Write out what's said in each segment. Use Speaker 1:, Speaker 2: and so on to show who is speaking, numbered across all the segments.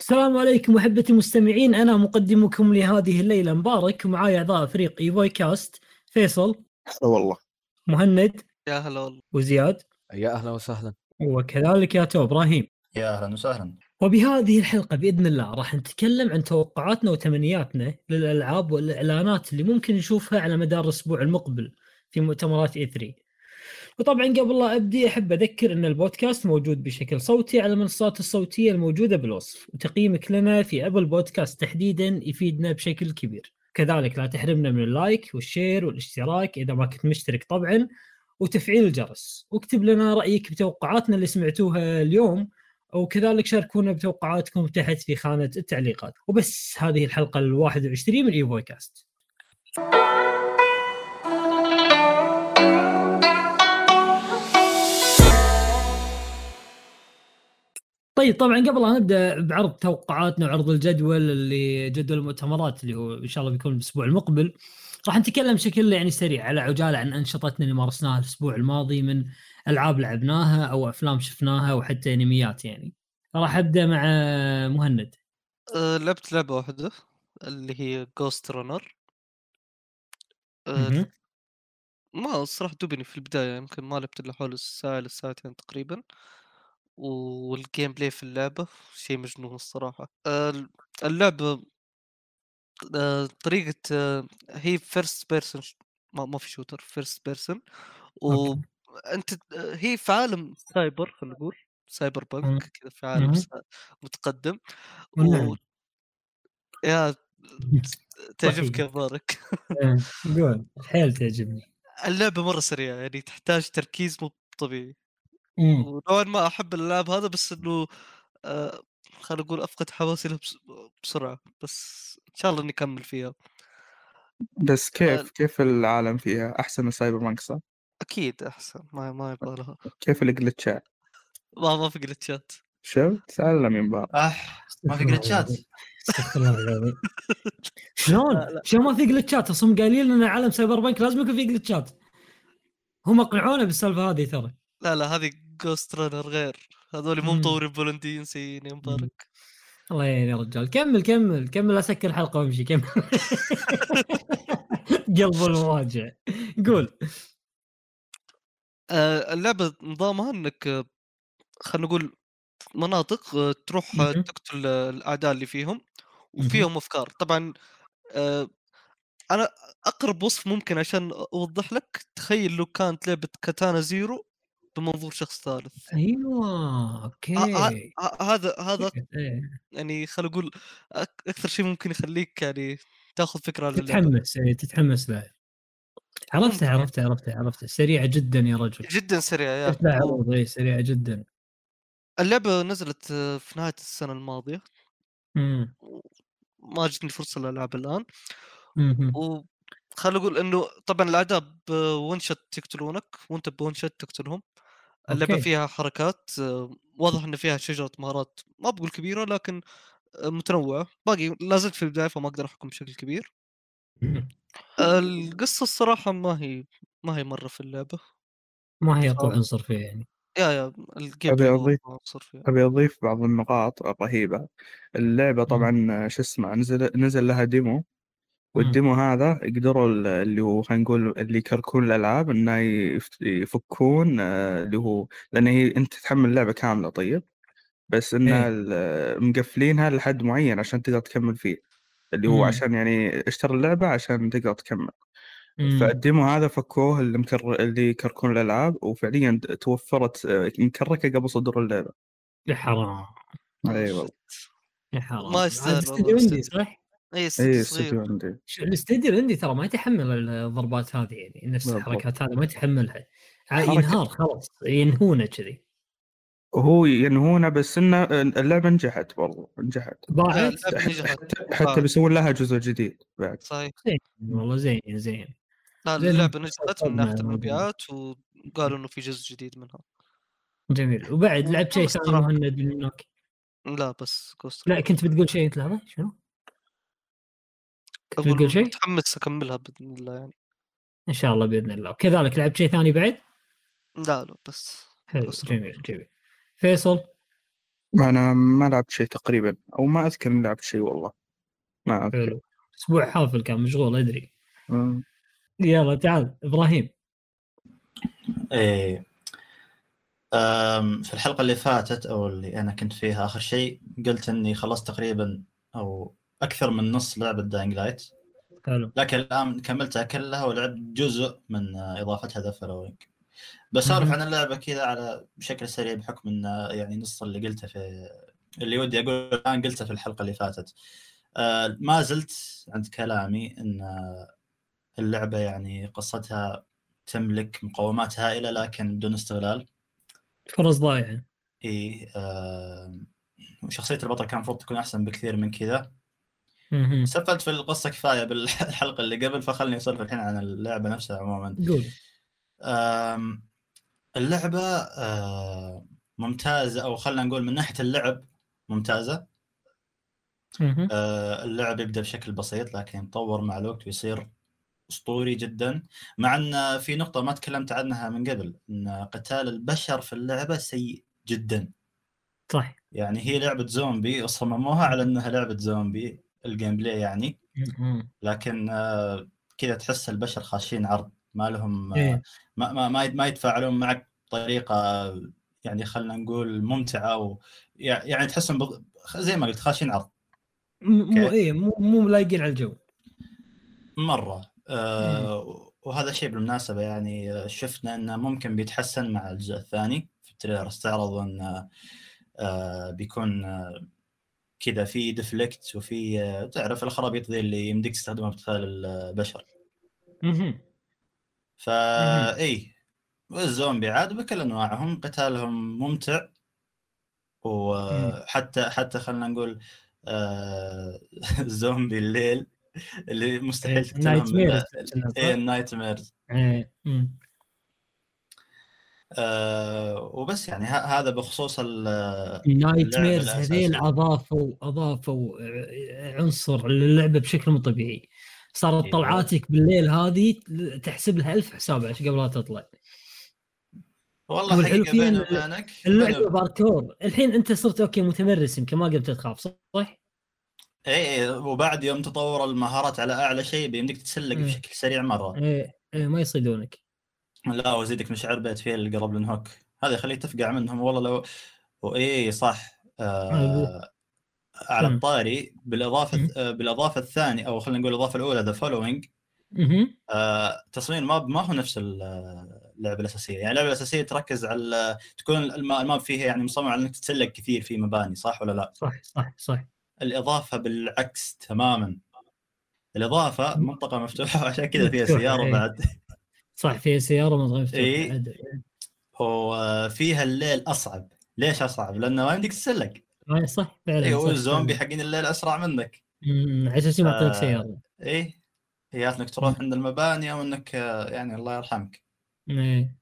Speaker 1: السلام عليكم احبتي المستمعين انا مقدمكم لهذه الليله مبارك ومعاي اعضاء فريق ايفوي كاست فيصل
Speaker 2: هلا والله
Speaker 1: مهند
Speaker 3: يا هلا والله
Speaker 1: وزياد
Speaker 4: يا اهلا وسهلا
Speaker 1: وكذلك يا تو ابراهيم
Speaker 5: يا اهلا وسهلا
Speaker 1: وبهذه الحلقه باذن الله راح نتكلم عن توقعاتنا وتمنياتنا للالعاب والاعلانات اللي ممكن نشوفها على مدار الاسبوع المقبل في مؤتمرات اي 3 وطبعا قبل لا ابدي احب اذكر ان البودكاست موجود بشكل صوتي على المنصات الصوتيه الموجوده بالوصف وتقييمك لنا في ابل بودكاست تحديدا يفيدنا بشكل كبير كذلك لا تحرمنا من اللايك والشير والاشتراك اذا ما كنت مشترك طبعا وتفعيل الجرس واكتب لنا رايك بتوقعاتنا اللي سمعتوها اليوم وكذلك شاركونا بتوقعاتكم تحت في خانه التعليقات وبس هذه الحلقه ال 21 من ايفوي كاست طيب طبعا قبل ان نبدا بعرض توقعاتنا وعرض الجدول اللي جدول المؤتمرات اللي هو ان شاء الله بيكون الاسبوع المقبل راح نتكلم بشكل يعني سريع على عجاله عن انشطتنا اللي مارسناها الاسبوع الماضي من العاب لعبناها او افلام شفناها وحتى انميات يعني راح ابدا مع مهند
Speaker 3: أه، لعبت لعبة واحدة اللي هي آه، جوست رانر
Speaker 1: مهم.
Speaker 3: ما الصراحة دوبني في البداية يمكن ما لعبت إلا حول الساعة إلى الساعتين تقريبا والجيم بلاي في اللعبة شيء مجنون الصراحة أه، ال- اللعبة أه، طريقة أه، هي فيرست بيرسون ما ما في شوتر فيرست بيرسون
Speaker 1: أوكي.
Speaker 3: وانت آه، هي في عالم سايبر خلينا نقول سايبر
Speaker 1: مم.
Speaker 3: بانك كذا في عالم
Speaker 1: مهم.
Speaker 3: سا- متقدم
Speaker 1: والنعم.
Speaker 3: و... يا تعجبك
Speaker 1: صحيح.
Speaker 3: يا مبارك
Speaker 1: آه، قول حيل تعجبني
Speaker 3: اللعبة مرة سريعة يعني تحتاج تركيز مو طبيعي
Speaker 1: مم.
Speaker 3: ونوعا ما أحب اللعب هذا بس إنه آه، خلينا نقول أفقد حواسي لها بس- بسرعة بس إن شاء الله إني أكمل فيها
Speaker 2: بس
Speaker 1: آه.
Speaker 2: كيف كيف العالم فيها احسن من سايبر بانك صح؟
Speaker 3: أكيد أحسن ما ما يبغى لها
Speaker 2: كيف الجلتشات؟
Speaker 3: ما ما في جلتشات
Speaker 2: شفت؟ تعلم من بعض
Speaker 5: اح ما
Speaker 1: استغفر
Speaker 5: في
Speaker 1: الله
Speaker 5: جلتشات
Speaker 1: العظيم. استغفر الله العظيم شلون؟ شلون ما في جلتشات اصلا قايلين لنا عالم سايبر بنك لازم يكون في جلتشات هم اقنعونا بالسالفه هذه ترى
Speaker 3: لا لا هذه جوست رانر غير هذول مو
Speaker 1: مم.
Speaker 3: مطورين بولنديين سيئين يا مبارك
Speaker 1: الله يعين يا رجال كمل كمل كمل اسكر الحلقه وامشي كمل قلب المواجع قول
Speaker 3: آه، اللعبة نظامها إنك آه، خلينا نقول مناطق آه، تروح آه،
Speaker 1: مهم.
Speaker 3: تقتل آه، الأعداء اللي فيهم
Speaker 1: مهم.
Speaker 3: وفيهم أفكار طبعا آه، أنا أقرب وصف ممكن عشان أوضح لك تخيل لو كانت لعبة كاتانا زيرو بمنظور شخص ثالث
Speaker 1: ايوه اوكي
Speaker 3: ه- ه- هذا هذا
Speaker 1: إيه،
Speaker 3: يعني خلينا نقول أك- أكثر شيء ممكن يخليك يعني تاخذ فكرة عن اللعبة
Speaker 1: تتحمس إيه، تتحمس له عرفته عرفته عرفته عرفته سريعه جدا يا رجل
Speaker 3: جدا سريعة يا
Speaker 1: شفت لها
Speaker 3: أخي.
Speaker 1: عروض إيه، سريعه جدا
Speaker 3: اللعبة نزلت آه، في نهاية السنة الماضية
Speaker 1: مم.
Speaker 3: ما جتني فرصة للألعب الآن
Speaker 1: مهم.
Speaker 3: وخلينا نقول انه طبعا الاعداء بون شوت يقتلونك وانت بون شوت تقتلهم اللعبه
Speaker 1: أوكي.
Speaker 3: فيها حركات آه، واضح ان فيها شجره مهارات ما بقول كبيره لكن آه، متنوعه باقي لازلت في البدايه فما اقدر احكم بشكل كبير
Speaker 1: مم.
Speaker 3: القصه الصراحه ما هي ما هي مره في اللعبه
Speaker 1: ما هي طبعا صرفيه يعني
Speaker 3: يا يا الجيم
Speaker 2: أبي
Speaker 3: بلاي
Speaker 2: أضيف.
Speaker 3: ما صار فيها
Speaker 2: ابي اضيف بعض النقاط الرهيبه اللعبه طبعا شو اسمه نزل نزل لها ديمو والديمو هذا قدروا ال- اللي هو خلينا نقول اللي يكركون الالعاب انه يف- يفكون آه، اللي هو لان هي انت تحمل لعبه كامله طيب بس ان
Speaker 1: إيه.
Speaker 2: ال- مقفلينها لحد معين عشان تقدر تكمل فيه اللي هو
Speaker 1: مم.
Speaker 2: عشان يعني اشتري اللعبه عشان تقدر تكمل
Speaker 1: مم.
Speaker 2: فالديمو هذا فكوه اللي مكر... اللي يكركون الالعاب وفعليا توفرت آه، مكركه قبل صدور اللعبه
Speaker 1: يا حرام
Speaker 3: آه،
Speaker 2: اي
Speaker 1: أيوة.
Speaker 2: والله
Speaker 1: يا حرام
Speaker 3: ما يستاهل
Speaker 1: هذا
Speaker 3: والله،
Speaker 1: استديو اندي
Speaker 3: استديو.
Speaker 1: إيه، صح؟
Speaker 3: اي
Speaker 2: اي
Speaker 3: إيه، صغير
Speaker 2: استوديو إيه، عندي
Speaker 1: ش- الاستديو الاندي ترى ما يتحمل الضربات هذه يعني نفس
Speaker 2: بالضبط.
Speaker 1: الحركات هذه ما يتحملها ع-
Speaker 2: حركة-
Speaker 1: ينهار خلاص ينهونه كذي
Speaker 2: يعني هو ينهونه بس انه اللعبه نجحت والله نجحت
Speaker 3: لا،
Speaker 1: ضاعت
Speaker 3: آه، اللعبة نجحت
Speaker 2: حتى بيسوون لها جزء جديد بعد
Speaker 3: صحيح
Speaker 1: والله زين زين
Speaker 3: لا
Speaker 1: زين، يعني
Speaker 3: اللعبه نجحت من
Speaker 1: صدقنا
Speaker 3: ناحيه
Speaker 1: يا رجل.
Speaker 3: المبيعات وقالوا انه في جزء جديد منها
Speaker 1: جميل وبعد لعبت شيء ثاني
Speaker 3: والله
Speaker 1: مهند من هناك
Speaker 3: لا بس كوست
Speaker 1: لا كنت بتقول شيء انت لحظه شنو؟ كنت
Speaker 3: أقول
Speaker 1: بتقول شيء؟
Speaker 3: متحمس اكملها باذن الله يعني
Speaker 1: ان شاء الله باذن الله وكذلك لعبت شيء ثاني بعد؟
Speaker 3: لا لا بس
Speaker 1: حلو
Speaker 3: بس-
Speaker 1: جميل جميل فيصل
Speaker 2: انا ما لعبت شيء تقريبا او ما اذكر اني لعبت شيء والله ما اذكر
Speaker 1: حلو اسبوع حافل كان مشغول ادري
Speaker 2: مم.
Speaker 1: يلا تعال ابراهيم
Speaker 4: ايه أم، في الحلقة اللي فاتت أو اللي أنا كنت فيها آخر شيء قلت إني خلصت تقريبا أو أكثر من نص لعبة داينج لايت
Speaker 1: حلو
Speaker 4: لكن الآن كملتها كلها ولعبت جزء من آه، إضافتها ذا فلوينج بسولف
Speaker 1: مهم.
Speaker 4: عن اللعبة كذا على بشكل سريع بحكم إن آه، يعني نص اللي قلته في اللي ودي أقول الآن قلته في الحلقة اللي فاتت آه، ما زلت عند كلامي إن آه، اللعبة يعني قصتها تملك مقومات هائلة لكن بدون استغلال
Speaker 1: فرص ضايعه
Speaker 4: اي آه وشخصية البطل كان المفروض تكون أحسن بكثير من كذا
Speaker 1: مهم.
Speaker 4: سفلت في القصة كفاية بالحلقة اللي قبل فخلني أسولف الحين عن اللعبة نفسها عموما
Speaker 1: قول
Speaker 4: آم، اللعبة آه ممتازة أو خلينا نقول من ناحية اللعب ممتازة
Speaker 1: مهم.
Speaker 2: أه.
Speaker 4: آه اللعب يبدأ بشكل بسيط لكن يتطور مع الوقت ويصير أسطوري جدا مع أن في نقطة ما تكلمت عنها من قبل أن قتال البشر في اللعبة سيء جدا
Speaker 1: صح
Speaker 4: يعني هي لعبة زومبي صمموها على انها لعبة زومبي الجيم بلاي يعني
Speaker 1: مهم.
Speaker 4: لكن آه، كذا تحس البشر خاشين عرض ما لهم آه،
Speaker 1: إيه.
Speaker 4: ما ما ما يت- ما يتفاعلون معك بطريقة آه، يعني خلينا نقول ممتعة او يع- يعني تحسهم بض... زي ما قلت خاشين عرض
Speaker 1: م- مو
Speaker 4: أوكي.
Speaker 1: ايه مو مو ملايقين على الجو
Speaker 4: مرة آه، وهذا الشيء بالمناسبة يعني آه، شفنا انه ممكن بيتحسن مع الجزء الثاني في التريلر استعرض انه آه، بيكون آه، كذا في ديفلكت وفي آه، تعرف الخرابيط ذي اللي يمديك تستخدمها في قتال البشر
Speaker 1: مهم.
Speaker 4: فا اي الزومبي عاد بكل انواعهم قتالهم ممتع وحتى حتى خلينا نقول آه، زومبي الليل اللي مستحيل
Speaker 1: إيه، نايت ميرز
Speaker 4: اي النايت ميرز
Speaker 1: إيه. مم.
Speaker 4: آه، وبس يعني ه- هذا بخصوص ال- آه،
Speaker 1: نايت
Speaker 4: اللعبة
Speaker 1: ميرز هذيل
Speaker 4: الأساسية.
Speaker 1: اضافوا اضافوا آه، عنصر للعبه بشكل مو طبيعي صارت
Speaker 4: إيه.
Speaker 1: طلعاتك بالليل هذه تحسب لها ألف حساب عشان قبل لا تطلع
Speaker 4: والله
Speaker 1: والحلو
Speaker 4: حقيقه
Speaker 1: طيب، فيه
Speaker 4: بيني
Speaker 1: إن
Speaker 4: وبينك
Speaker 1: اللعبه باركور الحين انت صرت اوكي متمرس يمكن ما قمت تخاف صح؟
Speaker 4: اي اي وبعد يوم تطور المهارات على اعلى شيء بيمديك تتسلق
Speaker 1: مم.
Speaker 4: بشكل سريع مره
Speaker 1: إيه. إيه ما يصيدونك
Speaker 4: لا وزيدك مشاعر بيت فيل القرب هوك هذا يخليك تفقع منهم والله لو واي صح آه
Speaker 1: أيوه.
Speaker 4: على
Speaker 1: مم.
Speaker 4: الطاري بالاضافه
Speaker 1: مم.
Speaker 4: آه بالاضافه الثانيه او خلينا نقول الاضافه الاولى ذا فولوينج
Speaker 1: مهم.
Speaker 4: آه، تصميم الماب ما هو نفس اللعبه الاساسيه يعني اللعبه الاساسيه تركز على تكون الم- الماب فيها يعني مصمم على انك تتسلق كثير في مباني صح ولا لا
Speaker 1: صح صح صح
Speaker 4: الاضافه بالعكس تماما الاضافه
Speaker 1: مم.
Speaker 4: منطقه مفتوحه عشان كذا فيها
Speaker 1: مفتوحة،
Speaker 4: سياره
Speaker 1: إيه.
Speaker 4: بعد
Speaker 1: صح فيها سياره ما تغير
Speaker 4: إيه. وفيها الليل اصعب ليش اصعب؟ لانه ما يمديك تتسلق
Speaker 1: ما إيه، صح فعلا
Speaker 4: اي
Speaker 1: صح،
Speaker 4: إيه، هو الزومبي
Speaker 1: فعلاً.
Speaker 4: حقين الليل اسرع منك
Speaker 1: أمم، عشان شي ما يعطيك
Speaker 4: آه.
Speaker 1: سياره
Speaker 4: اي هي انك تروح عند المباني او انك آه، يعني الله يرحمك
Speaker 1: إيه.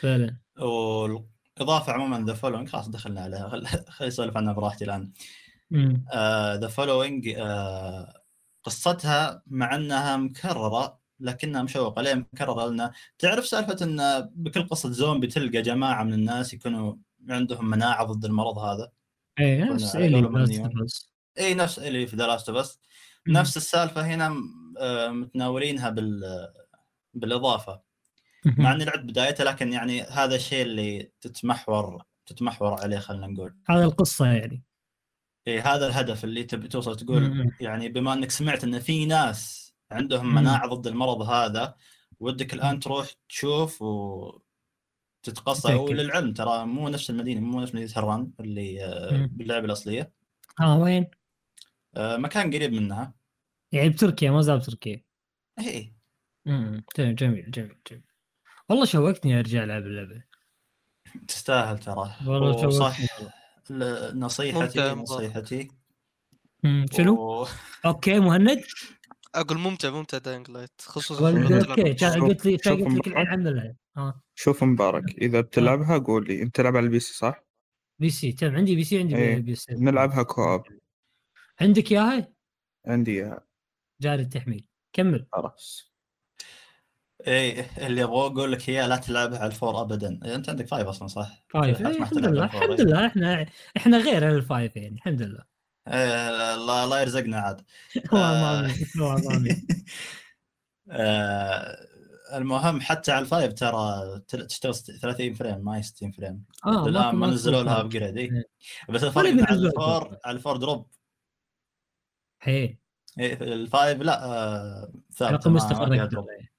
Speaker 1: فعلا
Speaker 4: والاضافه عموما ذا فولوينج خلاص دخلنا عليها خل- خلي اسولف عنها براحتي آه، الان
Speaker 1: أمم.
Speaker 4: ذا فولوينج آه، قصتها مع انها مكرره لكنها مشوقه ليه مكرره لان تعرف سالفه ان بكل قصه زومبي تلقى جماعه من الناس يكونوا عندهم مناعه ضد المرض هذا
Speaker 1: ايه
Speaker 4: كنا
Speaker 1: نفس
Speaker 4: على
Speaker 1: إلي
Speaker 4: قولهم
Speaker 1: بس-
Speaker 4: النيون.
Speaker 1: بس.
Speaker 4: اي نفس اللي في ذا لاست بس
Speaker 1: مم.
Speaker 4: نفس السالفه هنا م- آه، متناولينها بال بالاضافه مع اني لعبت بدايتها لكن يعني هذا الشيء اللي تتمحور تتمحور عليه خلينا نقول
Speaker 1: هذا القصه يعني
Speaker 4: اي هذا الهدف اللي تبي توصل تقول
Speaker 1: مم.
Speaker 4: يعني بما انك سمعت ان في ناس عندهم
Speaker 1: مم.
Speaker 4: مناعه ضد المرض هذا ودك الان تروح تشوف و تتقصى
Speaker 1: تتأكد.
Speaker 4: وللعلم ترى مو نفس المدينه مو نفس مدينه هران اللي آه،
Speaker 1: مم.
Speaker 4: باللعبه الاصليه
Speaker 1: اه وين؟
Speaker 4: آه، مكان قريب منها
Speaker 1: يعني بتركيا ما زال بتركيا
Speaker 4: اي
Speaker 1: أمم، جميل جميل جميل جميل والله شوقتني ارجع العب اللعبه
Speaker 4: تستاهل ترى
Speaker 1: والله
Speaker 4: وصح
Speaker 1: شوقتني
Speaker 4: ل-
Speaker 3: ممتع
Speaker 4: نصيحتي
Speaker 3: مرة.
Speaker 4: نصيحتي
Speaker 1: أمم، شنو؟
Speaker 4: و-
Speaker 1: اوكي مهند
Speaker 3: اقول ممتع ممتع داينج لايت خصوصا في
Speaker 1: ولا-
Speaker 3: الوقت
Speaker 1: اوكي
Speaker 3: الأخير.
Speaker 1: كان قلت لي كان
Speaker 2: شوف
Speaker 1: قلت لك
Speaker 2: مرة.
Speaker 1: الحين عن اللعبه اه
Speaker 2: شوف مبارك اذا بتلعبها قول لي انت تلعب على البي سي صح؟
Speaker 1: بي سي تم عندي بي سي عندي
Speaker 2: إيه،
Speaker 1: بي- بي سي
Speaker 2: نلعبها كوب
Speaker 1: عندك اياها؟
Speaker 2: عندي اياها
Speaker 1: جاري التحميل كمل
Speaker 2: خلاص
Speaker 4: اي إيه، اللي ابغى اقول لك هي لا تلعبها على الفور ابدا انت عندك فايف اصلا صح؟
Speaker 1: فايف
Speaker 4: ما
Speaker 1: إيه، الحمد
Speaker 4: احتلت
Speaker 1: لله
Speaker 4: الفور،
Speaker 1: الحمد
Speaker 4: إيه.
Speaker 1: لله احنا احنا غير الفايف يعني الحمد لله
Speaker 4: إيه، الله الله يرزقنا عاد
Speaker 1: والله آمين، والله آمين.
Speaker 4: آه، المهم حتى على الفايف ترى تل- تشتغل ست- 30 فريم ما هي 60 فريم
Speaker 1: اه
Speaker 4: الان
Speaker 1: ماكو-
Speaker 4: ما
Speaker 1: ماكو
Speaker 4: نزلوا لها
Speaker 1: فرق.
Speaker 4: ابجريد اي
Speaker 1: إيه.
Speaker 4: بس الفرق إن على
Speaker 1: بينزلوا
Speaker 4: الفور
Speaker 1: أبجريد.
Speaker 4: على الفور دروب
Speaker 1: حيل
Speaker 4: إيه، الفايف لا آه، ثابت
Speaker 1: رقم
Speaker 4: ما- ما
Speaker 1: مستقر
Speaker 4: فيها
Speaker 1: اكثر
Speaker 4: دروب.
Speaker 1: إيه،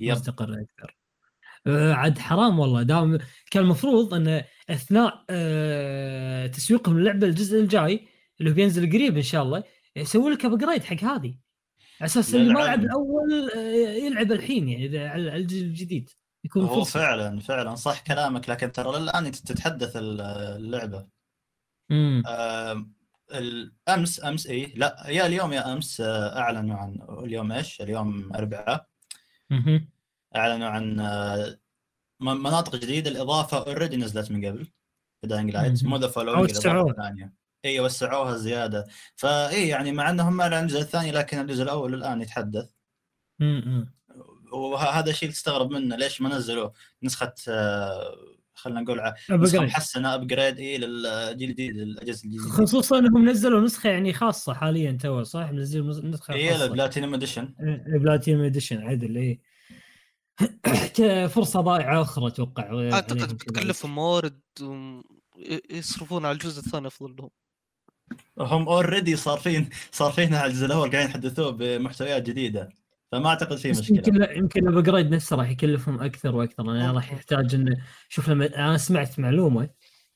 Speaker 4: يب
Speaker 1: مستقر اكثر آه، عاد حرام والله دام كان المفروض انه اثناء آه، تسويقهم للعبه الجزء الجاي اللي هو بينزل قريب ان شاء الله يسوي لك ابجريد حق هذه على اساس اللي ما لعب
Speaker 4: للعلم.
Speaker 1: الاول آه، يلعب الحين يعني إذا على الجيل الجديد يكون
Speaker 4: هو
Speaker 1: فرصه
Speaker 4: فعلا فعلا صح كلامك لكن ترى الان تتحدث اللعبه
Speaker 1: مم.
Speaker 4: آم، الامس امس اي إيه؟ لا يا اليوم يا امس آه، اعلنوا عن اليوم ايش؟ اليوم اربعاء
Speaker 1: مهم.
Speaker 4: اعلنوا عن آه، م- مناطق جديده الاضافه اوريدي نزلت من قبل داينج لايت
Speaker 1: مهم.
Speaker 4: مو ذا
Speaker 1: أو
Speaker 4: فولوينج
Speaker 1: وسعوها.
Speaker 4: الثانيه اي إيه، وسعوها زياده فاي يعني مع انهم ما اعلنوا الجزء الثاني لكن الجزء الاول الان يتحدث
Speaker 1: مم، مم.
Speaker 4: وهذا الشيء تستغرب منه ليش ما نزلوا نسخه آه، خلينا نقول ع- نسخه
Speaker 1: أبجريد.
Speaker 4: محسنه ابجريد اي للجيل الجديد للاجهزه الجديده
Speaker 1: خصوصا انهم نزلوا نسخه يعني خاصه حاليا تو صح منزلين مز- نسخه
Speaker 4: اي
Speaker 1: خاصه
Speaker 4: البلاتينيوم اديشن
Speaker 1: بلاتينيوم اديشن عدل اي فرصه ضائعه اخرى اتوقع
Speaker 3: اعتقد
Speaker 1: عليهم كذا.
Speaker 3: بتكلفهم موارد وم- ي- يصرفون على الجزء الثاني افضل لهم
Speaker 4: هم اوريدي صارفين صارفين على الجزء الاول قاعدين يحدثوه بمحتويات جديده فما اعتقد في
Speaker 1: بس
Speaker 4: مشكله
Speaker 1: يمكن يمكن الابجريد نفسه راح يكلفهم اكثر واكثر لانه
Speaker 3: ممكن.
Speaker 1: راح يحتاج انه شوف لما انا سمعت معلومه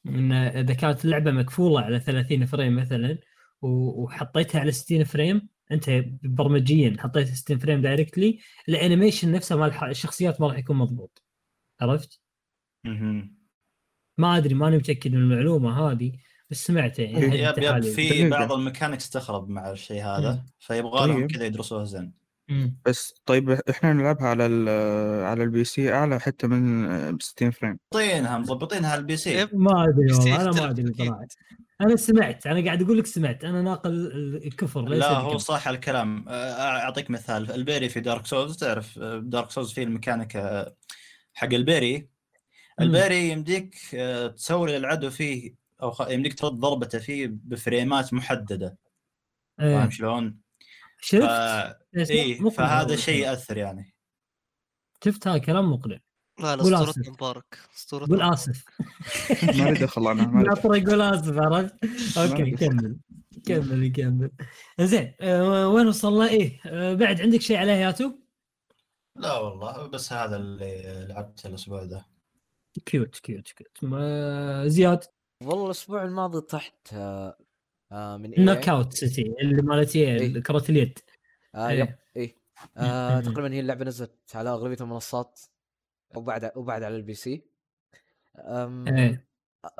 Speaker 1: ان اذا كانت اللعبه مقفوله على 30 فريم مثلا و- وحطيتها على 60 فريم انت برمجيا حطيت 60 فريم دايركتلي الانيميشن نفسه مال الح- الشخصيات ما راح يكون مضبوط عرفت؟
Speaker 4: مهم.
Speaker 1: ما ادري ماني متاكد من المعلومه هذه بس سمعتها يعني أحد
Speaker 4: يب يب
Speaker 1: التحاليل.
Speaker 4: في
Speaker 2: دقيقة.
Speaker 4: بعض الميكانكس تستغرب مع الشيء هذا
Speaker 1: مم.
Speaker 4: فيبغى لهم
Speaker 2: طيب.
Speaker 4: كذا يدرسوها زين
Speaker 1: مم.
Speaker 2: بس طيب احنا نلعبها على ال على البي سي اعلى حتى من آه، 60 فريم
Speaker 4: مضبطينها مضبطينها على البي سي
Speaker 2: إيه،
Speaker 3: يب.
Speaker 1: ما ادري والله انا ما
Speaker 3: يختلف
Speaker 1: ادري
Speaker 3: أكيد.
Speaker 1: صراحه انا سمعت انا قاعد اقول لك سمعت انا ناقل الكفر ليس
Speaker 4: لا هو
Speaker 1: بكم.
Speaker 4: صح الكلام آه، اعطيك مثال البيري في دارك سولز تعرف دارك سولز فيه الميكانيك آه، حق البيري البيري يمديك آه، تسوي للعدو فيه او خ- يمديك ترد ضربته فيه بفريمات محدده
Speaker 1: إيه.
Speaker 4: فاهم شلون؟
Speaker 1: شفت
Speaker 4: ف-
Speaker 1: بس
Speaker 4: ايه
Speaker 1: مقنع
Speaker 4: فهذا
Speaker 1: والله.
Speaker 4: شيء ياثر يعني
Speaker 1: شفت هذا كلام مقنع
Speaker 3: لا لا
Speaker 1: قول
Speaker 3: اسطورتنا
Speaker 1: آسف.
Speaker 3: مبارك
Speaker 1: قول
Speaker 3: اسطورتنا
Speaker 1: اسف
Speaker 2: ما لي دخل انا ما لي دخل.
Speaker 1: ناطر يقول اسف عرفت اوكي
Speaker 2: ما-
Speaker 1: كمل كمل كمل زين آه، وين وصلنا ايه آه، بعد عندك شيء عليه ياتو
Speaker 4: لا والله بس هذا اللي لعبته الاسبوع ذا
Speaker 1: كيوت كيوت كيوت ما- آه، زياد
Speaker 5: والله الاسبوع الماضي طحت آه، آه، من إيه
Speaker 1: نوك اوت سيتي اللي مالت
Speaker 5: إيه.
Speaker 1: إيه، كره اليد
Speaker 5: آه
Speaker 1: إيه.
Speaker 5: يب اي آه
Speaker 1: مم.
Speaker 5: تقريبا هي اللعبه نزلت على اغلبيه المنصات وبعد وبعد على البي سي أم،
Speaker 1: إيه.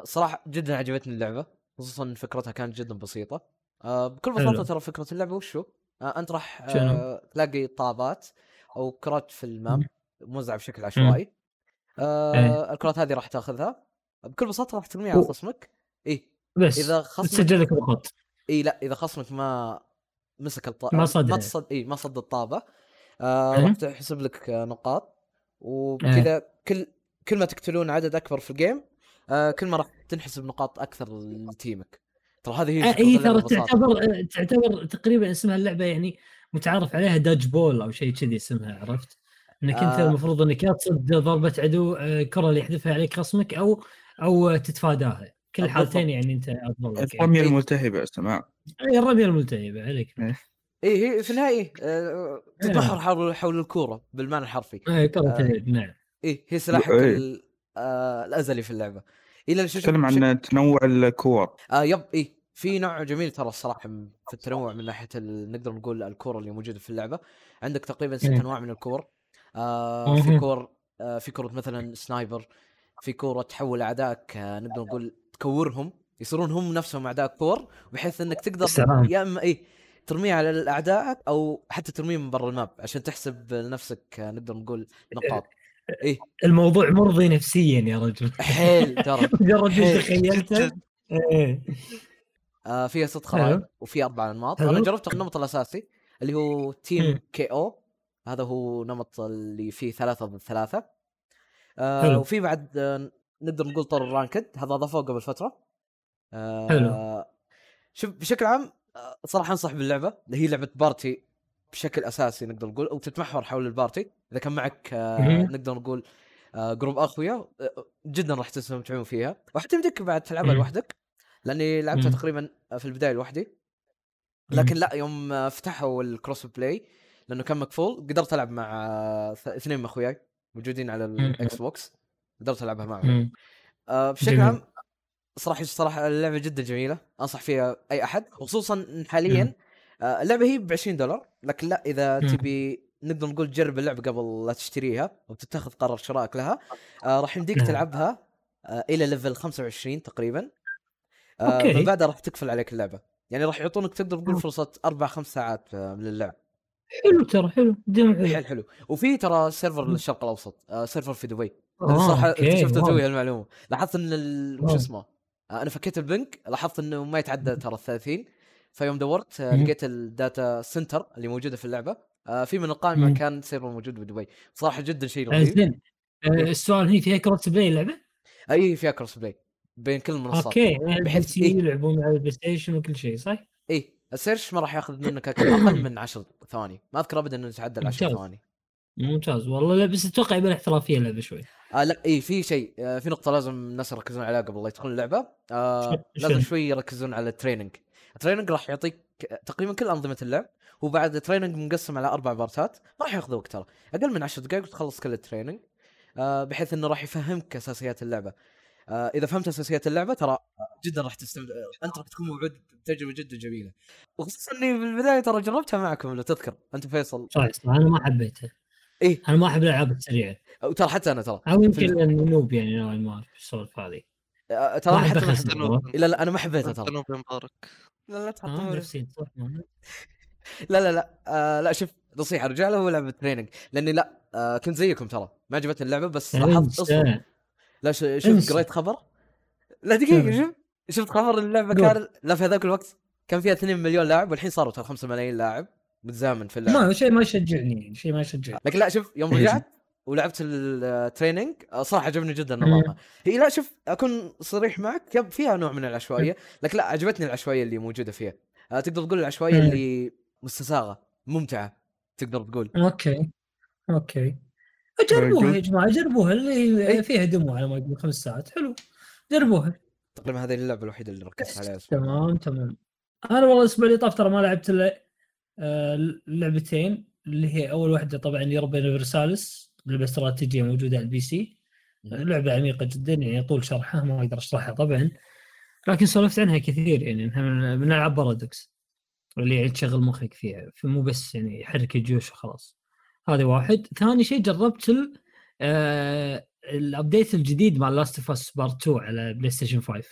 Speaker 5: صراحه جدا عجبتني اللعبه خصوصا إن فكرتها كانت جدا بسيطه آه بكل
Speaker 1: حلو.
Speaker 5: بساطه ترى فكره اللعبه وشو آه انت راح
Speaker 1: شنو؟
Speaker 5: آه تلاقي طابات او كرات في الماب
Speaker 1: مم.
Speaker 5: موزعه بشكل عشوائي آه الكرات هذه راح تاخذها بكل بساطه راح ترميها على
Speaker 1: أوه.
Speaker 5: خصمك اي
Speaker 1: بس
Speaker 5: اذا خصمك
Speaker 1: تسجل لك نقاط
Speaker 5: اي لا اذا خصمك ما مسك الطابة
Speaker 1: ما صدها.
Speaker 5: ما تصد اي ما صد الطابة آه
Speaker 1: أها.
Speaker 5: راح تحسب لك آه، نقاط
Speaker 1: إيه.
Speaker 5: وبكذا كل كل ما تقتلون عدد اكبر في الجيم آه كل ما راح تنحسب نقاط اكثر لتيمك ترى هذه هي
Speaker 1: آه،
Speaker 5: فكرة
Speaker 1: هي
Speaker 5: اللعبة
Speaker 1: ترى
Speaker 5: ببساطة.
Speaker 1: تعتبر آه، تعتبر تقريبا اسمها اللعبه يعني متعارف عليها داج بول او شيء كذي اسمها عرفت؟ انك انت
Speaker 5: آه.
Speaker 1: المفروض انك يا تصد ضربه عدو آه، الكره اللي يحذفها عليك خصمك او او آه، تتفاداها كل
Speaker 5: بالضبط.
Speaker 1: الحالتين يعني انت افضل لك يعني.
Speaker 2: الرمية الملتهبة يا سماع
Speaker 1: إيه، الرميه الملتهبه عليك
Speaker 5: اي هي في النهاية آه تتمحور حول حول الكورة بالمعنى الحرفي
Speaker 1: إيه،
Speaker 5: آه.
Speaker 1: كره اليد نعم
Speaker 5: اي هي سلاحك
Speaker 2: إيه.
Speaker 5: ال- آه الازلي في اللعبة الى
Speaker 2: تتكلم عن تنوع الكور
Speaker 5: آه يب اي في نوع جميل ترى الصراحه م- في التنوع من ناحيه ال... نقدر نقول الكور اللي موجوده في اللعبه عندك تقريبا ست
Speaker 1: مم.
Speaker 5: انواع من الكور آه في
Speaker 1: مهم.
Speaker 5: كور آه في كره مثلا سنايبر في كوره تحول اعدائك آه نقدر نقول تكورهم يصيرون هم نفسهم اعداء كور بحيث انك تقدر
Speaker 1: سلام.
Speaker 5: يا اما اي ترميه على الاعداء او حتى ترميه من برا الماب عشان تحسب لنفسك آه، نقدر نقول نقاط اي
Speaker 1: الموضوع مرضي نفسيا يا رجل
Speaker 5: حيل ترى
Speaker 1: مجرد ما
Speaker 5: حيل
Speaker 1: تخيلته
Speaker 3: جداً.
Speaker 1: إيه.
Speaker 5: آه فيها ست
Speaker 1: حلو.
Speaker 5: خرائط وفي اربع انماط
Speaker 1: حلو. إيه.
Speaker 5: انا جربت النمط الاساسي اللي هو تيم
Speaker 1: مم.
Speaker 5: كي او هذا هو نمط اللي فيه ثلاثة ضد ثلاثة آه،
Speaker 1: حلو.
Speaker 5: وفي بعد آه، نقدر نقول طور الرانكد هذا ضافوه قبل فترة آه،
Speaker 1: حلو.
Speaker 5: شوف بشكل عام آه، صراحة انصح باللعبة هي لعبة بارتي بشكل اساسي نقدر نقول او تتمحور حول البارتي اذا كان معك آه،
Speaker 1: مهم.
Speaker 5: نقدر نقول آه، جروب اقوياء آه، جدا راح تستمتعون فيها وحتى يمديك بعد تلعبها
Speaker 1: مم.
Speaker 5: لوحدك لاني لعبتها
Speaker 1: مم.
Speaker 5: تقريبا في البدايه لوحدي
Speaker 1: مم.
Speaker 5: لكن لا يوم آه، فتحوا الكروس بلاي لانه كان مقفول قدرت العب مع آه، ث- اثنين من اخوياي موجودين على الاكس بوكس قدرت العبها معهم
Speaker 1: مم.
Speaker 5: آه، بشكل
Speaker 1: جميل.
Speaker 5: عام صراحه صراحه اللعبه جدا جميله انصح فيها اي احد وخصوصا إن حاليا
Speaker 1: مم.
Speaker 5: آه، اللعبه هي ب 20 دولار لكن لا اذا
Speaker 1: مم.
Speaker 5: تبي نقدر نقول تجرب اللعبه قبل لا تشتريها وتتخذ قرار شرائك لها آه، راح يمديك
Speaker 1: نعم.
Speaker 5: تلعبها آه، الى ليفل 25 تقريبا آه،
Speaker 1: أوكي.
Speaker 5: من بعدها راح تقفل عليك اللعبه يعني راح يعطونك تقدر تقول
Speaker 1: مم.
Speaker 5: فرصه اربع خمس ساعات آه، من اللعب
Speaker 1: حلو ترى حلو دم حلو
Speaker 5: حلو حلو وفي ترى سيرفر
Speaker 1: مم.
Speaker 5: للشرق الاوسط آه، سيرفر في دبي
Speaker 1: آه،
Speaker 5: أنا صراحه
Speaker 1: أوكي،
Speaker 5: اكتشفت
Speaker 1: واو.
Speaker 5: توي هالمعلومه لاحظت ان ال- وش
Speaker 1: واو.
Speaker 5: اسمه آه، انا فكيت البنك لاحظت انه ما يتعدى ترى ال 30 فيوم دورت آه،
Speaker 1: مم.
Speaker 5: لقيت الداتا سنتر اللي موجوده في اللعبه آه، في من القائمه
Speaker 1: مم.
Speaker 5: كان سيرفر موجود بدبي صراحه جدا شيء رهيب
Speaker 1: زين آه، السؤال هي فيها كروس بلاي اللعبه؟
Speaker 5: اي فيها كروس بلاي بين كل المنصات
Speaker 1: اوكي يعني
Speaker 5: بحيث
Speaker 1: بحيث
Speaker 5: إيه.
Speaker 1: يلعبون على البلاي ستيشن وكل شيء صح؟
Speaker 5: اي إيه، السيرش ما راح ياخذ منك أك- اقل من 10 ثواني ما اذكر ابدا انه يتعدى ال 10
Speaker 1: ممتاز.
Speaker 5: ثواني
Speaker 1: ممتاز والله لا بس اتوقع يبان احترافيه اللعبه شوي
Speaker 5: آه لا اي في شيء آه في نقطه لازم الناس يركزون عليها قبل لا يدخلون اللعبه آه
Speaker 1: شو-
Speaker 5: لازم
Speaker 1: شنو؟
Speaker 5: شوي يركزون على التريننج التريننج راح يعطيك تقريبا كل انظمه اللعب وبعد التريننج مقسم على اربع بارتات ما راح ياخذ وقت ترى اقل من 10 دقائق وتخلص كل التريننج آه بحيث انه راح يفهمك اساسيات اللعبه آه اذا فهمت اساسيات اللعبه ترى جدا راح تستمتع انت راح تكون موعود بتجربه جدا جميله وخصوصا اني بالبدايه ترى جربتها معكم لو تذكر انت فيصل
Speaker 1: صحيح صح، انا ما حبيتها
Speaker 5: إيه.
Speaker 1: انا ما احب الالعاب السريعه
Speaker 5: وترى حتى انا ترى
Speaker 1: او يمكن لاني نوب يعني نوعا ما في السوالف هذه
Speaker 5: آه
Speaker 1: ما
Speaker 5: ترى
Speaker 1: أحب
Speaker 5: حتى أنا-
Speaker 1: أخسر.
Speaker 5: لا لا انا ما حبيتها ترى
Speaker 3: ذنوب مبارك
Speaker 5: لا لا تحطون
Speaker 1: آه،
Speaker 5: ولا-
Speaker 1: نفسي صح
Speaker 5: لا لا لا آه لا شوف نصيحه رجع له لعبه تريننج لاني لا آه كنت زيكم ترى ما عجبتني اللعبه بس لاحظت اصلا
Speaker 1: انسى
Speaker 5: لا ش- شفت
Speaker 1: انسى.
Speaker 5: قريت خبر لا
Speaker 1: نعم.
Speaker 5: دقيقه شوف شفت خبر اللعبه
Speaker 1: قول.
Speaker 5: كان لا في هذاك الوقت كان فيها 2 مليون لاعب والحين صاروا ترى 5 ملايين لاعب متزامن في اللعبه
Speaker 1: ما شيء ما يشجعني يعني شيء ما يشجعني
Speaker 5: لكن لا شوف يوم
Speaker 1: إيه.
Speaker 5: رجعت ولعبت التريننج صراحه عجبني جدا
Speaker 1: إيه.
Speaker 5: نظامها هي لا شوف اكون صريح معك يب فيها نوع من العشوائيه
Speaker 1: إيه.
Speaker 5: لكن لا عجبتني العشوائيه اللي موجوده فيها آه، تقدر تقول العشوائيه
Speaker 1: مم.
Speaker 5: اللي مستساغه ممتعه تقدر تقول
Speaker 1: اوكي اوكي جربوها يا جماعه جربوها اللي
Speaker 5: إيه.
Speaker 1: هي فيها دمو على ما يقول خمس ساعات حلو جربوها
Speaker 5: تقريبا هذه اللعبه الوحيده اللي ركزت عليها الأسبوع.
Speaker 1: تمام تمام انا والله الاسبوع اللي طاف ترى ما لعبت الا آه، لعبتين اللي هي اول واحده طبعا يربا يونيفرسالس لعبه استراتيجيه موجوده على البي سي لعبه عميقه جدا يعني يطول شرحها ما اقدر اشرحها طبعا لكن سولفت عنها كثير يعني انها من من العاب بارادوكس اللي يعني تشغل مخك فيها فمو بس يعني يحرك الجيوش وخلاص هذا واحد ثاني شيء جربت ال آه، الابديت الجديد مال لاست اوف اس بارت 2 على بلاي ستيشن 5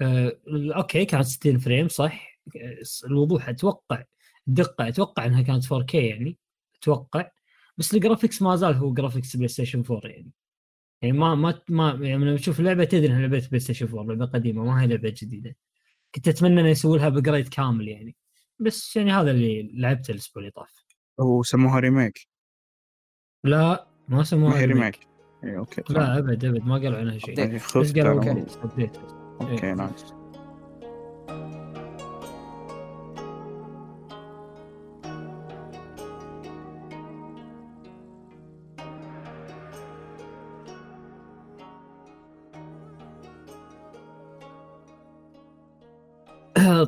Speaker 1: آه، اوكي كانت 60 فريم صح آه، الوضوح اتوقع الدقه اتوقع انها كانت 4K يعني اتوقع بس الجرافكس ما زال هو جرافكس بلاي ستيشن 4 يعني يعني ما ما ما يعني لما تشوف اللعبه تدري انها لعبه بلاي ستيشن 4 لعبه قديمه ما هي لعبه جديده كنت اتمنى انه يسوي لها بجريد كامل يعني بس يعني هذا اللي لعبته الاسبوع اللي طاف
Speaker 2: وسموها ريميك
Speaker 1: لا ما
Speaker 2: ما
Speaker 1: سموها
Speaker 2: هي
Speaker 1: ريميك
Speaker 2: ريميك إيه، اي اوكي
Speaker 1: لا ابد ابد ما قالوا عنها شيء
Speaker 5: Update.
Speaker 2: يعني خفت
Speaker 1: بس إيه. قالوا
Speaker 2: أنا.
Speaker 1: update- update.
Speaker 2: اوكي نايس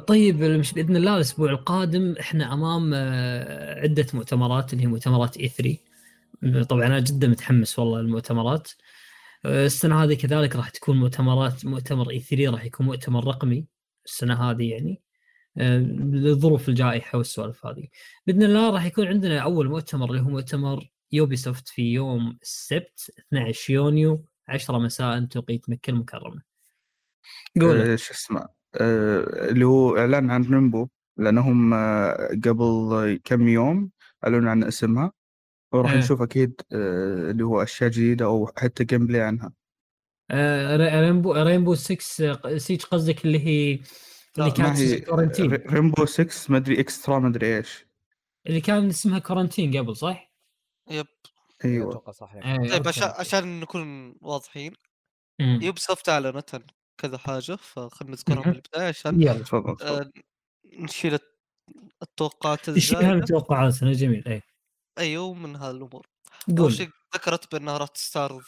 Speaker 1: طيب مش باذن الله الاسبوع القادم احنا امام آه، عده مؤتمرات اللي هي مؤتمرات اي 3 طبعا انا جدا متحمس والله المؤتمرات السنه هذه كذلك راح تكون مؤتمرات مؤتمر اي 3 راح يكون مؤتمر رقمي السنه هذه يعني آه، لظروف الجائحه والسوالف هذه باذن الله راح يكون عندنا اول مؤتمر اللي هو مؤتمر يوبي سوفت في يوم السبت 12 يونيو 10 مساء توقيت مكه المكرمه قول
Speaker 2: آه، شو اسمه آه، اللي هو اعلان عن نمبو لانهم آه، قبل كم يوم اعلنوا عن اسمها وراح
Speaker 1: إيه.
Speaker 2: نشوف اكيد آه، اللي هو اشياء جديده او حتى جيم بلاي عنها
Speaker 1: آه، ري- ريمبو ريمبو 6 آه، سيج قصدك اللي هي اللي
Speaker 3: لا،
Speaker 1: كانت
Speaker 2: ما هي-
Speaker 1: اسمها كورنتين
Speaker 2: ريمبو 6 مدري اكسترا مدري ايش
Speaker 1: اللي كان اسمها كورنتين قبل صح؟
Speaker 3: يب
Speaker 2: ايوه
Speaker 5: اتوقع صح يعني.
Speaker 1: إيه،
Speaker 3: طيب
Speaker 1: أوكي،
Speaker 3: عشان
Speaker 1: أوكي.
Speaker 3: عشان نكون واضحين
Speaker 1: مم.
Speaker 3: يوب سوفت اعلنت عن كذا حاجه فخلنا نذكرها
Speaker 1: مهم.
Speaker 3: من البدايه عشان
Speaker 1: يلا
Speaker 2: تفضل تفضل.
Speaker 3: آه، نشيل الت- التوقعات
Speaker 1: شبه
Speaker 3: الزايده
Speaker 1: متوقعاتنا جميل اي
Speaker 3: ايوه من هالامور اول
Speaker 1: قول
Speaker 3: شيء ذكرت بانها راح تستعرض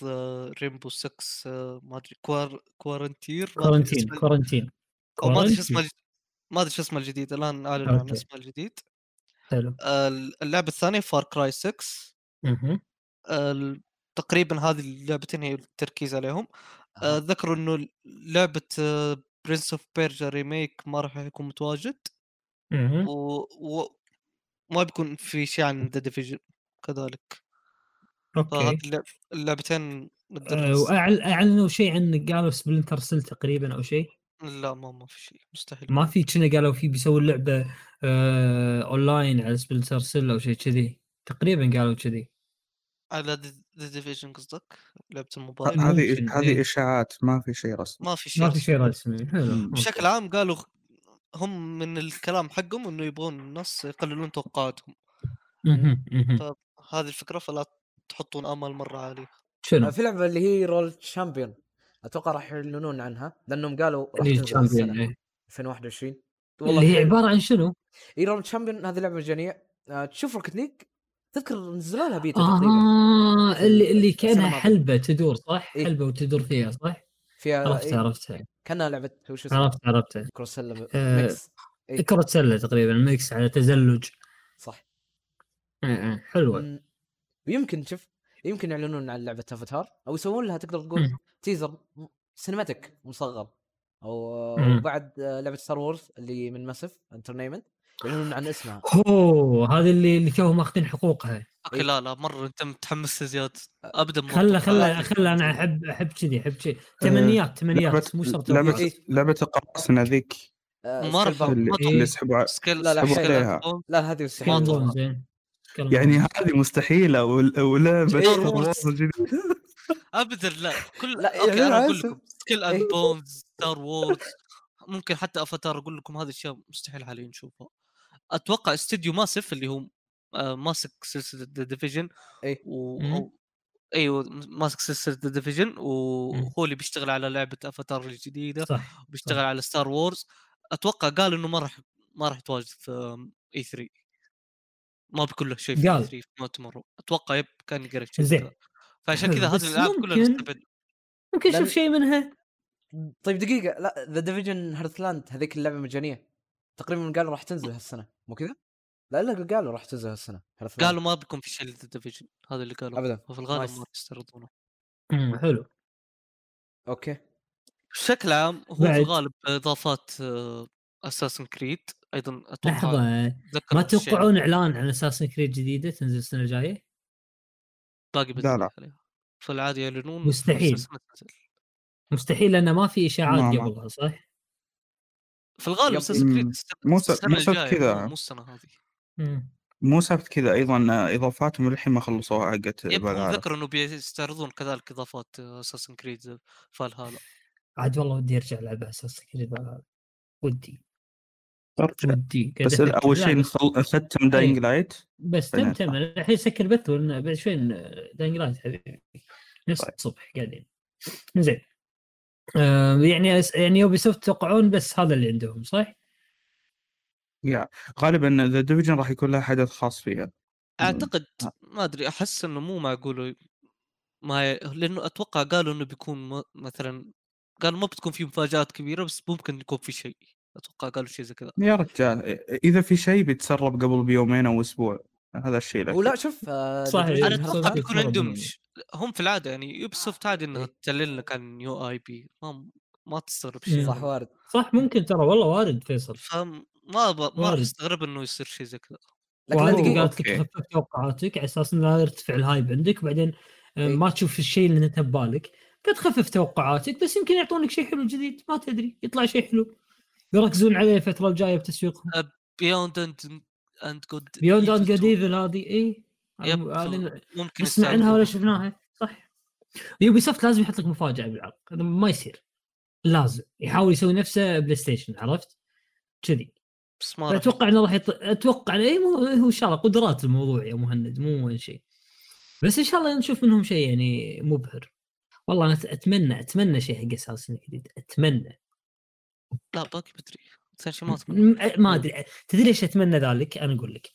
Speaker 3: ريمبو 6 آه، ما ادري كوار كوارنتير ما أدري
Speaker 1: كورنتين
Speaker 3: اسم ال-
Speaker 1: كورنتين
Speaker 3: أو ما ادري شو
Speaker 1: كورنتين.
Speaker 3: اسمه الج- ما ادري شو اسمه الجديد الان اعلنوا عن
Speaker 1: أوكي.
Speaker 3: اسمه الجديد
Speaker 1: حلو
Speaker 3: آه، اللعبه الثانيه فار كراي 6
Speaker 1: مهم.
Speaker 3: آه، ال- تقريبا هذه اللعبتين هي التركيز عليهم آه، ذكروا انه لعبه آه، برنس اوف بيرجا ريميك ما راح يكون متواجد
Speaker 1: مهم.
Speaker 3: و... و... ما بيكون في شيء عن ذا ديفيجن كذلك
Speaker 1: اوكي
Speaker 3: فهذه اللعب... اللعبتين نقدر
Speaker 1: آه،
Speaker 3: نس-
Speaker 1: وأعل- اعلنوا شيء عن قالوا سبلنتر سيل تقريبا او شيء
Speaker 3: لا ما ما في شيء مستحيل
Speaker 1: ما في كنا قالوا في بيسووا لعبه آه اونلاين على سبلنتر سيل او شيء كذي تقريبا قالوا كذي
Speaker 3: على ذا ديفيجن قصدك لعبه
Speaker 2: ه-
Speaker 3: الموبايل
Speaker 1: آه،
Speaker 2: هذه
Speaker 1: ممكن، إيه.
Speaker 2: هذه اشاعات ما في شيء رسمي
Speaker 3: ما في شيء
Speaker 1: ما في
Speaker 3: رسمي.
Speaker 1: شيء رسمي
Speaker 2: مم.
Speaker 1: حلو
Speaker 3: بشكل عام قالوا خ- هم من الكلام حقهم انه يبغون الناس يقللون توقعاتهم
Speaker 1: مهم، مهم.
Speaker 5: طيب،
Speaker 3: هذه الفكره فلا تحطون امل مره عالي
Speaker 1: شنو؟
Speaker 5: آه، في لعبه اللي هي رول تشامبيون اتوقع راح يعلنون عنها لانهم قالوا راح
Speaker 1: اللي
Speaker 5: تنزل
Speaker 1: الشامبيون،
Speaker 5: السنه
Speaker 1: إيه.
Speaker 5: 2021
Speaker 1: اللي هي
Speaker 5: حلو. إيه،
Speaker 1: عباره عن شنو؟
Speaker 5: اي رول تشامبيون هذه لعبه مجانيه آه، تشوف روكت ليج تذكر نزلوا لها
Speaker 1: آه.
Speaker 5: بيتا تقريبا
Speaker 1: اه اللي اللي
Speaker 5: إيه، السنة
Speaker 1: كانها
Speaker 5: الماضية.
Speaker 1: حلبه تدور صح؟
Speaker 5: إيه.
Speaker 1: حلبه وتدور فيها صح؟
Speaker 5: فيها
Speaker 1: عرفتها
Speaker 5: إيه،
Speaker 1: عرفتها
Speaker 5: كانها لعبه وش اسمها
Speaker 1: عرفت عرفتها
Speaker 5: كروسيلا
Speaker 1: آه،
Speaker 5: ميكس إيه.
Speaker 1: كرة سلة تقريبا ميكس على تزلج
Speaker 5: صح
Speaker 1: إيه، إيه، حلوة
Speaker 5: مم. ويمكن شوف يمكن يعلنون عن لعبه افاتار او يسوون لها تقدر تقول
Speaker 1: مم.
Speaker 5: تيزر م- سينماتيك مصغر او
Speaker 1: مم.
Speaker 5: بعد آه، لعبه ستار وورز اللي من ماسف انترنيمنت يعلنون عن اسمها
Speaker 1: هو هذه اللي اللي توهم ماخذين حقوقها
Speaker 5: إيه.
Speaker 3: اوكي لا لا مره انت متحمس زياده ابدا ما
Speaker 1: خلى خلى
Speaker 5: آه، إيه.
Speaker 3: توقعاتي.
Speaker 1: خلى انا احب احب كذي احب كذي تمنيات تمنيات مو شرط توقعات.
Speaker 5: إيه،
Speaker 2: لعبه لعبه القراصنه ذيك
Speaker 5: آه،
Speaker 3: مرة
Speaker 5: سكيل بوند.
Speaker 2: اللي,
Speaker 1: إيه.
Speaker 2: اللي سحبوا ع-
Speaker 3: سكيل
Speaker 5: لا، لا،
Speaker 3: سكيل
Speaker 2: حلو.
Speaker 3: على الفون.
Speaker 5: لا هذه
Speaker 1: ما
Speaker 5: مستحيل
Speaker 1: أظن
Speaker 5: تطلع.
Speaker 1: زين كلام
Speaker 2: يعني
Speaker 1: زين.
Speaker 2: هذه مستحيله ول- ولعبه
Speaker 5: إيه.
Speaker 2: Star Wars الجديدة.
Speaker 3: ابدا لا كل
Speaker 5: لا،
Speaker 3: لا
Speaker 5: يعني
Speaker 3: اوكي انا اقول
Speaker 5: عسل.
Speaker 3: لكم سكيل اند
Speaker 5: إيه.
Speaker 3: بونز ستار وورز ممكن حتى افاتار اقول لكم هذه الاشياء مستحيل حاليا نشوفها اتوقع استديو ماسف اللي هو آه، ماسك سلسله ذا ديفيجن
Speaker 5: إيه.
Speaker 3: و...
Speaker 1: مم.
Speaker 3: أو- ايوه ماسك سلسله ذا ديفيجن
Speaker 1: مم.
Speaker 3: وهو اللي بيشتغل على لعبه افاتار الجديده
Speaker 1: صح
Speaker 3: بيشتغل على ستار وورز اتوقع قال انه ما راح ما راح يتواجد في اي 3 ما بيكون له شيء في
Speaker 1: قال.
Speaker 3: اي 3 في مؤتمر اتوقع يب كان يقرا شيء
Speaker 1: زين.
Speaker 3: كذا. فعشان
Speaker 1: حلو،
Speaker 3: كذا
Speaker 1: بس
Speaker 3: هذه الالعاب كلها
Speaker 1: ممكن-
Speaker 3: نستبعد
Speaker 1: ممكن
Speaker 5: لأن-
Speaker 1: نشوف شيء منها
Speaker 5: طيب دقيقه لا ذا ديفيجن هيرثلاند هذيك اللعبه مجانيه تقريبا قالوا راح تنزل هالسنه مو كذا؟ لا لا قالوا راح تنزل هالسنه Hearthland.
Speaker 3: قالوا ما بيكون في شيء لذا ديفيجن هذا اللي قالوا
Speaker 5: ابدا
Speaker 3: وفي الغالب ما
Speaker 5: نايس.
Speaker 3: راح يستعرضونه
Speaker 1: مم، حلو
Speaker 5: اوكي
Speaker 3: بشكل عام هو في
Speaker 1: بعد.
Speaker 3: الغالب آه، اضافات اساسن كريد ايضا اتوقع
Speaker 1: لحظة
Speaker 3: أتذكر
Speaker 1: ما
Speaker 3: هذا الشيء
Speaker 1: توقعون اعلان عن اساس كريد جديدة تنزل السنة الجاية؟
Speaker 3: باقي
Speaker 2: لا، لا.
Speaker 3: بدري عليها في العاده يعلنون
Speaker 1: مستحيل.
Speaker 3: أساساً تنزل.
Speaker 1: مستحيل لان ما في اشاعات
Speaker 2: ما- ما.
Speaker 1: قبلها صح؟
Speaker 3: في الغالب
Speaker 5: يب.
Speaker 3: اساسن كريد
Speaker 2: مم. مو س- مو سبب كذا.
Speaker 3: مو السنه هذه
Speaker 1: مم.
Speaker 2: مو ثابت كذا ايضا اضافاتهم للحين ما خلصوها حقت
Speaker 3: يب، هم
Speaker 2: بلعارة.
Speaker 3: ذكروا انه بيستعرضون كذلك اضافات اساسن كريد فالهالا
Speaker 5: إمم.
Speaker 1: عاد والله ودي ارجع العب اساس كريد ودي
Speaker 2: أرجع.
Speaker 1: ودي قاعد
Speaker 2: بس ال-
Speaker 1: أفكر.
Speaker 2: اول
Speaker 1: لا،
Speaker 2: شيء
Speaker 1: بس-
Speaker 2: نخل- إيه، ختم
Speaker 1: إيه.
Speaker 2: داينج لايت
Speaker 1: بس تم
Speaker 2: فين
Speaker 1: تم أنا الحين سكر بث ون- بعد شوي ن- داينج لايت حبيبي نفس
Speaker 2: طيب.
Speaker 1: الصبح قاعدين زين آه يعني أس- يعني يوبي سوفت يتوقعون بس هذا اللي عندهم صح؟
Speaker 2: غالبا ذا ديفيجن راح يكون لها حدث خاص فيها
Speaker 3: اعتقد
Speaker 2: آه.
Speaker 3: ما ادري احس انه مو معقول ما ي... لانه اتوقع قالوا انه بيكون م... مثلا قالوا ما بتكون في مفاجات كبيره بس ممكن يكون في شيء اتوقع قالوا شيء زي كذا
Speaker 2: يا رجال اذا في شيء بيتسرب قبل بيومين او اسبوع هذا الشيء لك
Speaker 5: ولا شوف آه،
Speaker 1: صح،
Speaker 5: The Division
Speaker 3: انا
Speaker 1: إيه،
Speaker 3: اتوقع
Speaker 1: هذا
Speaker 5: Hearthland-
Speaker 3: بيكون
Speaker 1: مرة
Speaker 3: عندهم
Speaker 1: مهم.
Speaker 3: ش... هم في العاده يعني يوبسوفت عادي انها
Speaker 5: إيه.
Speaker 3: تدلل لك عن يو اي بي ما ما تستغرب شيء
Speaker 1: يعني.
Speaker 5: إمم، صح وارد
Speaker 1: صح ممكن ترى والله وارد فيصل
Speaker 3: فما ب... ما راح
Speaker 1: وارد.
Speaker 3: استغرب انه يصير شيء زي كذا
Speaker 5: لكن لا
Speaker 1: وهذا
Speaker 5: دقيقه
Speaker 1: قالت لك
Speaker 2: أوكي.
Speaker 1: خفف توقعاتك على اساس انه لا يرتفع الهايب عندك بعدين آه،
Speaker 5: إيه.
Speaker 1: ما تشوف الشيء اللي انت ببالك فتخفف توقعاتك بس يمكن يعطونك شيء حلو جديد ما تدري يطلع شيء حلو يركزون عليه الفتره الجايه بتسويقهم
Speaker 3: بيوند اند اند جود
Speaker 1: بيوند اند جود ايفل هذه إيه؟ اي
Speaker 3: يب
Speaker 1: هذه
Speaker 3: ممكن
Speaker 1: ما سمعناها ولا
Speaker 3: يستعرضوها.
Speaker 1: شفناها صح يوبي سوفت لازم يحط لك مفاجاه بالعرض هذا ما يصير لازم يحاول يسوي نفسه بلاي ستيشن عرفت؟ كذي
Speaker 3: بس ما راح
Speaker 1: إيه، اتوقع انه راح يط... اتوقع إنه- اي مو... هو ان شاء الله قدرات الموضوع يا مهند مو وين شيء بس ان شاء الله نشوف منهم شيء يعني مبهر والله انا اتمنى اتمنى شيء حق اساسن جديد اتمنى
Speaker 3: لا باقي بدري احسن شيء ما اضمن
Speaker 1: م- ما ادري تدري ليش اتمنى ذلك انا اقول لك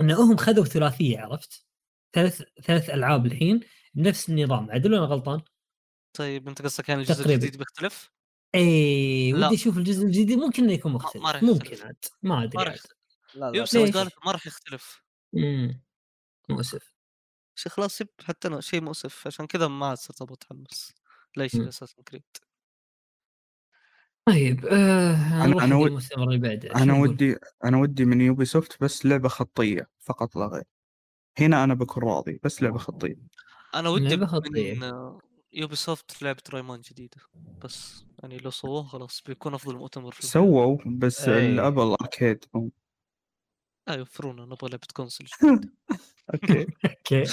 Speaker 1: ان هم خذوا ثلاثيه عرفت ثلاث ثلاث العاب الحين بنفس النظام عدل ولا أنا غلطان
Speaker 3: طيب انت قصدك كان الجزء
Speaker 1: تقريباً.
Speaker 3: الجديد بيختلف؟
Speaker 1: اي
Speaker 3: لا.
Speaker 1: إيه، ودي اشوف الجزء الجديد ممكن انه يكون مختلف
Speaker 3: راح
Speaker 1: ممكن
Speaker 3: يختلف.
Speaker 1: عاد ما ادري
Speaker 3: ما راح
Speaker 1: عاد.
Speaker 3: يختلف
Speaker 5: لا لا
Speaker 3: يوسف
Speaker 1: ليش؟
Speaker 3: قالت ما راح يختلف
Speaker 1: مم. مؤسف
Speaker 3: شي خلاص يب حتى انا شيء مؤسف عشان كذا ما عاد صرت ابغى اتحمس ليش
Speaker 1: مم.
Speaker 3: اساسا كريد
Speaker 1: طيب آه
Speaker 2: أنا-
Speaker 1: انا
Speaker 2: أنا
Speaker 1: انا
Speaker 2: ود-
Speaker 1: المؤتمر اللي بعده شو
Speaker 2: انا
Speaker 1: نقول؟
Speaker 2: ودي انا ودي من يوبي سوفت بس لعبه خطيه فقط لا غير هنا انا بكون راضي بس لعبه خطيه
Speaker 3: انا ودي
Speaker 1: لعبة خطية.
Speaker 3: من يوبي سوفت لعبه رايمان جديده بس يعني لو سووها خلاص بيكون افضل مؤتمر في الحياة.
Speaker 2: سووا بس
Speaker 5: إيه.
Speaker 2: الابل اركيد
Speaker 3: لا يوفرونا نبغى لعبه كونسل جديدة.
Speaker 2: اوكي
Speaker 1: اوكي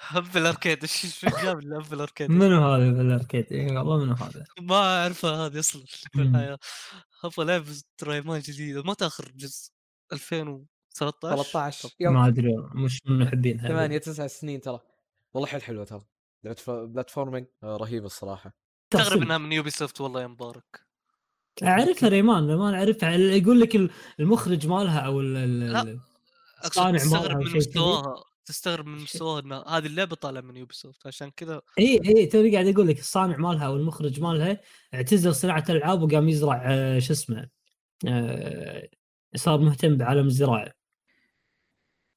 Speaker 3: هب الاركيد ايش ايش جاب لنا هب الاركيد
Speaker 1: منو هذا في الاركيد؟ اي والله منو هذا؟
Speaker 3: ما اعرفها هذه اصلا في
Speaker 1: مم.
Speaker 3: الحياه ابغى لعبه رايمان جديده ما تاخر جزء 2013
Speaker 5: 13
Speaker 1: ما ادري والله، مش من محبين هذا.
Speaker 5: 8 9 سنين ترى والله حيل حلوه ترى لعبه ف- بلاتفورمينج آه، رهيبه الصراحه
Speaker 3: استغرب
Speaker 1: تغصب.
Speaker 3: انها من يوبي سوفت والله يا مبارك
Speaker 1: اعرفها ريمان ريمان اعرفها يقول لك ال- المخرج مالها او ال
Speaker 3: لا،
Speaker 1: ال- ال-
Speaker 3: اقصد
Speaker 1: صانع مالها
Speaker 3: تستغرب
Speaker 1: أو
Speaker 3: من
Speaker 1: شيء كذي.
Speaker 3: مستواها تستغرب من مستواها ان هذه اللعبه طالعه من يوبي سوفت عشان كذا
Speaker 1: اي اي توني قاعد اقول لك الصانع مالها او المخرج مالها اعتزل صناعه الالعاب وقام يزرع آه، شو اسمه آه، صار مهتم بعالم الزراعه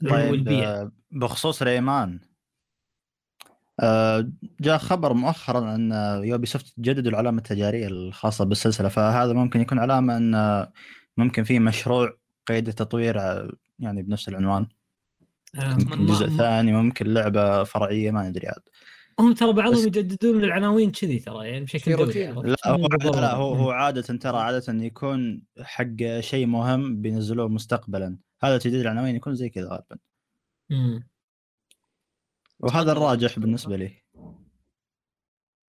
Speaker 4: طيب
Speaker 1: والبيئه
Speaker 4: آه، بخصوص ريمان آه، جاء خبر مؤخرا عن آه، يوبي سوفت تجددوا العلامه التجاريه الخاصه بالسلسله فهذا ممكن يكون علامه ان آه، ممكن في مشروع قيد التطوير آه، يعني بنفس العنوان
Speaker 1: آه،
Speaker 4: ممكن
Speaker 1: ما-
Speaker 4: جزء
Speaker 1: ما-
Speaker 4: ثاني ممكن لعبه فرعيه ما ندري عاد
Speaker 1: هم ترى بعضهم
Speaker 4: بس-
Speaker 1: يجددون العناوين كذي ترى يعني بشكل
Speaker 5: في
Speaker 1: دوري
Speaker 5: روتين.
Speaker 1: عرفت؟ يعني
Speaker 4: لا هو
Speaker 1: مو
Speaker 4: عادة لا هو
Speaker 1: بالضرورة.
Speaker 4: هو عاده ترى عاده يكون حق شيء مهم بينزلوه مستقبلا هذا تجديد العناوين يكون زي كذا غالبا
Speaker 1: مم.
Speaker 4: وهذا الراجح بالنسبه لي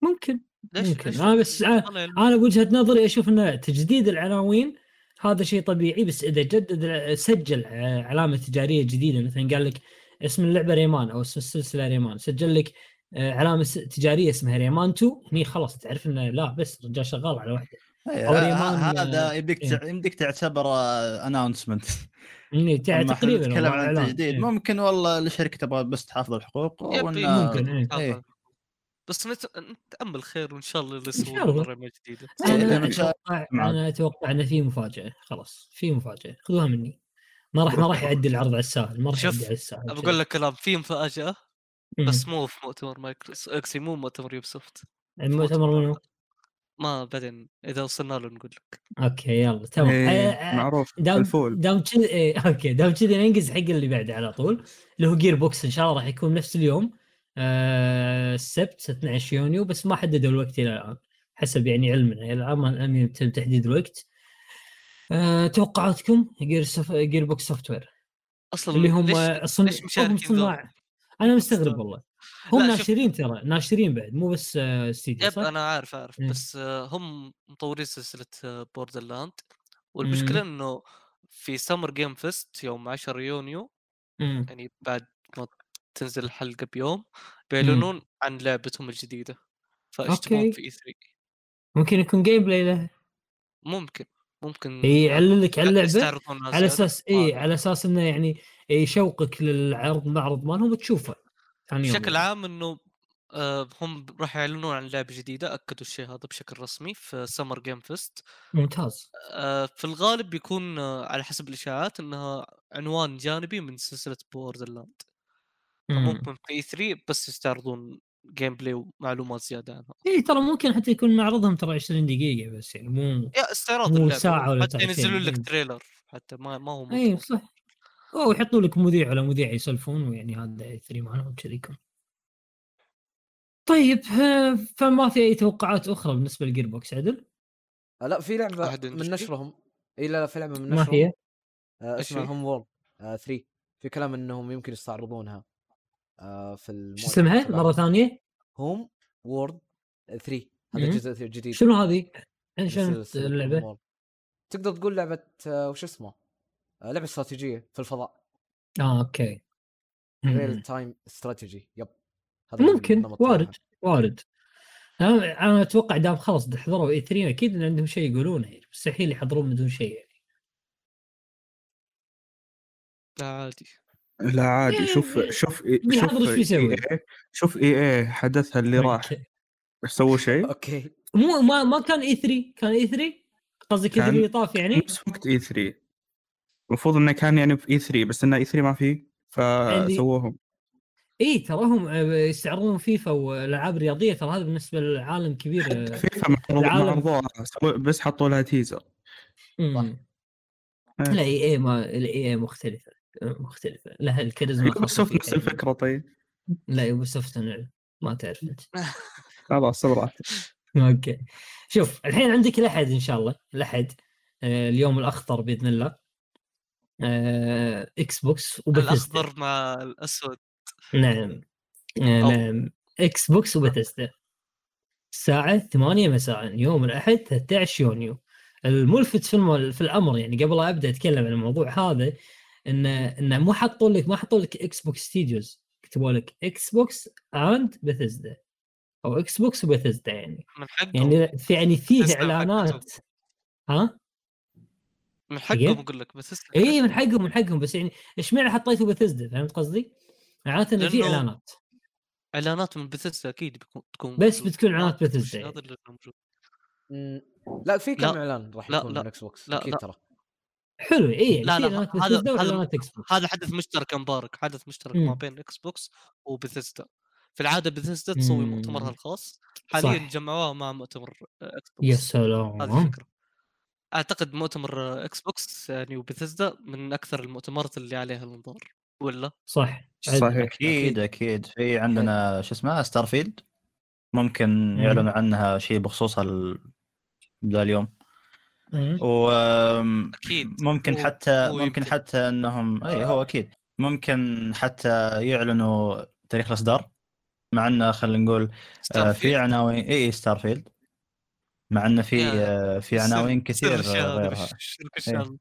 Speaker 1: ممكن
Speaker 3: ليش
Speaker 1: ممكن.
Speaker 3: ليش
Speaker 1: أنا بس- آه. أنا-
Speaker 3: طلع الم-
Speaker 1: انا بوجهه نظري اشوف ان تجديد العناوين هذا شيء طبيعي بس اذا جدد سجل آه، ع- علامه تجاريه جديده مثلا قال لك اسم اللعبه ريمان او اسم السلسله ريمان سجل لك آه، علامه س- تجاريه اسمها ريمان 2 هني خلاص تعرف انه لا بس الرجال شغال على واحده
Speaker 4: إيه،
Speaker 1: أو
Speaker 4: ه-
Speaker 1: ريمان،
Speaker 4: هذا يبيك تع-
Speaker 1: إيه.
Speaker 4: يمديك تعتبره اناونسمنت
Speaker 1: يعني تع- تقريبا
Speaker 4: نتكلم
Speaker 1: والله
Speaker 4: عن
Speaker 1: إعلان.
Speaker 4: تجديد
Speaker 1: إيه.
Speaker 4: ممكن والله الشركه تبغى بس تحافظ الحقوق
Speaker 3: يبي-
Speaker 4: وإن-
Speaker 1: ممكن، إيه.
Speaker 3: تحافظ على
Speaker 4: إيه.
Speaker 3: الحقوق. آه. بس نت- نتامل خير وان شاء الله اللي
Speaker 1: شاء
Speaker 3: يسوونه
Speaker 1: الله.
Speaker 3: مره ما جديده
Speaker 1: انا
Speaker 4: إيه.
Speaker 1: اتوقع
Speaker 4: معك.
Speaker 1: انا اتوقع انه في مفاجاه خلاص في مفاجاه خذوها مني ما راح ما راح يعدي العرض على الساهل ما راح
Speaker 3: شوف،
Speaker 1: يعدي على الساهل
Speaker 3: بقول لك كلام في مفاجاه
Speaker 1: مم.
Speaker 3: بس مو في مؤتمر مايكروسوفت اكسي مو مؤتمر يوبي سوفت
Speaker 1: إيه، المؤتمر منو؟
Speaker 3: ما بعدين اذا وصلنا له نقول لك
Speaker 1: اوكي يلا تمام آه،
Speaker 2: إيه،
Speaker 1: آه،
Speaker 2: معروف
Speaker 1: دام
Speaker 2: الفول
Speaker 1: دام كذي إيه، اوكي دام كذي ننجز حق اللي بعده على طول اللي هو جير بوكس ان شاء الله راح يكون نفس اليوم آه السبت 12 يونيو بس ما حددوا الوقت الى الان حسب يعني علمنا الى الان ما لم يتم تحديد الوقت آه توقعاتكم جير سوف... جير بوكس سوفت وير
Speaker 3: اصلا
Speaker 1: اللي هم إيه
Speaker 3: ليش-
Speaker 1: صن...
Speaker 3: ليش
Speaker 1: هم
Speaker 3: مشاركين ذول؟
Speaker 1: صناع انا مستغرب والله هم
Speaker 3: لا، شوف-
Speaker 1: ناشرين ترى ناشرين بعد مو بس آه، استديو
Speaker 3: يب
Speaker 1: صح؟ إيه.
Speaker 3: انا عارف عارف
Speaker 1: مم.
Speaker 3: بس آه، هم مطورين سلسله بوردر لاند والمشكله
Speaker 1: إمم.
Speaker 3: انه في سمر جيم فيست يوم 10 يونيو
Speaker 1: مم.
Speaker 3: يعني بعد ما تنزل الحلقه بيوم
Speaker 1: إمم.
Speaker 3: بيعلنون عن لعبتهم الجديده فاجتمعوا
Speaker 1: أوكي.
Speaker 3: في E اي 3
Speaker 1: ممكن يكون جيم بلاي له
Speaker 3: ممكن ممكن
Speaker 1: يعلن لك على اللعبه
Speaker 3: يستعرضون
Speaker 1: إيه،
Speaker 3: يعني.
Speaker 1: على
Speaker 3: أزياء.
Speaker 1: اساس اي على اساس انه يعني يشوقك للعرض معرض مالهم وتشوفه ثاني يوم
Speaker 3: بشكل عام انه آه، هم راح يعلنون عن لعبه جديده اكدوا الشيء هذا بشكل رسمي في سمر جيم فيست
Speaker 1: ممتاز
Speaker 3: آه، في الغالب بيكون آه، على حسب الاشاعات انها عنوان جانبي من سلسله بوردر لاند
Speaker 1: مم.
Speaker 3: ممكن في 3 بس يستعرضون جيم بلاي ومعلومات زياده عنها
Speaker 1: اي ترى ممكن حتى يكون معرضهم ترى 20 دقيقه بس يعني مو
Speaker 3: يا استعراض
Speaker 1: مو
Speaker 3: اللعبه
Speaker 1: ساعة ولا
Speaker 3: حتى
Speaker 1: ساعتين،
Speaker 3: ينزلون لك
Speaker 1: مم. أيوه.
Speaker 3: تريلر حتى ما ما هو
Speaker 1: اي إيه، صح او يحطوا لك مذيع ولا مذيع يسولفون ويعني هذا ثري مالهم كذي يكون طيب آه، فما في اي توقعات اخرى بالنسبه للجير بوكس عدل؟
Speaker 5: آه، لا في لعبه
Speaker 3: أحد
Speaker 5: من
Speaker 3: عندك شيء؟
Speaker 5: نشرهم اي لا لا في لعبه من
Speaker 1: ما
Speaker 5: نشرهم
Speaker 1: هي؟
Speaker 5: آه، اسمها
Speaker 3: إيش
Speaker 5: هوم وورد 3 في كلام انهم يمكن يستعرضونها آه، في
Speaker 1: شو اسمها؟ مره ثانيه؟
Speaker 5: هوم وورد 3 هذا
Speaker 1: مم.
Speaker 5: الجزء الجديد
Speaker 1: شنو هذه؟
Speaker 5: من
Speaker 1: شنو
Speaker 5: سلسلة Homeworld.
Speaker 1: اللعبه؟
Speaker 5: تقدر تقول لعبه آه، وش اسمه آه، لعبه استراتيجيه في الفضاء
Speaker 1: اه اوكي
Speaker 5: ريل تايم استراتيجي يب هذا
Speaker 1: ممكن
Speaker 5: النمط
Speaker 1: وارد
Speaker 5: تبعها.
Speaker 1: وارد انا أنا اتوقع دام خلاص حضروا اي 3 اكيد ان عندهم شيء يقولونه يعني مستحيل يحضرون بدون شيء يعني
Speaker 3: لا عادي
Speaker 2: لا عادي شوف
Speaker 1: يعني-
Speaker 2: شوف
Speaker 1: بيحضر
Speaker 2: شوف
Speaker 1: إيش بيسوي.
Speaker 2: EA شوف اي اي حدثها اللي راح
Speaker 1: أوكي.
Speaker 2: سووا شيء
Speaker 5: اوكي
Speaker 1: مو ما ما كان اي 3 كان اي 3 قصدك اي
Speaker 2: كان-
Speaker 1: 3 اللي طاف يعني
Speaker 2: نفس وقت اي 3 المفروض انه كان يعني في اي 3 بس انه اي 3 ما فيه فسووهم
Speaker 1: اي تراهم آه، يستعرضون فيفا والالعاب الرياضيه ترى هذا بالنسبه للعالم كبير
Speaker 2: حتى
Speaker 1: آه،
Speaker 2: فيفا معرض-
Speaker 1: العالم-
Speaker 2: معرضوها سووا- بس حطوا لها تيزر
Speaker 1: مم.
Speaker 2: إيه.
Speaker 1: لا اي اي ما الاي اي مختلفه مختلفه لها الكاريزما الخاصة
Speaker 2: يوبيسوفت
Speaker 1: فيها
Speaker 2: نفس
Speaker 1: يعني.
Speaker 2: الفكره طيب
Speaker 1: لا يوبيسوفت أنا ما تعرف انت
Speaker 2: خلاص براحتك نعم.
Speaker 1: اوكي شوف الحين عندك الاحد ان شاء الله الاحد آه، اليوم الاخضر باذن الله آه، اكس بوكس وبثيستا
Speaker 3: الاخضر مع الاسود
Speaker 1: نعم آه،
Speaker 3: أو.
Speaker 1: نعم اكس بوكس وبثيستا الساعة 8 مساء يوم الأحد 13 يونيو الملفت في الم... في الأمر يعني قبل لا أبدأ أتكلم عن الموضوع هذا إنه إنه مو حطوا لك ما حطوا لك اكس بوكس ستوديوز كتبوا لك اكس بوكس أند بثيستا أو اكس بوكس وبثيستا يعني
Speaker 3: من حقهم
Speaker 1: يعني في يعني فيه
Speaker 3: تسلم حقهم.
Speaker 1: اعلانات ها
Speaker 3: من
Speaker 1: إيه؟
Speaker 3: حقهم اقول لك بس اسمع
Speaker 1: اي من حقهم من حقهم بس يعني اشمعنى حطيته بثزدا فهمت قصدي؟ معناته انه في
Speaker 3: لأنه-
Speaker 1: اعلانات
Speaker 3: اعلانات من بثيستا اكيد بيكون تكون
Speaker 1: بس
Speaker 3: موجودة.
Speaker 1: بتكون إعلانات
Speaker 3: مش
Speaker 1: بثيسدا يعني.
Speaker 3: هذا اللي موجود
Speaker 5: مم. لا في كم
Speaker 3: لا.
Speaker 5: اعلان راح
Speaker 3: لا،
Speaker 5: يكون
Speaker 3: لا.
Speaker 5: من اكس بوكس
Speaker 3: لا،
Speaker 5: اكيد
Speaker 3: لا.
Speaker 5: ترى
Speaker 1: حلو اي يعني
Speaker 3: لا،
Speaker 1: في
Speaker 3: لا،
Speaker 1: اعلانات
Speaker 3: هذا-
Speaker 1: بثزدا
Speaker 3: هذا-
Speaker 1: واعلانات اكس بوكس
Speaker 3: هذا حدث مشترك يا مبارك حدث مشترك ما
Speaker 1: مم.
Speaker 3: بين اكس بوكس وبثيستا في العاده بثيستا تسوي
Speaker 1: مم.
Speaker 3: مؤتمرها الخاص حاليا
Speaker 1: صح.
Speaker 3: جمعوها مع مؤتمر آه، اكس بوكس
Speaker 1: يا
Speaker 3: هذه
Speaker 1: سلام
Speaker 3: الفكره اعتقد مؤتمر آه، اكس بوكس يعني وبثيسدا من اكثر المؤتمرات اللي عليها الانظار ولا
Speaker 1: صح عد-
Speaker 2: صحيح
Speaker 4: اكيد اكيد في
Speaker 1: إيه.
Speaker 4: عندنا شو اسمه ستارفيلد ممكن يعلنوا عنها شيء بخصوصها ال... ذا اليوم
Speaker 1: مم.
Speaker 4: و آم،
Speaker 3: أكيد. آه،
Speaker 4: ممكن
Speaker 3: هو-
Speaker 4: حتى
Speaker 3: هو
Speaker 4: ممكن
Speaker 3: يمكن.
Speaker 4: حتى انهم اي هو اكيد ممكن حتى يعلنوا تاريخ الاصدار مع انه خلينا نقول آه، في
Speaker 3: ستارفيلد.
Speaker 4: عناوين اي ستار فيلد مع انه في
Speaker 3: يا
Speaker 4: آه، في
Speaker 3: سر-
Speaker 4: عناوين كثير
Speaker 3: سر الشهادة
Speaker 4: آه، غيرها إيه.
Speaker 3: بالش- شركة الشهادة.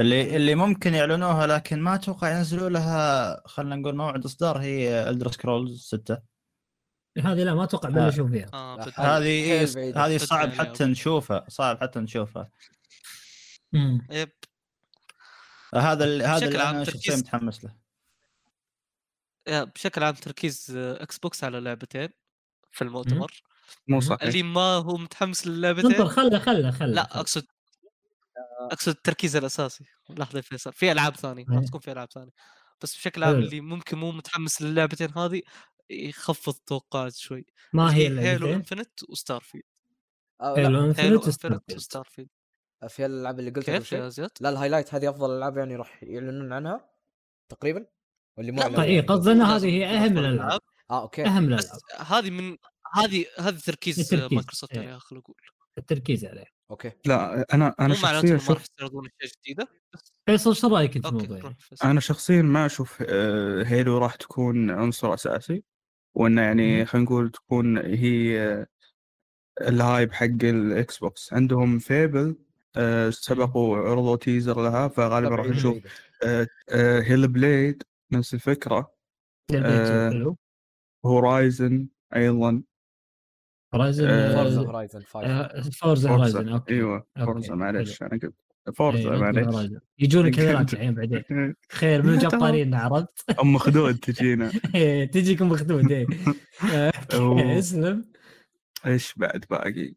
Speaker 4: اللي اللي ممكن يعلنوها لكن ما اتوقع ينزلوا لها خلينا نقول موعد اصدار هي الدر سكرولز 6
Speaker 1: هذه لا ما اتوقع بلشوا فيها
Speaker 3: آه،
Speaker 5: لا،
Speaker 3: بدل-
Speaker 4: هذه
Speaker 5: حيل
Speaker 4: إيه،
Speaker 5: بعيدة.
Speaker 4: هذه
Speaker 3: بدري
Speaker 4: صعب
Speaker 3: عليها.
Speaker 4: حتى نشوفها صعب حتى نشوفها
Speaker 3: آه.
Speaker 1: مم.
Speaker 3: يب
Speaker 4: هذا ال- هذا
Speaker 3: بشكل
Speaker 4: اللي
Speaker 3: عام
Speaker 4: انا شخصيا
Speaker 3: تركيز-
Speaker 4: متحمس له
Speaker 3: يا، بشكل عام تركيز آه، اكس بوكس على لعبتين في المؤتمر
Speaker 2: مو
Speaker 4: إيه.
Speaker 2: صحيح
Speaker 3: اللي ما هو متحمس
Speaker 1: انطر
Speaker 3: للعبتين
Speaker 1: خله خله خله
Speaker 3: لا اقصد اقصد التركيز الاساسي لحظه يا فيصل في العاب ثانيه راح
Speaker 1: آه. إيه.
Speaker 3: تكون في العاب ثانيه بس بشكل عام
Speaker 1: حلو.
Speaker 3: اللي ممكن مو متحمس للعبتين هذه يخفض توقعات شوي
Speaker 1: ما هي
Speaker 3: هيلو
Speaker 1: اللعبتين؟
Speaker 3: انفنت وستار فيلد
Speaker 5: أو آه، لا،
Speaker 1: هيلو
Speaker 3: هيلو
Speaker 1: انفنت
Speaker 3: انفنت وستار فيلد
Speaker 5: في الالعاب اللي قلتها قبل
Speaker 3: كيف
Speaker 5: شوي.
Speaker 3: يا زياد؟
Speaker 5: لا الهايلايت هذه افضل الالعاب يعني راح يعلنون عنها تقريبا واللي مو
Speaker 3: لا،
Speaker 5: أعلنوا
Speaker 1: طيب
Speaker 5: يعني.
Speaker 1: قصدي ان هذه
Speaker 3: لازم
Speaker 1: هي
Speaker 3: تكون
Speaker 1: اهم
Speaker 3: أفضل
Speaker 1: الالعاب
Speaker 5: اه اوكي
Speaker 1: اهم
Speaker 3: بس
Speaker 1: الالعاب
Speaker 3: هذه من هذه هذا تركيز آه،
Speaker 1: التركيز،
Speaker 3: مايكروسوفت
Speaker 1: إيه.
Speaker 3: عليها خلينا نقول
Speaker 1: التركيز عليه
Speaker 5: اوكي
Speaker 2: لا انا انا
Speaker 3: مو
Speaker 2: شخصيا
Speaker 3: معناته انهم ما راح
Speaker 2: شوف
Speaker 3: يستعرضون اشياء جديده
Speaker 1: فيصل شو رايك انت في
Speaker 3: اوكي
Speaker 1: الموضوع؟
Speaker 3: روح فيصل.
Speaker 2: انا شخصيا ما اشوف آه، هيلو راح تكون عنصر اساسي وانه يعني خلينا نقول تكون هي آه، الهايب حق الاكس بوكس عندهم فيبل آه، سبقوا عرضوا تيزر لها فغالبا راح
Speaker 5: طبعاً
Speaker 2: نشوف
Speaker 5: بعيدة.
Speaker 2: آه، هيل بليد نفس الفكره آه،
Speaker 1: حلو
Speaker 2: هورايزن ايضا آه،
Speaker 5: فورزا
Speaker 1: رايزن
Speaker 5: هورايزن 5
Speaker 1: آه، فورزا
Speaker 2: فورزا.
Speaker 1: هورايزن اوكي
Speaker 2: ايوه
Speaker 1: أوكي،
Speaker 2: فورزا
Speaker 1: حلو.
Speaker 2: معلش انا قلت
Speaker 1: إيه،
Speaker 2: فورزا
Speaker 1: Forza
Speaker 2: معلش
Speaker 1: Horizon. يجونك
Speaker 2: يمكن.
Speaker 1: هذولاك الحين إيه، بعدين خير من
Speaker 2: لا، تمام.
Speaker 1: الجبارين عرفت
Speaker 2: ام خدود تجينا
Speaker 1: إيه، تجيكم مخدود ايه
Speaker 2: أوه.
Speaker 1: اسلم
Speaker 2: ايش بعد باقي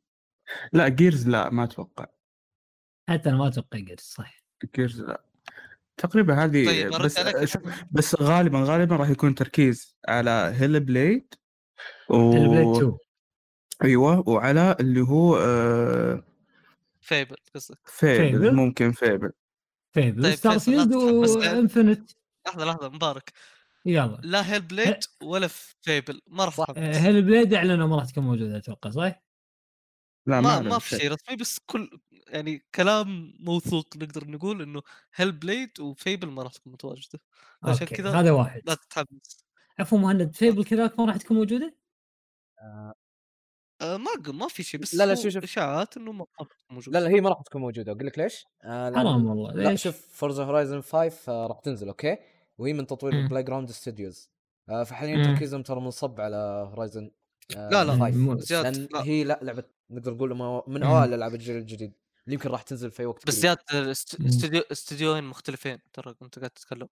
Speaker 2: لا جيرز لا ما اتوقع
Speaker 1: حتى انا ما اتوقع قرص صح
Speaker 2: جيرز لا تقريبا
Speaker 1: إيه،
Speaker 2: هذه
Speaker 3: طيب أرد
Speaker 2: بس
Speaker 3: عليك.
Speaker 2: شوف بس غالبا غالبا راح يكون تركيز على هيل بليد و...
Speaker 1: البلاي 2
Speaker 2: ايوه وعلى اللي هو آه...
Speaker 3: فيبل قصدك
Speaker 2: فيبل.
Speaker 1: فيبل.
Speaker 2: ممكن فيبل
Speaker 1: فيبل
Speaker 3: طيب،
Speaker 1: ستار
Speaker 3: فيصل، لا
Speaker 1: فيلد
Speaker 3: تتحمس لعب.
Speaker 1: وانفنت
Speaker 3: لحظه لحظه مبارك
Speaker 1: يلا
Speaker 3: لا هيل بليد ولا فيبل ما راح
Speaker 5: صح.
Speaker 1: آه،
Speaker 3: تحمس.
Speaker 1: هيل بليد اعلنوا ما راح تكون موجوده اتوقع صح؟
Speaker 2: لا ما,
Speaker 3: ما ما في شيء رسمي بس كل يعني كلام موثوق نقدر نقول انه هيل بليد وفيبل ما راح تكون متواجده عشان
Speaker 1: اوكي
Speaker 3: كذا-
Speaker 1: هذا واحد
Speaker 3: لا تتحمس
Speaker 1: عفوا مهند فيبل كذاك ما راح تكون موجوده؟
Speaker 3: آه ما أق- ما في شيء بس
Speaker 5: لا، لا،
Speaker 3: هو
Speaker 5: شوف- شوف.
Speaker 3: اشاعات انه ما ما راح تكون موجوده
Speaker 5: لا لا هي ما راح تكون موجوده اقول لك ليش؟ آه لأن-
Speaker 1: حرام والله
Speaker 5: لا
Speaker 1: ليش؟
Speaker 5: شوف فورزا هورايزن 5 آه، راح تنزل اوكي وهي من تطوير
Speaker 1: مم.
Speaker 5: بلاي جراوند ستوديوز فحاليا
Speaker 1: مم.
Speaker 5: تركيزهم ترى منصب على هورايزن
Speaker 3: لا، لا،
Speaker 1: مو-
Speaker 3: زيادة،
Speaker 5: لان
Speaker 3: لا.
Speaker 5: هي لا لعبه نقدر نقول ما- من
Speaker 1: مم.
Speaker 5: اوائل العاب الجيل الجديد اللي يمكن راح تنزل في وقت
Speaker 3: بس
Speaker 5: قريب.
Speaker 3: زياد است- استوديو استوديوين مختلفين ترى انت قاعد تتكلم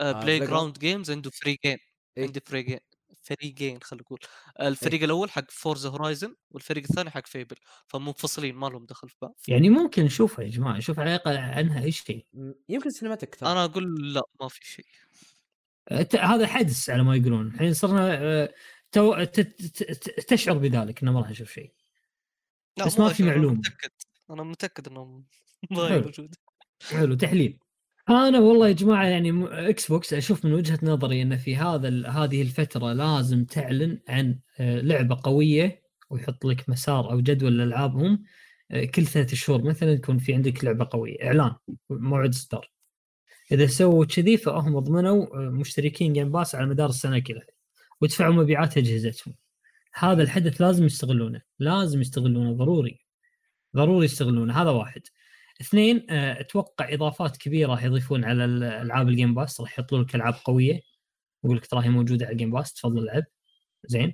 Speaker 3: بلاي
Speaker 5: Playground.
Speaker 3: جراوند جيمز عنده فريقين
Speaker 5: آه، إيه.
Speaker 3: عنده فريقين فريقين خلينا نقول آه، الفريق الاول حق فورز هورايزن والفريق الثاني حق فيبل فمنفصلين ما لهم دخل في بعض
Speaker 1: يعني ممكن نشوفها يا جماعه نشوف على الاقل عنها ايش شيء
Speaker 5: مم، يمكن سينماتيك ترى
Speaker 3: انا اقول لا ما في شيء
Speaker 1: أت- آه، هذا حدث على ما يقولون الحين صرنا آه، تو ت- ت- ت- تشعر بذلك انه ما راح نشوف شيء
Speaker 3: لا،
Speaker 1: بس
Speaker 3: مو
Speaker 1: ما في
Speaker 3: أشوف، أنا
Speaker 1: معلوم.
Speaker 3: متاكد انا متاكد انه ما هي
Speaker 1: حلو.
Speaker 3: موجوده
Speaker 1: حلو تحليل انا والله يا جماعه يعني م- اكس بوكس اشوف من وجهه نظري ان في هذا ال- هذه الفتره لازم تعلن عن آه، لعبه قويه ويحط لك مسار او جدول لالعابهم آه، كل ثلاثة شهور مثلا تكون في عندك لعبه قويه اعلان موعد اصدار اذا سووا كذي فهم ضمنوا آه، مشتركين جيم باس على مدار السنه كلها ودفعوا مبيعات اجهزتهم هذا الحدث لازم يستغلونه لازم يستغلونه ضروري ضروري يستغلونه هذا واحد اثنين آه، اتوقع اضافات كبيره راح يضيفون على ال- العاب الجيم باس راح يحطوا لك العاب قويه يقول لك تراهي موجوده على الجيم باس تفضل العب زين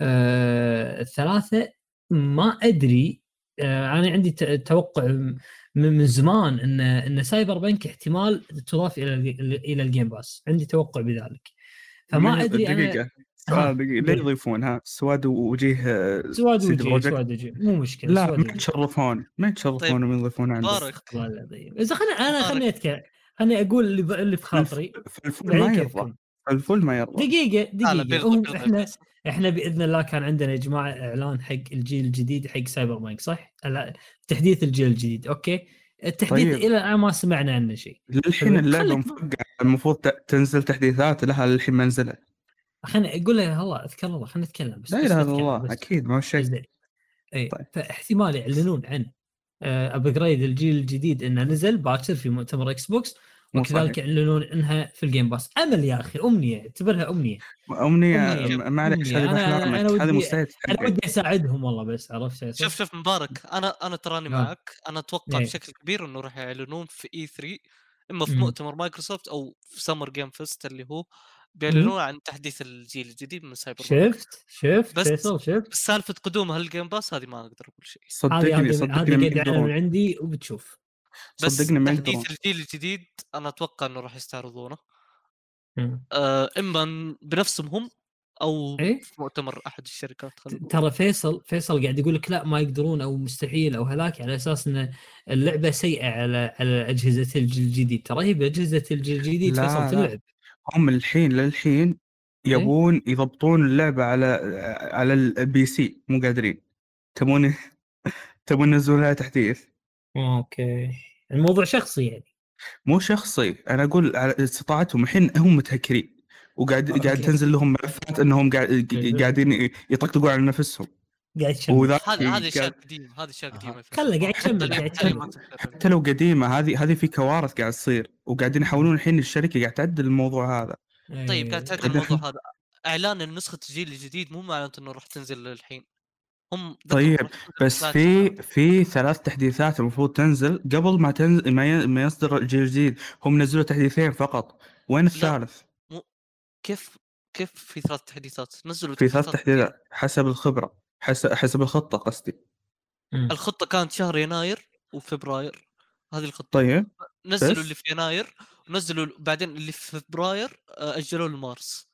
Speaker 1: آه، ثلاثه ما ادري آه، انا عندي ت- توقع م- من زمان ان ان سايبر بنك احتمال تضاف الى ال- الى الجيم باس عندي توقع بذلك
Speaker 2: من-
Speaker 1: فما ادري انا
Speaker 2: دقيقة سؤال دقيقة ليه
Speaker 3: طيب.
Speaker 1: قول.
Speaker 2: يضيفونها سواد ووجيه آه،
Speaker 1: سواد
Speaker 2: سيد
Speaker 1: وجي
Speaker 2: الرجل؟
Speaker 1: سواد وجي مو مشكله
Speaker 2: لا
Speaker 1: سواد
Speaker 2: ما
Speaker 1: وجهي.
Speaker 2: يتشرفون ما يتشرفون
Speaker 3: طيب،
Speaker 2: وما يضيفون عندك
Speaker 3: مبارك
Speaker 1: والله العظيم اذا خلنا انا
Speaker 3: مبارك.
Speaker 1: خلني اتكلم خليني اقول اللي ب- اللي في خاطري
Speaker 2: فالفول ما
Speaker 1: بعدين
Speaker 2: يرضى
Speaker 1: كيفكم.
Speaker 2: الفول ما يرضى
Speaker 1: دقيقه
Speaker 3: لا، لا،
Speaker 1: دقيقه
Speaker 3: بيرضى-
Speaker 1: هم
Speaker 3: بيرضى
Speaker 1: احنا
Speaker 3: بس.
Speaker 1: احنا باذن الله كان عندنا يا جماعه اعلان حق الجيل الجديد حق سايبر بانك صح؟ لا، تحديث الجيل الجديد اوكي؟ التحديث
Speaker 2: طيب.
Speaker 1: الى الان ما سمعنا عنه شيء
Speaker 2: للحين اللعبة
Speaker 1: خلي-
Speaker 2: مفقعة المفروض ت- تنزل تحديثات لها للحين ما نزلت
Speaker 1: خلينا اقول له الله اذكر الله خلينا نتكلم بس
Speaker 2: لا
Speaker 1: بس
Speaker 2: اله الا
Speaker 1: نتكلم،
Speaker 2: الله
Speaker 1: بس.
Speaker 2: اكيد ما هو شيء
Speaker 1: زين. اي
Speaker 2: طيب.
Speaker 1: فاحتمال يعلنون عن ابجريد الجيل الجديد انه نزل باكر في مؤتمر اكس بوكس
Speaker 2: مو
Speaker 1: وكذلك يعلنون انها في الجيم باس امل يا اخي امنيه اعتبرها امنيه
Speaker 2: امنيه
Speaker 1: أمنية.
Speaker 2: م- معليش
Speaker 1: أمنية.
Speaker 2: آه، هذه
Speaker 1: أنا- أنا- أنا
Speaker 2: بحلامك
Speaker 1: ودي-
Speaker 2: هذه مستحيل
Speaker 1: انا
Speaker 2: تتحقق
Speaker 1: ودي اساعدهم والله بس عرفت
Speaker 3: شوف شوف مبارك انا انا تراني
Speaker 1: آه.
Speaker 3: معك انا اتوقع
Speaker 1: إيه. إمم.
Speaker 3: بشكل كبير انه راح يعلنون في اي 3 اما في
Speaker 1: مم.
Speaker 3: مؤتمر مايكروسوفت او في سمر جيم فيست اللي هو
Speaker 1: إمم.
Speaker 3: بيعلنون عن تحديث الجيل الجديد من سايبر بانك.
Speaker 1: شفت شفت
Speaker 3: بس-
Speaker 1: فيصل شفت
Speaker 3: بس سالفه قدومها للجيم باس هذه ما اقدر اقول شيء
Speaker 1: هذه
Speaker 2: صدقني
Speaker 1: هذه هذه
Speaker 2: صدقني ما
Speaker 1: قاعد أعلن من
Speaker 2: يقدرون
Speaker 1: عندي وبتشوف
Speaker 3: بس
Speaker 2: صدقني ما
Speaker 3: تحديث
Speaker 2: يقدرون.
Speaker 3: الجيل الجديد انا اتوقع انه راح يستعرضونه
Speaker 1: مم.
Speaker 3: آه، اما ن- بنفسهم هم او
Speaker 1: إيه.
Speaker 3: في مؤتمر احد الشركات خلينا نقول.
Speaker 1: ترى فيصل فيصل قاعد يقول لك لا ما يقدرون او مستحيل او هلاك على اساس ان اللعبه سيئه على على اجهزه الجيل الجديد ترى هي باجهزه الجيل الجديد
Speaker 2: لا،
Speaker 1: فيصل
Speaker 2: لا.
Speaker 1: تلعب
Speaker 2: هم الحين للحين
Speaker 1: إيه؟
Speaker 2: يبون يضبطون اللعبه على على البي سي مو قادرين تبون تبون ينزلون لها تحديث
Speaker 1: اوكي الموضوع شخصي يعني
Speaker 2: مو شخصي انا اقول على استطاعتهم الحين هم متهكرين وقاعد
Speaker 1: آه، أوكي.
Speaker 2: قاعد تنزل لهم ملفات انهم قاعد
Speaker 1: أوكي.
Speaker 2: قاعدين يطقطقون على نفسهم
Speaker 1: قاعد يشمع
Speaker 2: وذاك
Speaker 3: هذه هذه اشياء
Speaker 2: قاعد-
Speaker 3: قديمه هذه اشياء
Speaker 4: أها.
Speaker 3: قديمه يا فيصل.
Speaker 1: خله قاعد
Speaker 3: حتى
Speaker 1: يشمع
Speaker 3: اليوم-
Speaker 1: قاعد
Speaker 3: حتى اليوم
Speaker 1: يشمع
Speaker 3: ما تتكلم.
Speaker 2: حتى لو قديمه هذه هذه في كوارث قاعد تصير وقاعدين يحاولون الحين الشركه قاعد تعدل الموضوع هذا
Speaker 3: طيب قاعد
Speaker 1: إيه.
Speaker 3: تعدل
Speaker 2: إذا
Speaker 3: الموضوع هذا اعلان إن نسخه الجيل الجديد مو معناته انه راح تنزل الحين هم ذكروا
Speaker 2: طيب،
Speaker 3: راح تنزل
Speaker 2: بس
Speaker 3: بعد
Speaker 2: في
Speaker 3: سنة.
Speaker 2: في ثلاث تحديثات المفروض تنزل قبل ما تنزل ما ي- ما يصدر الجيل الجديد هم نزلوا تحديثين فقط وين الثالث
Speaker 3: كيف كيف في ثلاث تحديثات نزلوا
Speaker 2: في ثلاث
Speaker 3: كثيرة.
Speaker 2: تحديثات حسب الخبره حسب حسب الخطه قصدي
Speaker 1: مم.
Speaker 3: الخطه كانت شهر يناير وفبراير هذه الخطه
Speaker 2: طيب
Speaker 3: نزلوا
Speaker 2: بس.
Speaker 3: اللي في يناير ونزلوا ال- بعدين اللي في فبراير آه، اجلوه لمارس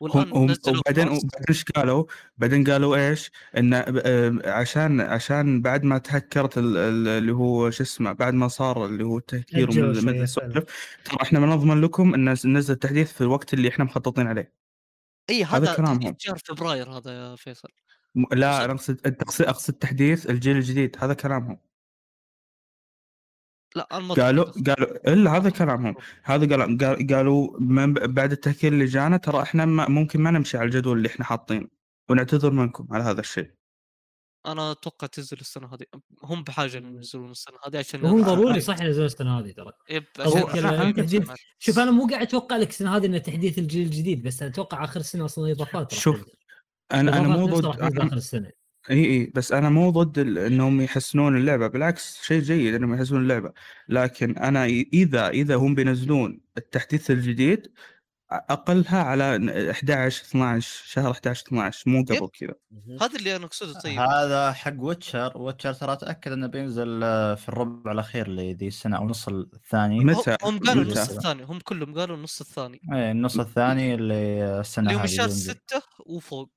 Speaker 3: والان
Speaker 2: هم هم
Speaker 3: نزلوا في
Speaker 2: وبعدين
Speaker 3: مارس.
Speaker 2: وبعدين ايش قالوا؟ بعدين قالوا ايش؟ ان آه، عشان عشان بعد ما تهكرت ال- ال- اللي هو شو اسمه بعد ما صار اللي هو التهكير
Speaker 1: أجلوا
Speaker 2: ومن-
Speaker 1: شوية
Speaker 2: من
Speaker 1: فعلاً.
Speaker 2: السوالف ترى احنا بنضمن لكم ان ننزل التحديث في الوقت اللي احنا مخططين عليه
Speaker 3: اي
Speaker 2: هذا
Speaker 3: هذا
Speaker 2: كلامهم.
Speaker 3: تحديث شهر فبراير هذا يا فيصل
Speaker 2: م-
Speaker 3: بالضبط.
Speaker 2: لا انا اقصد أقصد- اقصد تحديث الجيل الجديد هذا كلامهم
Speaker 3: لا انا ما
Speaker 2: قالوا
Speaker 3: أتفق.
Speaker 2: قالوا الا هذا كلامهم هذا قال- قال- قالوا من ب- بعد التهكير اللي جانا ترى احنا ما ممكن ما نمشي على الجدول اللي احنا حاطينه ونعتذر منكم على هذا الشيء
Speaker 3: انا اتوقع تنزل السنه هذه هم بحاجه إنهم ينزلون السنه هذه عشان
Speaker 1: وهم
Speaker 2: آه،
Speaker 1: ضروري
Speaker 2: آه.
Speaker 1: صح ينزلون السنه هذه ترى
Speaker 3: يب
Speaker 1: هو
Speaker 3: عشان
Speaker 1: كلام
Speaker 3: عشان-
Speaker 1: تحديث. شوف انا مو قاعد اتوقع لك السنه هذه انه تحديث الجيل الجديد بس انا اتوقع اخر السنه اصلا اضافات راح
Speaker 2: شوف،
Speaker 1: تنزل.
Speaker 2: انا انا
Speaker 1: الإضافات
Speaker 2: مو
Speaker 1: نفسها
Speaker 2: ضد
Speaker 1: راح تنزل
Speaker 2: أنا-
Speaker 1: اخر السنه
Speaker 2: اي اي بس انا مو ضد ال- انهم يحسنون اللعبه بالعكس شيء جيد انهم يحسنون اللعبه لكن انا إي- اذا اذا هم بينزلون التحديث الجديد اقلها على 11 12 شهر 11 12 مو قبل كذا
Speaker 3: هذا اللي انا اقصده طيب
Speaker 4: هذا حق ويتشر ويتشر ترى تاكد انه بينزل آه، في الربع الاخير لذي السنه او النص الثاني
Speaker 2: مت-
Speaker 3: هم-
Speaker 2: متى؟
Speaker 3: هم قالوا النص
Speaker 2: متى؟
Speaker 3: الثاني هم كلهم قالوا النص الثاني
Speaker 4: ايه النص الثاني اللي السنه
Speaker 3: اللي هو من
Speaker 4: هذه
Speaker 3: شهر
Speaker 4: بينزل.
Speaker 3: ستة وفوق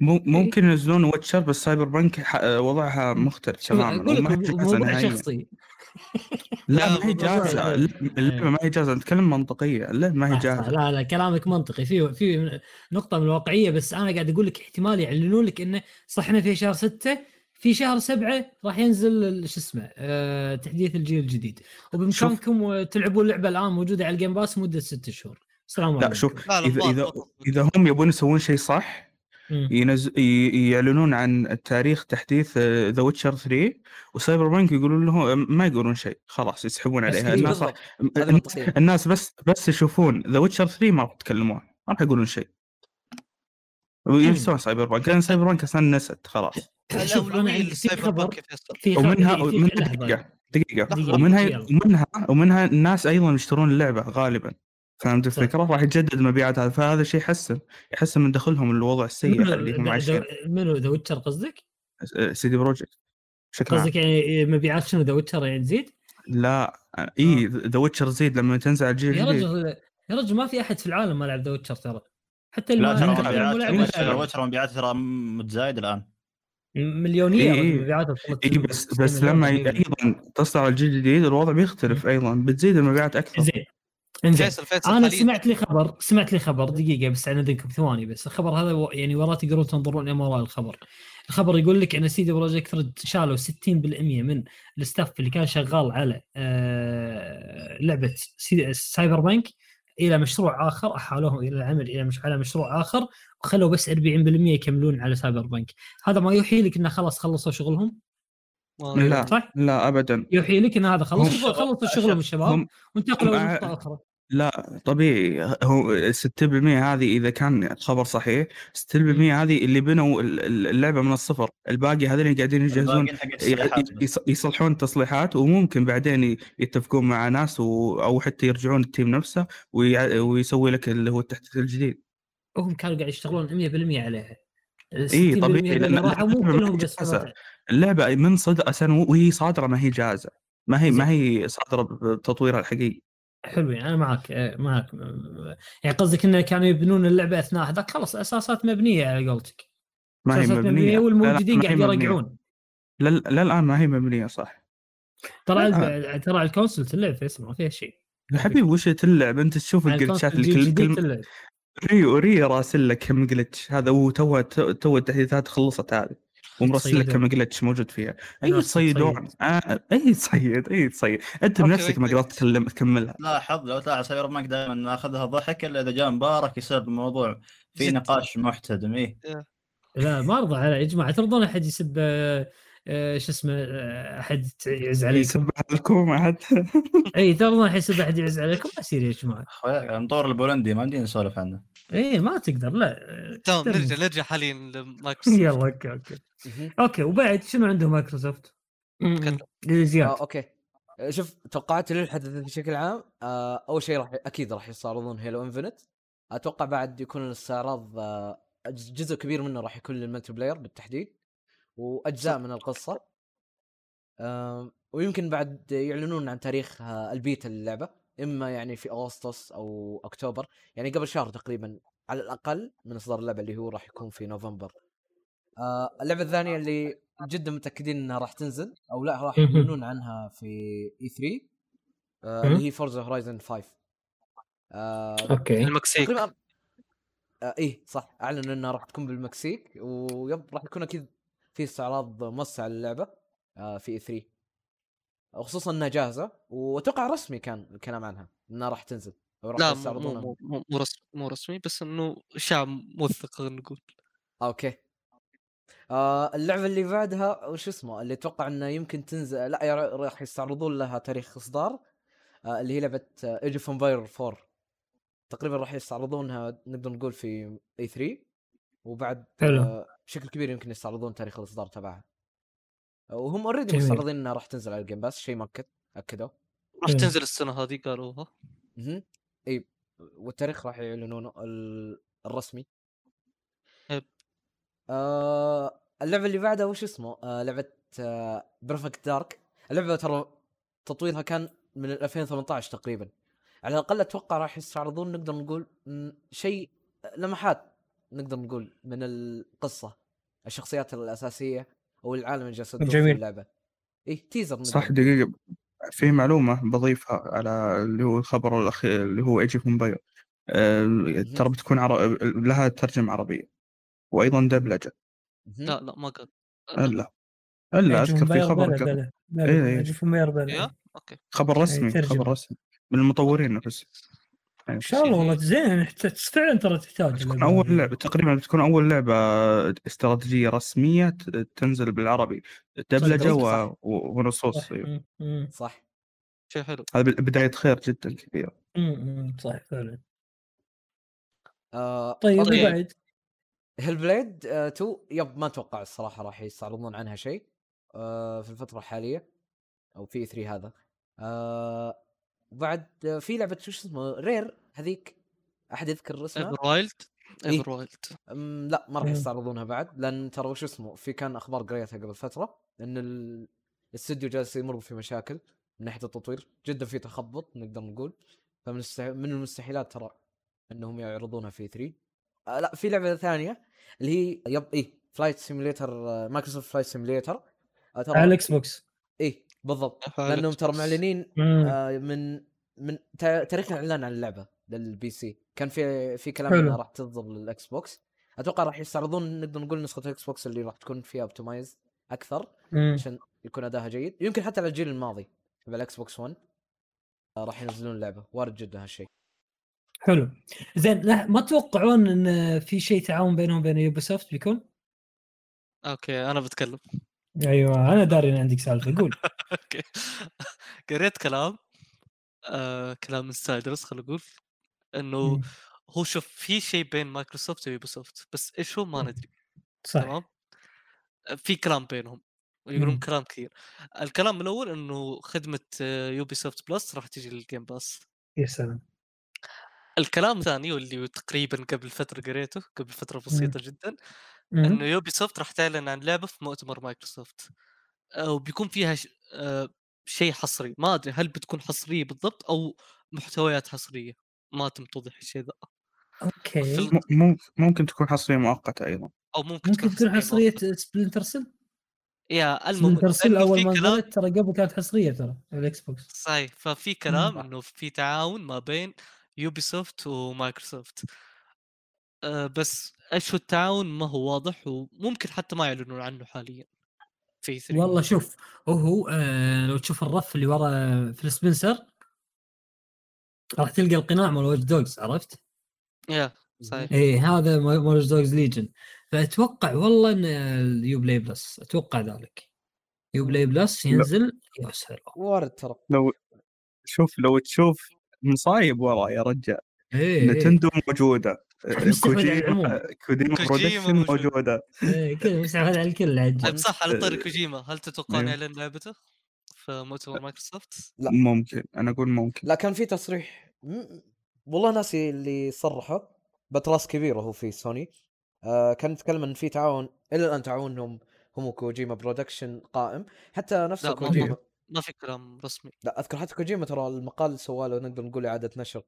Speaker 2: مو- ممكن ينزلون واتشر بس سايبر بنك ح- وضعها مختلف
Speaker 1: شوف،
Speaker 2: تماما
Speaker 1: اقول
Speaker 2: وما هي
Speaker 1: لكم
Speaker 2: جاهزه
Speaker 1: موضوع
Speaker 2: نهائيا
Speaker 1: شخصي
Speaker 2: لا ما هي
Speaker 1: موضوع
Speaker 2: جاهزه
Speaker 1: شخصي.
Speaker 2: اللعبه ما هي جاهزه نتكلم منطقيه اللعبه ما هي
Speaker 1: صح، صح،
Speaker 2: جاهزه
Speaker 1: لا لا كلامك منطقي في في نقطة من الواقعية بس أنا قاعد أقول لك احتمال يعلنون لك إنه صح إنه في شهر ستة في شهر سبعة راح ينزل ال- شو اسمه آه تحديث الجيل الجديد وبامكانكم تلعبون لعبه الان موجوده على الجيم باس مده ست شهور السلام عليكم
Speaker 2: لا شوف
Speaker 3: لا لا
Speaker 2: إذا-
Speaker 3: الظاهر
Speaker 2: إذا-
Speaker 3: فقط.
Speaker 2: اذا هم يبون يسوون شيء صح
Speaker 1: مم.
Speaker 2: ينز... ي- يعلنون عن تاريخ تحديث آه، ذا ويتشر 3 وسايبر بانك يقولون له ما يقولون شيء خلاص يسحبون
Speaker 1: بس
Speaker 2: عليها
Speaker 1: كذا.
Speaker 2: الناس
Speaker 5: بالضبط هذا
Speaker 2: الناس-
Speaker 5: منطقي
Speaker 2: الناس بس بس يشوفون ذا ويتشر 3 ما راح يتكلمون ما راح يقولون شيء
Speaker 1: إيه.
Speaker 2: وينسون سايبر بانك لان سايبر بانك اصلا نست خلاص
Speaker 1: شوف، أنا
Speaker 3: الأولوية
Speaker 1: عندي في
Speaker 3: للسايبر
Speaker 1: خبر.
Speaker 3: بانك يا فيصل.
Speaker 1: في خ-
Speaker 2: ومنها
Speaker 1: في- في-
Speaker 2: ومنها
Speaker 1: لحظة.
Speaker 2: دقيقه دقيقه
Speaker 1: لحظة.
Speaker 2: ومنها
Speaker 1: يلا.
Speaker 2: ومنها ومنها الناس ايضا يشترون اللعبه غالبا فهمت
Speaker 1: صح.
Speaker 2: الفكره؟ راح يتجدد مبيعاتها فهذا شيء يحسن يحسن من دخلهم الوضع السيء
Speaker 1: منو-
Speaker 2: اللي هم
Speaker 1: ذا-
Speaker 2: عايشين
Speaker 1: منو ذا ويتشر قصدك؟
Speaker 2: سيدي آه، بروجكت بشكل عام.
Speaker 1: قصدك يعني مبيعات شنو ذا ويتشر يعني تزيد؟
Speaker 2: لا اي ذا ويتشر زيد لما تنزل على الجيل
Speaker 1: يا
Speaker 2: الجديد
Speaker 1: رجل يا رجل ما في احد في العالم ما لعب ذا ويتشر ترى حتى اللي
Speaker 4: لا
Speaker 1: ما-
Speaker 4: ترى
Speaker 2: أنت-
Speaker 1: اللي
Speaker 4: مبيعات
Speaker 1: مو لاعب
Speaker 4: ويتشر
Speaker 1: ويتشر.
Speaker 4: ويتشر مبيعات ترى متزايد الان
Speaker 1: مليونيه
Speaker 2: إيه
Speaker 1: يا رجل
Speaker 2: إيه.
Speaker 1: مبيعاته وصلت
Speaker 2: اي بس
Speaker 1: 60
Speaker 2: بس
Speaker 1: مليون
Speaker 2: لما
Speaker 1: تقريباً.
Speaker 2: ايضا تصدر على الجيل الجديد الوضع بيختلف ايضا بتزيد المبيعات اكثر
Speaker 1: زين انزين
Speaker 3: فيصل فيصل
Speaker 1: انا
Speaker 3: خليل.
Speaker 1: سمعت لي خبر سمعت لي خبر دقيقه بس عن اذنكم ثواني بس الخبر هذا و- يعني وراه تقدرون تنظرون الى وراء الخبر الخبر يقول لك ان سيدي بروجكت ريد شالوا 60% من الستاف اللي كان شغال على آه لعبه سي- سايبر بانك الى مشروع اخر احالوهم الى العمل الى مش على مشروع اخر وخلوا بس 40% يكملون على سايبر بانك هذا ما يوحي لك انه خلاص خلصوا شغلهم
Speaker 3: ما-
Speaker 2: لا
Speaker 1: صح؟
Speaker 2: لا ابدا
Speaker 1: يوحي لك ان هذا خلص
Speaker 2: هم-
Speaker 1: خلصوا شغلهم الشباب
Speaker 2: هم
Speaker 1: وانتقلوا
Speaker 2: هم
Speaker 1: لنقطه اخرى
Speaker 2: لا طبيعي هو 60% هذه اذا كان الخبر صحيح 60% هذه اللي بنوا ال- ال- اللعبه من الصفر الباقي هذول قاعدين يجهزون يعني
Speaker 4: الباقيين حق التصليحات
Speaker 2: ي- يص- يصلحون التصليحات وممكن بعدين ي- يتفقون مع ناس و... او حتى يرجعون التيم نفسه ويع... ويسوي لك اللي هو التحديث الجديد
Speaker 1: هم كانوا قاعد يشتغلون 100% عليها
Speaker 2: إيه، طبيعي، لأن- لأن
Speaker 1: راحوا مو
Speaker 2: اللعبة
Speaker 1: كلهم
Speaker 2: مجهزة.
Speaker 1: جسمات
Speaker 2: اللعبه من صدق اساسا وهي صادره ما هي جاهزه ما هي ما هي صادره بتطويرها الحقيقي
Speaker 1: حلوين انا معك آه، معك آه، يعني قصدك انه كانوا يبنون اللعبه اثناء هذاك خلاص اساسات مبنيه على قولتك
Speaker 2: ما هي
Speaker 1: اساسات
Speaker 2: مبنيه
Speaker 1: والموجودين
Speaker 2: لا، لا،
Speaker 1: قاعد
Speaker 2: ما هي مبنية.
Speaker 1: يرجعون
Speaker 2: لا لا الان ما هي مبنيه صح
Speaker 1: ترى
Speaker 2: لا.
Speaker 1: على- ترى على الكونسل تلعب فيصل ما فيها شيء
Speaker 2: يا حبيبي وش تلعب انت تشوف
Speaker 1: على
Speaker 2: الجلتشات
Speaker 1: الكونسل
Speaker 2: اللي
Speaker 1: الجيل
Speaker 2: كل
Speaker 1: الجديد
Speaker 2: كل
Speaker 1: تلعب
Speaker 2: ري ري راسل لك كم جلتش هذا وتو تو التحديثات خلصت هذه ومرسل لك
Speaker 1: تصيدون.
Speaker 2: كم جلتش موجود فيها اي
Speaker 1: ناس
Speaker 2: تصيدون آه، اي تصيد اي تصيد انت
Speaker 3: أوكي،
Speaker 2: بنفسك ما
Speaker 3: أوكي.
Speaker 2: قدرت تكلم- تكملها
Speaker 4: لاحظ لو تلاحظ سايبر مانك دائما ناخذها ضحك الا اذا جاء مبارك يصير الموضوع في
Speaker 3: جد.
Speaker 4: نقاش محتدم ايه
Speaker 1: لا ما ارضى على يا جماعه ترضون احد يسب آه، آه، شو اسمه آه، احد يعز
Speaker 2: إيه،
Speaker 1: عليكم
Speaker 2: يسبح لكم احد
Speaker 1: اي ترضون احد يسب احد يعز عليكم ما يصير يا جماعه
Speaker 4: المطور البولندي ما بدينا نسولف عنه
Speaker 1: اي إيه، ما تقدر لا
Speaker 3: تمام
Speaker 1: تم.
Speaker 3: نرجع نرجع حاليا لمايكروسوفت
Speaker 1: يلا اوكي اوكي
Speaker 5: مهم.
Speaker 1: اوكي وبعد شنو عنده مايكروسوفت؟
Speaker 3: تكلم.
Speaker 1: زياد
Speaker 5: آه، اوكي آه، شوف توقعاتي للحدث بشكل عام آه، اول شيء راح اكيد راح يستعرضون هيلو انفنت اتوقع بعد يكون الاستعراض آه، ج- جزء كبير منه راح يكون للملتي بلاير بالتحديد واجزاء من القصه آم، ويمكن بعد يعلنون عن تاريخ آه، البيتا للعبه اما يعني في اغسطس او اكتوبر يعني قبل شهر تقريبا على الاقل من اصدار اللعبه اللي هو راح يكون في نوفمبر آه، اللعبه الثانيه اللي جدا متاكدين انها راح تنزل او لا راح
Speaker 1: مهم.
Speaker 5: يعلنون عنها في اي 3 آه
Speaker 1: مهم.
Speaker 5: اللي هي فورزا هورايزن 5 آه
Speaker 1: اوكي
Speaker 3: المكسيك
Speaker 5: تقريبا آه ايه صح اعلنوا انها راح تكون بالمكسيك ويب راح يكون اكيد في استعراض موسع للعبه آه في اي 3 وخصوصا انها جاهزه واتوقع رسمي كان الكلام عنها انها راح تنزل او راح
Speaker 3: لا مو- مو
Speaker 5: يستعرضونها
Speaker 3: مو- مو- مو رسمي مو رسمي بس انه شعب موثق خلينا نقول
Speaker 5: اوكي آه اللعبه اللي بعدها وش اسمه اللي اتوقع انه يمكن تنزل لا يا ر- راح يستعرضون لها تاريخ اصدار آه اللي هي لعبه ايج اوف امباير 4 تقريبا راح يستعرضونها نقدر نقول في اي 3 وبعد
Speaker 1: حلو.
Speaker 5: آه بشكل كبير يمكن يستعرضون تاريخ الاصدار تبعها آه، وهم اوريدي
Speaker 1: جميل.
Speaker 5: مستعرضين انها راح تنزل على الجيم باس شيء مؤكد اكدوا
Speaker 3: راح
Speaker 1: إيه.
Speaker 3: تنزل السنه هذه قالوها
Speaker 5: مهم. اي والتاريخ راح يعلنونه ال- الرسمي
Speaker 3: يب.
Speaker 5: آه اللعبه اللي بعدها وش اسمه آه لعبه آه بيرفكت دارك اللعبه ترى تطويرها كان من 2018 تقريبا على الاقل اتوقع راح يستعرضون نقدر نقول مم، شيء لمحات نقدر نقول من القصه الشخصيات الاساسيه او العالم اللي جالس تدور في
Speaker 1: جميل.
Speaker 5: اللعبه اي تيزر نقدر
Speaker 2: صح دقيقة في معلومة بضيفها على اللي هو الخبر الأخير اللي هو ايجي مومبايو آه، ترى بتكون عر... لها ترجمة عربية وأيضا دبلجة
Speaker 5: مهم.
Speaker 3: لا لا ما قال
Speaker 2: إلا إلا أذكر في خبر كان- إيه، إيه.
Speaker 3: يا
Speaker 1: ان
Speaker 3: اوكي
Speaker 2: خبر رسمي
Speaker 1: ترجمة.
Speaker 2: خبر رسمي من المطورين نفسهم ان
Speaker 1: يعني شاء الله والله زين إحت- فعلا ترى تحتاج
Speaker 2: بتكون
Speaker 1: لعبة.
Speaker 2: اول لعبه تقريبا بتكون اول لعبه استراتيجيه رسميه ت- تنزل بالعربي دبلجه
Speaker 5: صدق،
Speaker 2: و...
Speaker 5: صح.
Speaker 2: و... ونصوص
Speaker 1: صح.
Speaker 2: أيوة.
Speaker 1: مم، مم،
Speaker 5: صح
Speaker 3: شيء حلو
Speaker 2: هذا بال- بدايه خير جدا كبيره
Speaker 1: مم، مم، أمم، صح فعلا
Speaker 5: آه
Speaker 1: طيب
Speaker 5: أوكي.
Speaker 3: طيب.
Speaker 1: بعد
Speaker 5: هيل بليد 2 آه، يب ما اتوقع الصراحه راح يستعرضون عنها شيء آه في الفتره الحاليه او في 3 هذا آه بعد آه في لعبه شو اسمه رير هذيك احد يذكر
Speaker 1: نعم.
Speaker 5: اسمها؟
Speaker 3: ايفر وايلد
Speaker 5: إيه.
Speaker 3: ايفر وايلد
Speaker 5: أم، لا ما راح
Speaker 1: مم.
Speaker 5: يستعرضونها بعد لان ترى وش اسمه في كان اخبار قريتها قبل فتره ان ال- الاستوديو جالس يمر في مشاكل من ناحيه التطوير جدا في تخبط نقدر نقول فمن السح- من المستحيلات ترى انهم يعرضونها في 3 آه لا في لعبه ثانيه اللي هي يب إيه، اي فلايت سيميليتر مايكروسوفت فلايت سيميليتر
Speaker 1: على الاكس بوكس
Speaker 5: اي آه، إيه، بالضبط
Speaker 3: على
Speaker 5: لانهم ترى
Speaker 3: Xbox.
Speaker 5: معلنين
Speaker 1: مم.
Speaker 5: آه، من من تا- تاريخ الاعلان عن اللعبه للبي سي كان في في كلام
Speaker 1: حلو.
Speaker 5: انها راح تصدر للاكس بوكس اتوقع راح يستعرضون نقدر نقول نسخه الاكس بوكس اللي راح تكون فيها اوبتمايز اكثر
Speaker 1: مم.
Speaker 5: عشان يكون اداها جيد يمكن حتى على الجيل الماضي بالاكس بوكس 1 آه، راح ينزلون اللعبه وارد جدا هالشيء
Speaker 1: حلو زين لا ما تتوقعون ان في شيء تعاون بينهم وبين يوبيسوفت بيكون؟
Speaker 3: اوكي انا بتكلم
Speaker 1: ايوه انا داري ان عندك سالفه قول
Speaker 3: اوكي قريت كلام آه كلام انسايدرز خلينا نقول انه
Speaker 1: مم.
Speaker 3: هو شوف في شيء بين مايكروسوفت ويوبيسوفت بس ايش هو ما
Speaker 1: مم.
Speaker 3: ندري
Speaker 1: صح
Speaker 3: تمام في كلام بينهم يقولون
Speaker 1: مم.
Speaker 3: كلام كثير الكلام الاول انه خدمه يوبي سوفت بلس آه، راح تجي للجيم باس
Speaker 1: يا سلام
Speaker 3: الكلام الثاني واللي تقريبا قبل فتره قريته قبل فتره بسيطه جدا
Speaker 1: مم.
Speaker 3: انه يوبي سوفت راح تعلن عن لعبه في مؤتمر مايكروسوفت آه، وبيكون فيها ش... آه، شيء حصري ما ادري هل بتكون حصريه بالضبط او محتويات حصريه ما تم توضيح الشيء ذا في
Speaker 1: اوكي
Speaker 3: ال-
Speaker 2: م- مم... ممكن تكون حصريه مؤقته ايضا
Speaker 3: او ممكن
Speaker 1: ممكن تكون حصريه
Speaker 3: مؤقتة.
Speaker 1: سبلنتر سيل
Speaker 3: يا المهم
Speaker 1: سبلنتر سيل
Speaker 3: لأنه
Speaker 1: اول
Speaker 3: في
Speaker 1: ما
Speaker 3: كلام
Speaker 1: نزلت إمم. ترى قبل كانت حصريه ترى على الاكس بوكس
Speaker 3: صحيح ففي كلام
Speaker 5: صح.
Speaker 3: انه في تعاون ما بين يوبيسوفت ومايكروسوفت أه بس ايش هو التعاون ما هو واضح وممكن حتى ما يعلنون عنه حاليا في 3
Speaker 1: والله شوف هو آه لو تشوف الرف اللي ورا فيل سبنسر راح تلقى القناع مال واتش دوجز عرفت؟
Speaker 3: يا
Speaker 1: إمم.
Speaker 3: صحيح
Speaker 1: اي هذا مال واتش دوجز ليجن فاتوقع والله ان اليو بلاي بلس اتوقع ذلك يو بلاي بلس ينزل يا سلام
Speaker 5: وارد ترى
Speaker 2: لو شوف لو تشوف مصايب ورا يا رجال
Speaker 1: ايه إيه.
Speaker 2: نتندو موجوده
Speaker 1: مستحوذ على
Speaker 5: يعني
Speaker 1: العموم.
Speaker 2: كوجيما كوجيما
Speaker 3: كوجيما
Speaker 2: برودكشن
Speaker 3: موجود.
Speaker 2: موجوده
Speaker 1: إيه، كذا مستحوذ على الكل عجل
Speaker 3: طيب صح على طاري
Speaker 2: أه،
Speaker 3: كوجيما هل تتوقعون
Speaker 2: أيوه.
Speaker 3: يعلن لعبته في مؤتمر مايكروسوفت؟
Speaker 5: لا.
Speaker 2: ممكن انا اقول ممكن
Speaker 5: لا كان في تصريح م- والله ناسي اللي صرحه بتراس كبير هو في سوني آه كان يتكلم ان في تعاون الى الان تعاونهم هم وكوجيما برودكشن قائم حتى نفس
Speaker 3: لا، ما-
Speaker 5: كوجيما
Speaker 3: ما- ما في كلام رسمي
Speaker 5: لا اذكر حتى كوجيما ترى المقال سواله نقدر نقول اعاده نشر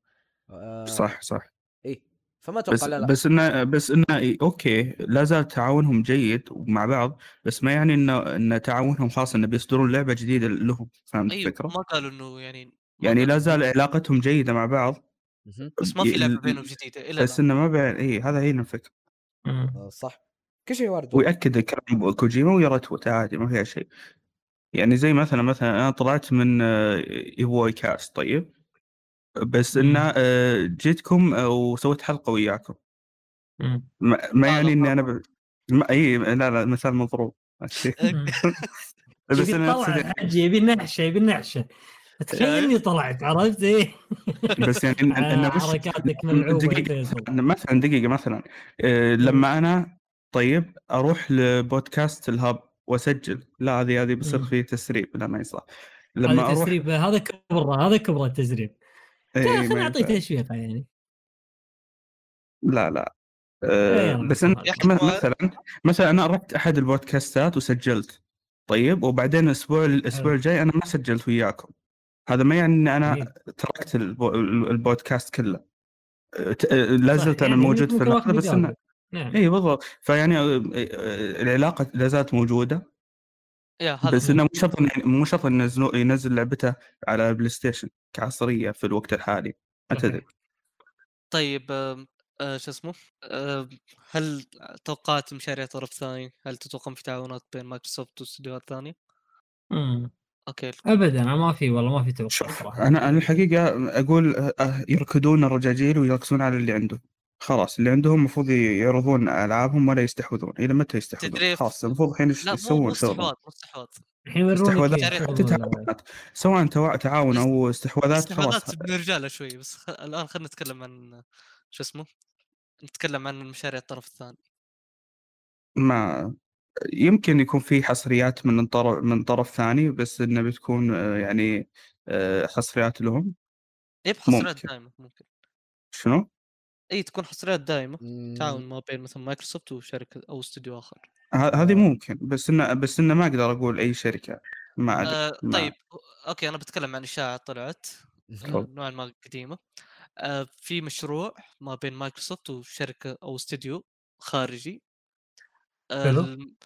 Speaker 5: آه
Speaker 2: صح صح
Speaker 5: اي فما
Speaker 2: بس
Speaker 5: اتوقع لا لا
Speaker 2: بس انه بس انه إي- اوكي لا زال تعاونهم جيد مع بعض بس ما يعني انه ان تعاونهم خاص انه بيصدرون لعبه جديده لهم فهمت
Speaker 3: ايوه
Speaker 2: الفكره؟
Speaker 3: ما قالوا انه يعني ما
Speaker 2: يعني لا
Speaker 3: قالوا
Speaker 2: زال
Speaker 3: إنه-
Speaker 2: علاقتهم جيده مع بعض
Speaker 5: مهم.
Speaker 3: بس ما في لعبه بينهم
Speaker 2: جديده
Speaker 3: جديده الى
Speaker 2: بس
Speaker 3: الان
Speaker 2: انه ما بين اي هذا هي الفكره
Speaker 1: مم.
Speaker 5: آه صح كل شيء وارد والله.
Speaker 2: وياكد الكلام كوجيما ويرتوت عادي ما فيها شيء يعني زي مثلا مثلا انا طلعت من آه، ايفوي كاست طيب بس انه آه، جيتكم آه، وسويت حلقه وياكم
Speaker 1: مم.
Speaker 2: ما, ما
Speaker 3: لا، لا،
Speaker 2: يعني اني
Speaker 3: ما-
Speaker 2: انا ب... ما... اي لا لا مثال مضروب
Speaker 1: مم.
Speaker 2: بس
Speaker 1: يبي
Speaker 2: انا
Speaker 1: طلع
Speaker 2: أقصد يعني-
Speaker 1: الحج يبي نعشه يبي نعشه تخيل اني طلعت عرفت ايه
Speaker 2: بس يعني إن- إن-
Speaker 1: آه،
Speaker 2: انه بس
Speaker 1: حركاتك ملعوبه يا
Speaker 2: دقيقة.
Speaker 1: فيصل
Speaker 2: إن مثلا دقيقه مثلا آه، لما انا طيب اروح لبودكاست الهب واسجل لا هذه هذه بيصير
Speaker 1: مم.
Speaker 2: فيه تسريب لا ما يصلح
Speaker 1: هذا
Speaker 2: لما اروح
Speaker 1: تسريب هذا كبره هذا كبره التسريب
Speaker 2: إيه،
Speaker 1: خلينا
Speaker 2: ما
Speaker 1: نعطيه
Speaker 2: ينفع.
Speaker 1: تشويق يعني
Speaker 2: لا لا آه،
Speaker 1: إيه،
Speaker 2: بس انا
Speaker 1: يا
Speaker 2: م-
Speaker 3: أخي ما-
Speaker 2: مثلا مثلا انا رحت احد البودكاستات وسجلت طيب وبعدين الاسبوع الاسبوع
Speaker 1: حلو.
Speaker 2: الجاي انا ما سجلت وياكم هذا ما يعني اني انا
Speaker 1: جميل.
Speaker 2: تركت البو- البودكاست كله آه، ت- آه، لا
Speaker 1: صح،
Speaker 2: زلت انا
Speaker 1: يعني
Speaker 2: موجود في
Speaker 1: ممكن
Speaker 2: العلاقه
Speaker 1: واحد
Speaker 2: بس إيه. انه
Speaker 1: يقابل. نعم
Speaker 2: اي بالضبط فيعني آه، آه، العلاقه لا زالت موجوده
Speaker 3: يا هذا
Speaker 2: بس انه مو شرط إنه- يعني، مو شرط انه ينزلو- ينزل لعبته على بلاي ستيشن كعصريه في الوقت الحالي ما
Speaker 1: أوكي.
Speaker 2: تدري
Speaker 3: طيب آم، آه، شو اسمه آم، هل توقعات مشاريع طرف ثاني هل تتوقع في تعاونات بين مايكروسوفت واستديوهات ثانيه
Speaker 1: مم.
Speaker 3: اوكي
Speaker 1: ابدا أنا ما في والله ما في توقع
Speaker 2: شوف
Speaker 1: صراحه
Speaker 2: انا انا الحقيقه اقول أه، أه، يركضون الرجاجيل ويركزون على اللي عندهم خلاص اللي عندهم المفروض يعرضون العابهم ولا يستحوذون الى متى يستحوذون
Speaker 3: تدري-
Speaker 2: خلاص المفروض الحين يس-
Speaker 3: لا مو مو
Speaker 2: يسوون شغلهم
Speaker 3: استحواذ مو استحواذ
Speaker 1: الحين يورونك
Speaker 2: استحواذات
Speaker 1: كيف
Speaker 3: يعني
Speaker 2: حتى
Speaker 1: يشتغلون ولا
Speaker 2: تعاونات سواء توا- تعاون او استحواذات خلاص
Speaker 3: استحواذات من الرجاله شوي بس خ... الان خلينا نتكلم عن شو اسمه نتكلم عن مشاريع الطرف الثاني
Speaker 2: ما يمكن يكون في حصريات من طرف من طرف ثاني بس انه بتكون أه، يعني أه، حصريات لهم
Speaker 3: اي بحصريات
Speaker 2: ممكن.
Speaker 3: دائمه ممكن
Speaker 2: شنو؟
Speaker 3: اي إيه، تكون حصريات دائمه
Speaker 5: مم،
Speaker 3: تعاون ما بين مثلا مايكروسوفت وشركه او استوديو اخر
Speaker 2: ه-
Speaker 3: آه.
Speaker 2: هذه ممكن بس انه بس انه ما اقدر اقول اي شركه ما ادري
Speaker 3: آه
Speaker 2: ما-
Speaker 3: طيب اوكي انا بتكلم عن اشاعه طلعت آه،
Speaker 2: تفضل.
Speaker 3: نوعا ما قديمه آه في مشروع ما بين مايكروسوفت وشركه او استوديو خارجي آه،
Speaker 1: حلو.
Speaker 3: الم-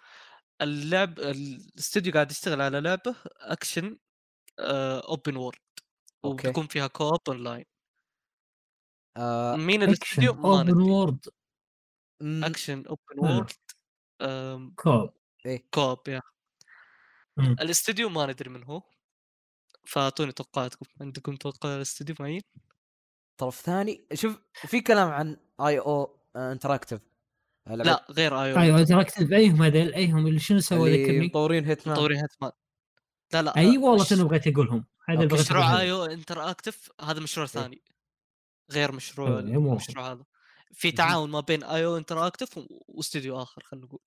Speaker 3: اللعب الاستوديو قاعد يشتغل على لعبه اكشن اوبن وورد
Speaker 5: أوكي.
Speaker 3: وبتكون فيها كوب اونلاين
Speaker 5: آه،
Speaker 3: مين
Speaker 1: اكشن
Speaker 3: الاستوديو ما
Speaker 1: اوبن
Speaker 3: ندري
Speaker 1: وورد
Speaker 5: مم،
Speaker 3: اكشن اوبن
Speaker 1: حلو.
Speaker 3: وورلد أم،
Speaker 1: كوب
Speaker 5: إيه.
Speaker 3: كوب يا
Speaker 1: مم.
Speaker 3: الاستوديو ما ندري من هو فاعطوني توقعاتكم عندكم توقع الاستوديو معين؟
Speaker 5: طرف ثاني شوف في كلام عن آه، اي او انتراكتيف آه،
Speaker 3: لا غير ايو
Speaker 1: ايوه انتراكتيف ايهم هذول ايهم اللي شنو سوى
Speaker 5: اللي
Speaker 1: ذكرني
Speaker 5: مطورين هيتمان
Speaker 3: مطورين هيتمان لا لا
Speaker 1: اي والله
Speaker 3: مش-
Speaker 1: شنو بغيت اقولهم هذا
Speaker 5: أوكي،
Speaker 1: اللي بغيت
Speaker 3: مشروع
Speaker 1: اقوله
Speaker 3: ايو انتر اكتف هذا مشروع ثاني غير مشروع
Speaker 1: أيوة، مو واحد.
Speaker 3: المشروع هذا في
Speaker 1: مهم.
Speaker 3: تعاون ما بين ايو انتر اكتف واستوديو اخر خلينا نقول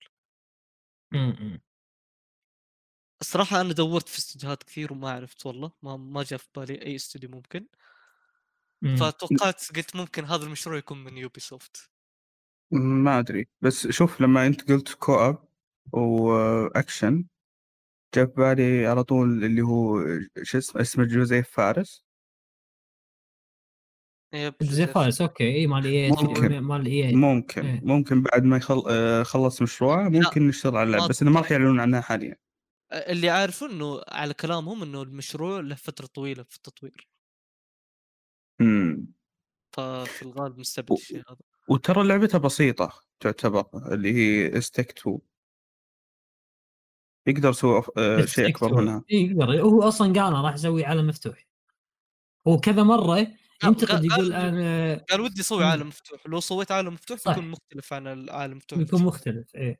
Speaker 1: مم.
Speaker 3: الصراحة أنا دورت في استوديوهات كثير وما عرفت والله ما ما جاء في بالي أي استوديو ممكن
Speaker 1: مم.
Speaker 3: فتوقعت قلت ممكن هذا المشروع يكون من يوبي سوفت
Speaker 2: ما ادري بس شوف لما انت قلت كوب واكشن جاء في بالي على طول اللي هو شو اسمه اسمه جوزيف فارس
Speaker 1: زي فارس اوكي اي مال اي
Speaker 2: ممكن.
Speaker 1: مال اي
Speaker 2: ممكن
Speaker 1: إيه.
Speaker 2: ممكن بعد ما يخل... آه، خلص مشروعه ممكن نشتغل على اللعبه بس انه ما راح يعلنون عنها حاليا
Speaker 3: اللي عارفه انه على كلامهم انه المشروع له فتره طويله في التطوير
Speaker 2: مم.
Speaker 3: ففي الغالب مستبعد الشيء هذا
Speaker 2: وترى لعبتها بسيطه تعتبر اللي هي استيك 2 يقدر يسوي أف- آه، شيء اكبر منها
Speaker 1: اي يقدر هو اصلا قال أنا راح اسوي عالم مفتوح هو كذا مره ينتقد
Speaker 3: قال-
Speaker 1: يقول آه،
Speaker 3: قال-
Speaker 1: انا
Speaker 3: قال ودي اسوي
Speaker 1: مم.
Speaker 3: عالم مفتوح لو سويت عالم مفتوح
Speaker 1: صح.
Speaker 3: بيكون مختلف عن العالم المفتوح
Speaker 1: بيكون مختلف ايه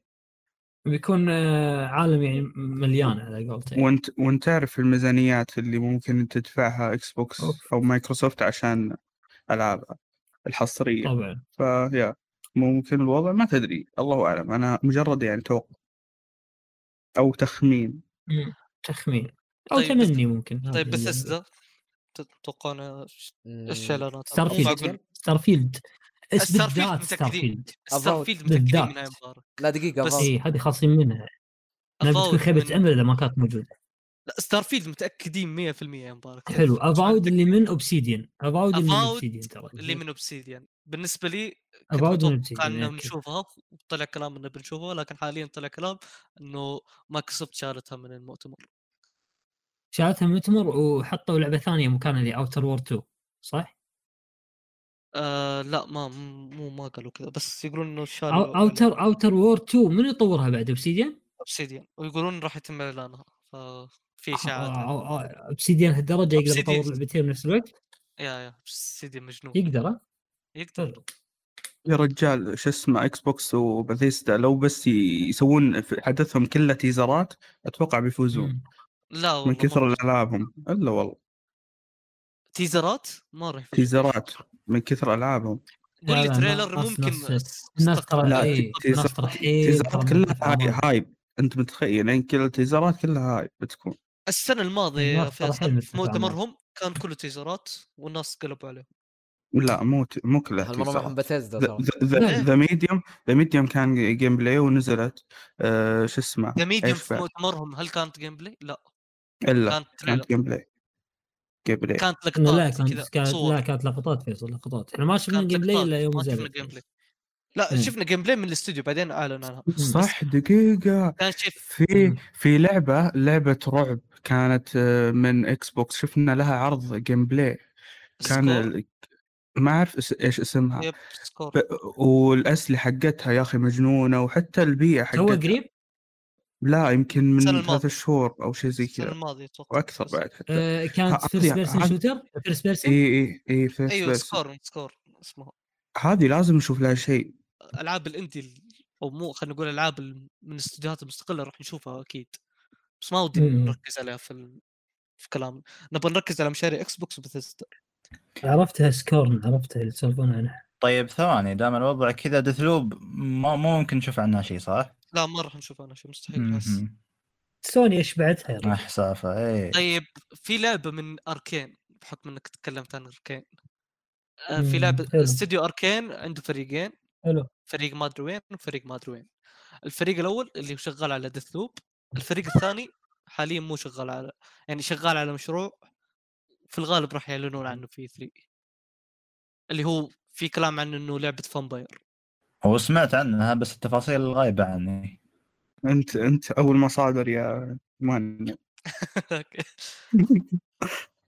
Speaker 1: بيكون آه، عالم يعني مليان على قولته
Speaker 2: وانت وانت تعرف الميزانيات اللي ممكن تدفعها اكس بوكس
Speaker 1: أوف.
Speaker 2: او مايكروسوفت عشان العابها الحصريه
Speaker 1: طبعا
Speaker 2: فيا ممكن الوضع ما تدري الله اعلم انا مجرد يعني توقع او تخمين
Speaker 1: مم. تخمين او
Speaker 3: طيب، بس-
Speaker 1: تمني ممكن هذا
Speaker 3: طيب
Speaker 1: اللي-
Speaker 3: بثيسدا تتوقعون إيش-
Speaker 1: آه،
Speaker 3: ايش اعلانات
Speaker 1: ستارفيلد. ستارفيلد اس
Speaker 3: ستارفيلد
Speaker 1: بالذات
Speaker 3: متأكدين.
Speaker 1: ستارفيلد
Speaker 3: ستارفيلد متاكدين
Speaker 1: بالذات.
Speaker 3: منها يا مبارك
Speaker 5: لا دقيقه
Speaker 3: بس-
Speaker 5: بس
Speaker 2: إيه.
Speaker 1: اي هذه خاصين منها لما
Speaker 3: Avowed
Speaker 1: تكون خيبه
Speaker 3: من-
Speaker 1: امل اذا ما كانت موجوده
Speaker 3: لا ستارفيلد متاكدين 100% يا مبارك
Speaker 1: حلو اباود اللي من اوبسيديان اباود اللي من
Speaker 3: Avowed
Speaker 1: اوبسيديان ترى
Speaker 3: اللي من اوبسيديان بالنسبه لي كنت
Speaker 1: اباود من
Speaker 3: متوقع
Speaker 1: اوبسيديان
Speaker 3: انه
Speaker 1: يعني كذا.
Speaker 3: بنشوفها وطلع كلام انه بنشوفها لكن حاليا طلع كلام انه مايكروسوفت شالتها من المؤتمر
Speaker 1: شالتها من متمر وحطوا لعبه ثانيه مكانها اللي اوتر وور 2 صح؟
Speaker 3: آه لا ما مو ما قالوا كذا بس يقولون انه شالوا
Speaker 1: اوتر اوتر وور 2 من يطورها بعد اوبسيديان؟
Speaker 3: اوبسيديان ويقولون راح يتم اعلانها
Speaker 1: آه،
Speaker 3: ففي اشاعات عن-
Speaker 1: اوبسيديان هالدرجه يقدر
Speaker 3: Obsidian.
Speaker 1: يطور لعبتين بنفس الوقت؟
Speaker 3: يا يا اوبسيديان مجنون
Speaker 1: يقدر ها؟ طيب.
Speaker 3: يقدر
Speaker 2: يا رجال شو اسمه اكس بوكس وباثيستا لو بس ي- يسوون في حدثهم كله تيزرات اتوقع بيفوزون
Speaker 1: مم.
Speaker 3: لا والله
Speaker 2: من كثر
Speaker 3: مرة.
Speaker 2: العابهم الا والله
Speaker 3: تيزرات ما راح يفوز.
Speaker 2: تيزرات من كثر العابهم
Speaker 1: لا، لا،
Speaker 3: كل
Speaker 1: الناس-
Speaker 3: تريلر
Speaker 1: الناس-
Speaker 3: ممكن
Speaker 1: الناس- الناس ترى
Speaker 2: لا،
Speaker 1: إيه،
Speaker 2: تيزر-
Speaker 1: الناس ترى إيه. حيل ترى
Speaker 2: تيزرات كلها
Speaker 1: مركزة
Speaker 2: هاي
Speaker 1: مرة.
Speaker 2: هايب انت متخيل يعني كل التيزرات كلها هاي بتكون
Speaker 3: السنه الماضيه
Speaker 1: الناس
Speaker 3: في,
Speaker 1: صراحة
Speaker 3: أصدق- في
Speaker 1: المتفاهمات.
Speaker 3: مؤتمرهم كان كله تيزرات والناس قلبوا عليهم
Speaker 2: لا مو ت- مو كلها
Speaker 5: هالمره معهم بثيزدا ترى
Speaker 1: لا.
Speaker 2: ذا ميديوم ذا ميديوم كان جيم بلاي ونزلت آه، شو اسمه
Speaker 3: ذا ميديوم
Speaker 2: إيش
Speaker 3: في
Speaker 2: بعد؟
Speaker 3: مؤتمرهم هل كانت جيم بلاي؟ لا
Speaker 2: الا
Speaker 3: كانت تريلر
Speaker 2: كانت جيم بلاي جيم بلاي
Speaker 3: كانت
Speaker 1: إنه لا
Speaker 3: لقطات
Speaker 1: كانت
Speaker 3: كذا
Speaker 1: كانت لا
Speaker 3: صور
Speaker 1: كانت لقطات فيصل لقطات احنا ما شفنا
Speaker 3: كانت
Speaker 1: جيم بلاي
Speaker 3: لقطات،
Speaker 1: الا يوم إيه.
Speaker 3: ما شفنا
Speaker 1: نزلت
Speaker 3: جيم بلاي. لا
Speaker 1: مم.
Speaker 3: شفنا جيم بلاي من الاستوديو بعدين اعلن عنها
Speaker 2: صح دقيقة
Speaker 3: كان شيء
Speaker 2: في
Speaker 1: مم.
Speaker 2: في لعبة لعبة رعب كانت آه، من اكس بوكس شفنا لها عرض جيم بلاي كان
Speaker 3: سكور. إيه.
Speaker 2: ال- ما اعرف اس- ايش اسمها
Speaker 3: يب سكور
Speaker 2: ب- والاسلحه حقتها يا اخي مجنونه وحتى البيئه
Speaker 1: تو
Speaker 2: حقتها
Speaker 1: قريب
Speaker 2: لا يمكن من
Speaker 3: السنة
Speaker 2: ثلاث
Speaker 3: الماضية. إيه.
Speaker 2: شهور او شيء زي
Speaker 3: السنه
Speaker 2: كذا
Speaker 3: الماضيه اتوقع
Speaker 2: واكثر
Speaker 3: بس.
Speaker 2: بعد حتى
Speaker 1: آه، كانت
Speaker 2: ها-
Speaker 1: فيرست
Speaker 2: ها-
Speaker 1: بيرسون
Speaker 2: ها- إيه.
Speaker 1: شوتر فيرست بيرسون
Speaker 2: اي اي اي فيرست
Speaker 3: ايوه
Speaker 2: بيرسون.
Speaker 3: سكور سكور اسمه
Speaker 2: هذه لازم نشوف لها شيء
Speaker 3: العاب الاندي ال- او مو خلينا نقول العاب ال- من استديوهات مستقله راح نشوفها اكيد بس ما ودي
Speaker 1: مم.
Speaker 3: نركز عليها في ال... في كلام نبغى نركز على مشاريع اكس بوكس وبثيستا
Speaker 1: عرفتها سكورن عرفتها اللي يسولفون عنها
Speaker 4: طيب ثواني دام الوضع كذا دثلوب ما مو ممكن نشوف عنها شيء صح؟
Speaker 3: لا ما راح نشوف انا شيء مستحيل إيه، بس
Speaker 4: مهم.
Speaker 1: سوني اشبعتها يا رجل.
Speaker 4: آه، حسافه اي
Speaker 3: طيب في لعبه من اركين بحكم انك تكلمت عن اركين آه، في
Speaker 1: مم،
Speaker 3: لعبه
Speaker 1: حلو.
Speaker 3: استوديو اركين عنده فريقين
Speaker 1: حلو
Speaker 3: فريق ما ادري وين وفريق ما ادري وين الفريق الاول اللي شغال على ديث لوب الفريق الثاني حاليا مو شغال على يعني شغال على مشروع في الغالب راح يعلنون عنه في 3 اللي هو في كلام عنه انه لعبه فامباير
Speaker 4: هو سمعت عنها بس التفاصيل غايبه عني
Speaker 2: انت انت اول مصادر يا مان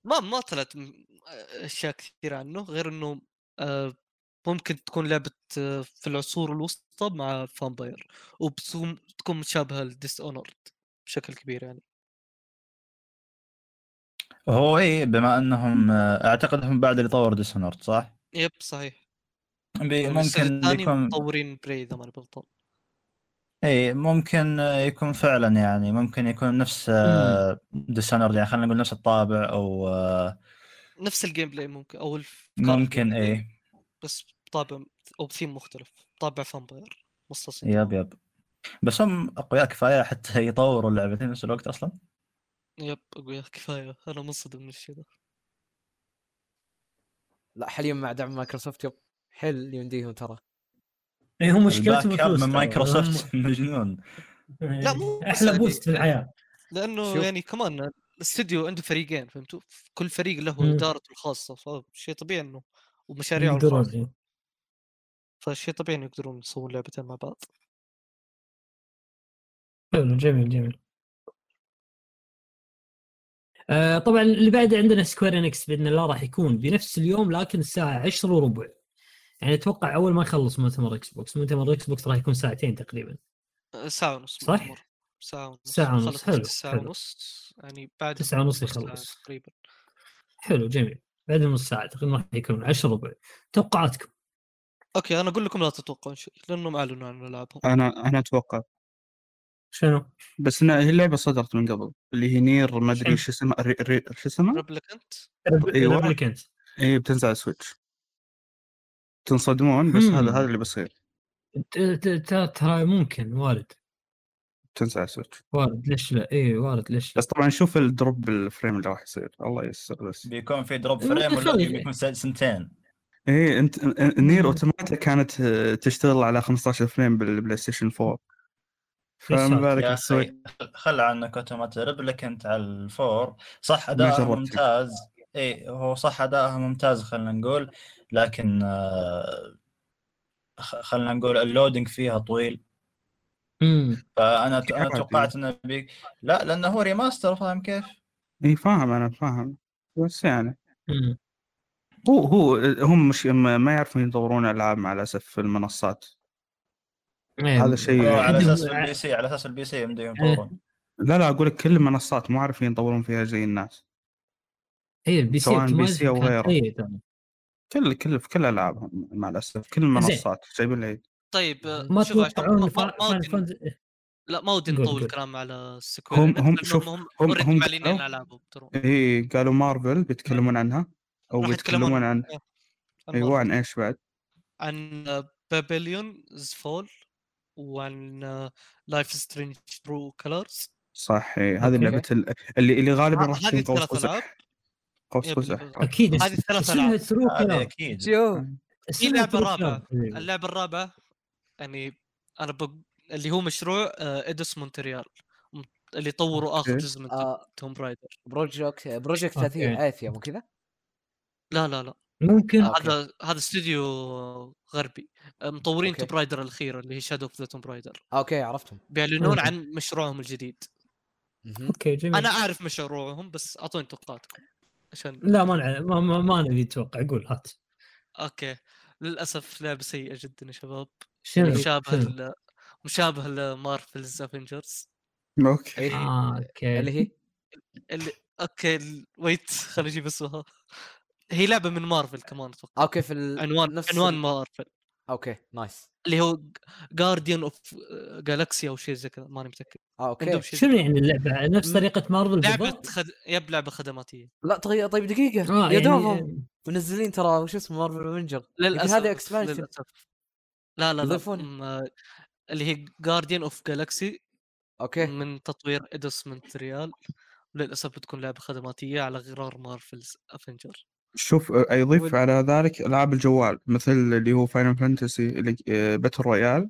Speaker 3: ما ما طلعت م- اشياء كثير عنه غير انه آه، ممكن تكون لعبه آه، في العصور الوسطى مع فامباير وتكون متشابهه لديس اونورد بشكل كبير يعني
Speaker 4: هو اي بما انهم آه، اعتقد هم بعد اللي طور ديسونورد صح؟
Speaker 3: يب صحيح
Speaker 4: بي-
Speaker 3: والجزء
Speaker 4: إيه، ممكن
Speaker 3: الثاني
Speaker 4: يكون
Speaker 3: مطورين براي اذا ماني غلطان
Speaker 4: اي ممكن آه، يكون فعلا يعني ممكن يكون نفس ديسونورد يعني خلينا نقول نفس الطابع او آه،
Speaker 3: نفس الجيم بلاي ممكن او الافكار
Speaker 4: ممكن
Speaker 3: الجديدة،
Speaker 4: اي
Speaker 3: بس بطابع او بثيم مختلف طابع فامباير مصاصين
Speaker 4: يب يب بس هم اقوياء كفايه حتى يطوروا اللعبتين نفس الوقت اصلا
Speaker 3: يب اقول يا كفايه انا منصدم من الشيء ذا
Speaker 5: لا حاليا مع دعم مايكروسوفت يب حل يمديهم ترى
Speaker 1: إيه، هم مشكلتهم
Speaker 4: الباك أب
Speaker 1: الفلوس
Speaker 4: من
Speaker 1: ترى. هم-
Speaker 4: مايكروسوفت مجنون
Speaker 1: لا
Speaker 3: لا، مو بس
Speaker 1: احلى
Speaker 3: يعني-
Speaker 1: بوست إيه. في الحياه
Speaker 3: لانه
Speaker 5: شوف.
Speaker 3: يعني كمان الاستديو عنده فريقين فهمتوا كل فريق
Speaker 1: مم.
Speaker 3: له ادارته الخاصه فشيء طبيعي انه
Speaker 1: يعني
Speaker 3: ومشاريعه الخاصه
Speaker 1: يقدرون
Speaker 3: فشيء طبيعي انه يقدرون يسوون لعبتين مع بعض
Speaker 1: حلو جميل جميل آه طبعا اللي بعد عندنا سكوير انكس باذن الله راح يكون بنفس اليوم لكن الساعه 10 وربع يعني اتوقع اول ما يخلص مؤتمر اكس بوكس مؤتمر اكس بوكس راح يكون ساعتين تقريبا
Speaker 3: أه، ساعه ونص
Speaker 1: صح؟
Speaker 3: بالأمر. ساعه ونص
Speaker 1: ساعة ونص،
Speaker 3: خلص
Speaker 1: حلو،
Speaker 3: ساعه
Speaker 1: حلو.
Speaker 3: ونص يعني بعد
Speaker 1: تسعة ونص
Speaker 3: نص ساعة
Speaker 1: يخلص.
Speaker 3: تقريبا
Speaker 1: حلو جميل بعد نص ساعه تقريبا راح يكون 10 وربع توقعاتكم
Speaker 3: اوكي انا اقول لكم لا تتوقعون شيء لانهم اعلنوا عن
Speaker 1: أه؟
Speaker 3: العابهم
Speaker 2: انا انا اتوقع
Speaker 1: شنو؟
Speaker 2: بس انها هي اللعبه صدرت من قبل اللي هي نير ما ادري شو اسمها ري- ري- شو اسمها
Speaker 3: ريبليكنت
Speaker 2: أيوة.
Speaker 1: ريبليكنت.
Speaker 2: اي بتنزل على السويتش تنصدمون بس
Speaker 1: مم.
Speaker 2: هذا هذا اللي بيصير
Speaker 1: ت- ت- ت- ترى ممكن وارد
Speaker 2: بتنزل على السويتش
Speaker 1: وارد ليش لا اي وارد ليش لا
Speaker 2: بس طبعا شوف الدروب الفريم اللي راح يصير الله ييسر بس
Speaker 4: بيكون في دروب
Speaker 1: ممكن
Speaker 4: فريم ولا
Speaker 1: خلي-
Speaker 4: بيكون سنت- سنتين
Speaker 2: ايه انت أن- نير
Speaker 1: مم.
Speaker 2: اوتوماتا كانت آه، تشتغل على 15 فريم بالبلاي ستيشن 4 فمبارك
Speaker 4: يا
Speaker 2: السويتش
Speaker 4: اخي خل عنك اوتومات ريبلكنت على الفور صح
Speaker 2: ما
Speaker 4: اداءها
Speaker 2: جربت.
Speaker 4: ممتاز اي هو صح اداءها ممتاز خلينا نقول لكن آه، خ- خلينا نقول اللودنج فيها طويل
Speaker 1: مم.
Speaker 4: فانا ت- انا
Speaker 2: عادي.
Speaker 4: توقعت انه بي... لا لانه هو ريماستر فاهم كيف؟
Speaker 2: اي إيه، فاهم انا فاهم بس يعني
Speaker 1: مم.
Speaker 2: هو هو هم مش ما ما يعرفون يدورون العاب مع الاسف في المنصات
Speaker 1: إيه.
Speaker 2: هذا شيء يعني.
Speaker 4: هو على
Speaker 1: عندهم-
Speaker 4: اساس البي سي على اساس البي سي يمديهم
Speaker 1: إيه.
Speaker 4: يطورون
Speaker 2: لا لا اقول لك كل المنصات مو عارفين يطورون فيها زي الناس
Speaker 1: اي البي سي
Speaker 2: سواء بي سي أو
Speaker 1: optimization إيه، كان إيه،
Speaker 2: غيره.
Speaker 1: سيء ترى.
Speaker 2: كل كل في كل العابهم مع الاسف كل المنصات جايبين العيد
Speaker 3: طيب آه،
Speaker 1: ما
Speaker 3: شوف عشان ما-
Speaker 1: توقعون
Speaker 3: ما- ما ودي-
Speaker 1: فانتزي
Speaker 3: لا ما ودي
Speaker 1: قول-
Speaker 3: نطول
Speaker 1: قول.
Speaker 3: الكلام على سكوير
Speaker 2: هم-
Speaker 3: إنكس،
Speaker 2: هم-
Speaker 3: لأنهم
Speaker 2: شوف،
Speaker 3: هم
Speaker 2: هم-
Speaker 3: already
Speaker 2: هم
Speaker 3: معلنين
Speaker 2: قالوا-
Speaker 3: العابهم ترى
Speaker 2: اي إيه، قالوا مارفل بيتكلمون عنها او
Speaker 3: راح يتكلمون
Speaker 2: بيتكلمون عن
Speaker 3: إيه، عن
Speaker 2: ايوه
Speaker 3: مارفل.
Speaker 2: عن ايش بعد
Speaker 3: عن بابليون زفول وعن لايف سترينج برو كلرز
Speaker 2: صح إيه، هذه
Speaker 5: أوكي.
Speaker 2: لعبه ال- اللي اللي غالبا راح تكون
Speaker 3: هذه
Speaker 2: قوس
Speaker 3: الثلاث
Speaker 2: قزح
Speaker 3: العاب
Speaker 2: قوس
Speaker 3: يب-
Speaker 2: قزح
Speaker 1: اكيد
Speaker 3: هذه الثلاث
Speaker 1: اسمها
Speaker 3: العاب
Speaker 1: ثرو
Speaker 4: هذا
Speaker 1: كلام
Speaker 2: إيه.
Speaker 4: اكيد
Speaker 5: شوف
Speaker 1: اسمها
Speaker 3: اللعبة
Speaker 1: ثرو
Speaker 3: الرابعة.
Speaker 1: كلام.
Speaker 3: اللعبه الرابعه يعني انا بق... اللي هو مشروع آه، ادوس مونتريال م- اللي طوروا اخر
Speaker 2: أوكي.
Speaker 3: جزء من
Speaker 2: إيه.
Speaker 5: آه،
Speaker 3: توم رايدر
Speaker 5: بروجكت بروجكت
Speaker 1: أوكي.
Speaker 5: اثيا اثيا مو كذا؟
Speaker 3: لا لا لا
Speaker 1: ممكن
Speaker 5: آه. أوكي.
Speaker 3: هذا هذا استوديو غربي آه، مطورين
Speaker 5: أوكي.
Speaker 3: توم رايدر الاخيره اللي هي شادو اوف ذا توم رايدر
Speaker 5: اوكي عرفتهم
Speaker 3: بيعلنون
Speaker 1: أوكي.
Speaker 3: عن مشروعهم الجديد
Speaker 5: مهم.
Speaker 1: اوكي جميل
Speaker 3: انا اعرف مشروعهم بس اعطوني توقعاتكم عشان
Speaker 1: لا ما نع- ما ما, ما نبي نتوقع قول هات
Speaker 3: اوكي للاسف لعبه سيئه جدا يا شباب
Speaker 1: شنو
Speaker 3: مشابهه
Speaker 1: شنو؟
Speaker 3: ل... مشابهه لمارفلز افنجرز
Speaker 2: اوكي
Speaker 5: ايه
Speaker 1: آه، اوكي
Speaker 5: اللي هي
Speaker 3: اللي اوكي ال- ويت خليني اجيب اسمها هي لعبه من مارفل كمان اتوقع
Speaker 5: اوكي في ال...
Speaker 3: عنوان
Speaker 5: نفس
Speaker 3: عنوان
Speaker 5: ال-
Speaker 3: مارفل
Speaker 5: اوكي نايس
Speaker 3: اللي هو جارديان اوف جالكسي او آه، شيء زي كذا ماني متاكد
Speaker 5: اه اوكي
Speaker 3: عندهم شيء زي
Speaker 1: شنو يعني اللعبه نفس
Speaker 3: م-
Speaker 1: طريقه مارفل
Speaker 3: كذا. لعبه
Speaker 1: بالضبط؟
Speaker 3: خد... يب لعبه خدماتيه
Speaker 5: لا طيب طيب دقيقه
Speaker 1: اه
Speaker 5: يا
Speaker 1: يعني
Speaker 5: دوبهم منزلين ترى وش اسمه مارفل افنجر
Speaker 3: للاسف
Speaker 5: هذا expansion.
Speaker 3: للاسف لا لا لا
Speaker 5: يضيفون.
Speaker 3: م- اللي هي جارديان اوف جالكسي
Speaker 5: اوكي
Speaker 3: من تطوير ادوس مونتريال للاسف بتكون لعبه خدماتيه على غرار مارفلز افنجر
Speaker 2: شوف آه، يضيف
Speaker 5: وال-
Speaker 2: على ذلك العاب الجوال مثل اللي هو فاينل فانتسي اللي باتل رويال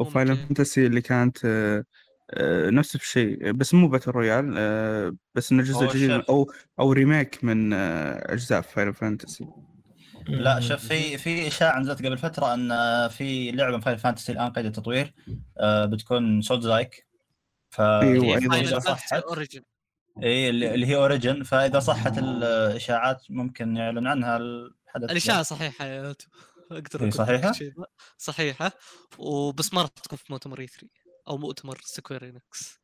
Speaker 2: وفاينل
Speaker 3: ممكن.
Speaker 2: فانتسي اللي كانت آه، آه، نفس الشيء بس مو باتل رويال آه، بس انه جزء
Speaker 4: هو
Speaker 2: جديد
Speaker 4: شاف-
Speaker 2: او او ريميك من آه، اجزاء فاينل فانتسي
Speaker 1: يعني-
Speaker 4: لا شوف في في اشاعه نزلت قبل فتره ان في لعبه فاين فانتسي الان قيد التطوير آه، بتكون سولز
Speaker 1: إيه،
Speaker 4: لايك ف
Speaker 2: أيوة، أيضاً.
Speaker 4: اذا
Speaker 3: فاينل
Speaker 4: صحت
Speaker 3: اوريجن
Speaker 4: اي إيه، اللي اللي هي اوريجن فاذا صحت الاشاعات ممكن يعلن عنها الحدث
Speaker 3: الاشاعه صحيحه يا يوتيوب. اقدر
Speaker 4: إيه،
Speaker 3: أقول لك
Speaker 4: صحيحة؟
Speaker 3: الشيء ذا. صحيحه وبس ما راح تكون في مؤتمر اي 3 او مؤتمر سكوير انكس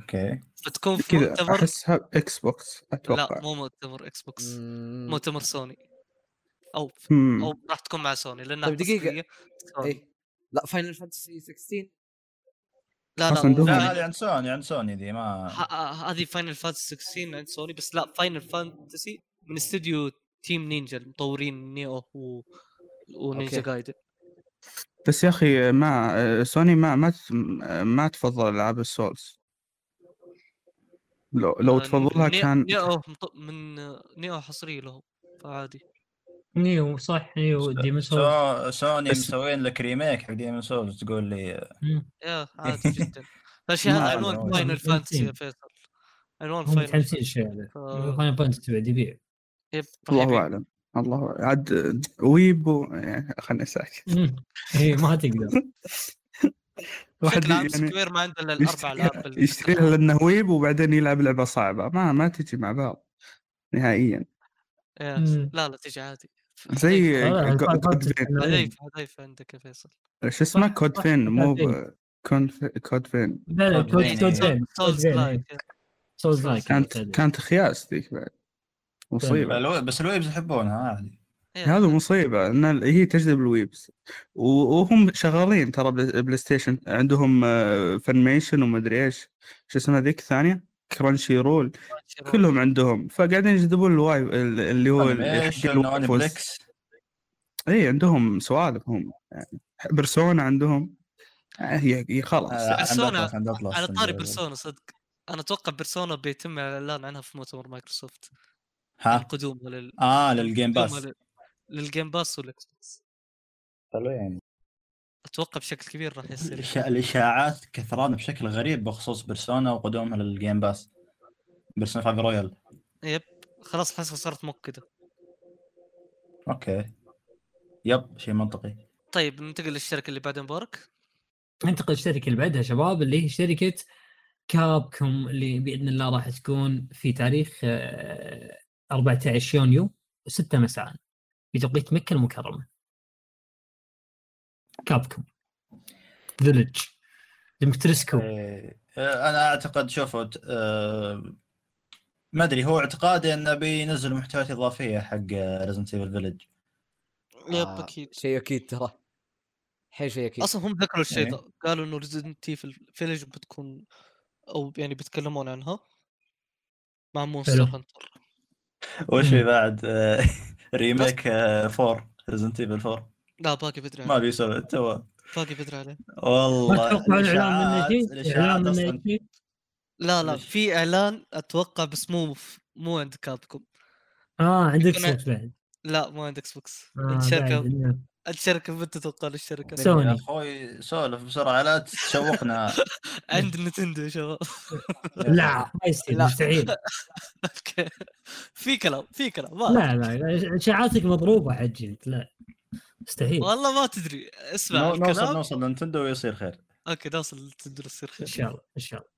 Speaker 4: اوكي
Speaker 3: بتكون في
Speaker 2: كذا
Speaker 3: مؤتمر
Speaker 2: احسها اكس بوكس
Speaker 3: لا
Speaker 2: اتوقع
Speaker 3: مو مؤتمر اكس بوكس
Speaker 5: مم.
Speaker 3: مؤتمر سوني او
Speaker 2: مم.
Speaker 3: او راح تكون مع سوني لانها
Speaker 5: طيب دقيقة.
Speaker 3: تصفية سوني.
Speaker 5: ايه لا فاينل فانتسي 16
Speaker 3: لا
Speaker 2: أصلاً
Speaker 3: لا
Speaker 2: دوم.
Speaker 4: لا
Speaker 3: لا
Speaker 4: هذه عن سوني عن سوني ذي ما
Speaker 3: ه- ه- هذه فاينل فانتسي 16 عند سوني بس لا فاينل فانتسي من استديو تيم نينجا المطورين نيو و... ونينجا
Speaker 5: أوكي.
Speaker 3: جايدن
Speaker 2: بس يا اخي ما آه، سوني ما ما تف- ما تفضل العاب السولز لو لو
Speaker 3: آه،
Speaker 2: تفضلها
Speaker 3: ني-
Speaker 2: كان
Speaker 3: نيو مط- من آه، نيو حصريه لهم فعادي
Speaker 1: نيو صح نيو ديمون سولز
Speaker 4: سو... سوني
Speaker 2: بس-
Speaker 4: مسوين لك ريميك حق ديمون سولز تقول لي
Speaker 1: مم.
Speaker 3: يا إيه، عادي جدا فالشيء
Speaker 4: ما
Speaker 3: هذا
Speaker 4: أدري
Speaker 3: عنوان
Speaker 4: والله.
Speaker 3: فاينل فانتسي يا
Speaker 1: ممكن.
Speaker 3: فيصل عنوان
Speaker 1: هم
Speaker 3: فاينل
Speaker 1: متحمسين الشيء هذا
Speaker 3: آه.
Speaker 1: فاينل فانتسي بعد يبيع
Speaker 3: يب
Speaker 2: الله اعلم الله أعلم. عاد آه، ويبو يعني خلني ساكت
Speaker 1: مم. اي ما تقدر
Speaker 2: واحد
Speaker 3: بشكل عام
Speaker 2: يعني
Speaker 3: سكوير ما عنده الا الاربع العاب
Speaker 2: يشتريها
Speaker 3: بال-
Speaker 2: يشتريها لانه ويب وبعدين يلعب لعبه صعبه ما ما تجي مع بعض نهائيا
Speaker 3: يا،
Speaker 1: مم.
Speaker 3: إيه، لا لا تجي عادي إيه،
Speaker 2: زي
Speaker 1: لا، لا،
Speaker 2: كود-
Speaker 3: آه،
Speaker 1: Final
Speaker 2: كود
Speaker 1: Fantasy
Speaker 2: فين.
Speaker 1: عنوانين.
Speaker 3: هدايف هدايف عندك يا فيصل
Speaker 2: شو اسمه
Speaker 1: صح،
Speaker 2: كود
Speaker 1: صح،
Speaker 2: فين مو
Speaker 1: كود فين.
Speaker 3: إيه.
Speaker 2: ب- كون في- كود فين
Speaker 1: لا لا
Speaker 4: طب
Speaker 1: كود
Speaker 4: يعني
Speaker 1: كود
Speaker 4: سولز-
Speaker 1: زين كود
Speaker 3: سولز
Speaker 1: زين إيه.
Speaker 3: لايك
Speaker 1: سولز لايك
Speaker 2: كانت
Speaker 1: هذه.
Speaker 2: كانت خياس ذيك بعد مصيبه
Speaker 4: الو- بس الويبز يحبونها عادي
Speaker 2: هذا مصيبة ان ال- هي تجذب الويبس و- وهم شغالين ترى بل- بلاي ستيشن عندهم آه، فنميشن ومدري ايش شو اسمها ذيك الثانية كرانشي رول
Speaker 3: آه.
Speaker 2: كلهم عندهم فقاعدين يجذبون الواي ال- اللي هو ال-
Speaker 4: ايش
Speaker 2: حق الويبس.
Speaker 4: بليكس
Speaker 2: اي إيه، عندهم سوالف هم يعني بيرسونا عندهم آه، هي هي خلاص
Speaker 4: آه، عند
Speaker 3: بيرسونا-
Speaker 4: أطلس، عند أطلس.
Speaker 3: على طاري بيرسونا صدق انا اتوقع بيرسونا بيتم الاعلان عنها في مؤتمر مايكروسوفت
Speaker 2: آه.
Speaker 3: عن
Speaker 4: ها
Speaker 3: قدومها لل
Speaker 4: اه للجيم باس
Speaker 3: قدومها لل- للجيم باس والاكس بوكس
Speaker 4: حلو يعني
Speaker 3: اتوقع بشكل كبير راح يصير
Speaker 4: الإشا- الاشاعات كثران بشكل غريب بخصوص بيرسونا وقدومها للجيم باس بيرسونا 5 رويال
Speaker 3: يب خلاص حسب صارت مؤكده
Speaker 4: اوكي يب شيء منطقي
Speaker 3: طيب ننتقل للشركه اللي بعد مبارك
Speaker 1: ننتقل للشركه اللي بعدها شباب اللي هي شركه كابكم اللي باذن الله راح تكون في تاريخ آه، 14 يونيو 6 مساء بتوقيت مكه المكرمه. كابكم فيلج دمترسكو
Speaker 4: إيه، انا اعتقد شوفوا ت- آه، ما ادري هو اعتقادي انه بينزل محتويات اضافيه حق آه، ريزنت ايفل فيلج
Speaker 3: يب
Speaker 5: آه،
Speaker 3: اكيد
Speaker 5: شيء اكيد ترى حي شيء اكيد
Speaker 3: اصلا هم ذكروا الشيء
Speaker 4: إيه.
Speaker 3: ذا قالوا انه ريزدنت في الفيلج بتكون او يعني بيتكلمون عنها مع مونستر
Speaker 1: حلو.
Speaker 3: هانتر
Speaker 4: وش في
Speaker 1: مم.
Speaker 4: بعد آه، ريميك 4 ريزنت ايفل 4
Speaker 3: لا باقي بدري
Speaker 4: ما
Speaker 3: عليه
Speaker 4: بيسوي تو
Speaker 3: باقي بدري عليه
Speaker 1: ما
Speaker 4: والله
Speaker 1: تتوقع الاعلان منه
Speaker 4: الاشاعات
Speaker 1: شيء؟ اعلان
Speaker 4: الاشاعات
Speaker 1: منه
Speaker 4: اصلا
Speaker 1: شيء؟
Speaker 3: لا لا
Speaker 4: ليش؟
Speaker 3: في اعلان اتوقع بس مو ف- مو عند كابكم
Speaker 1: اه عندك
Speaker 3: أنا-
Speaker 1: سويتش بعد
Speaker 3: لا مو عند اكس بوكس
Speaker 1: آه،
Speaker 3: الشركه
Speaker 1: بعد.
Speaker 3: الشركه متى تتوقع الشركه
Speaker 1: سوني.
Speaker 4: يا اخوي سولف بسرعه لا تشوقنا
Speaker 3: عند نتندو يا شباب
Speaker 1: لا ما يصير
Speaker 5: لا.
Speaker 1: مستحيل
Speaker 3: أوكي. في كلام في كلام ما
Speaker 1: لا لا لا اشاعاتك مضروبه عجلت لا مستحيل
Speaker 3: والله ما تدري اسمع
Speaker 4: نو- نوصل
Speaker 3: الكلام
Speaker 4: نوصل نتندو ويصير خير
Speaker 3: اوكي نوصل نتندو يصير
Speaker 1: ان
Speaker 3: خير
Speaker 1: شاء الله ان شاء الله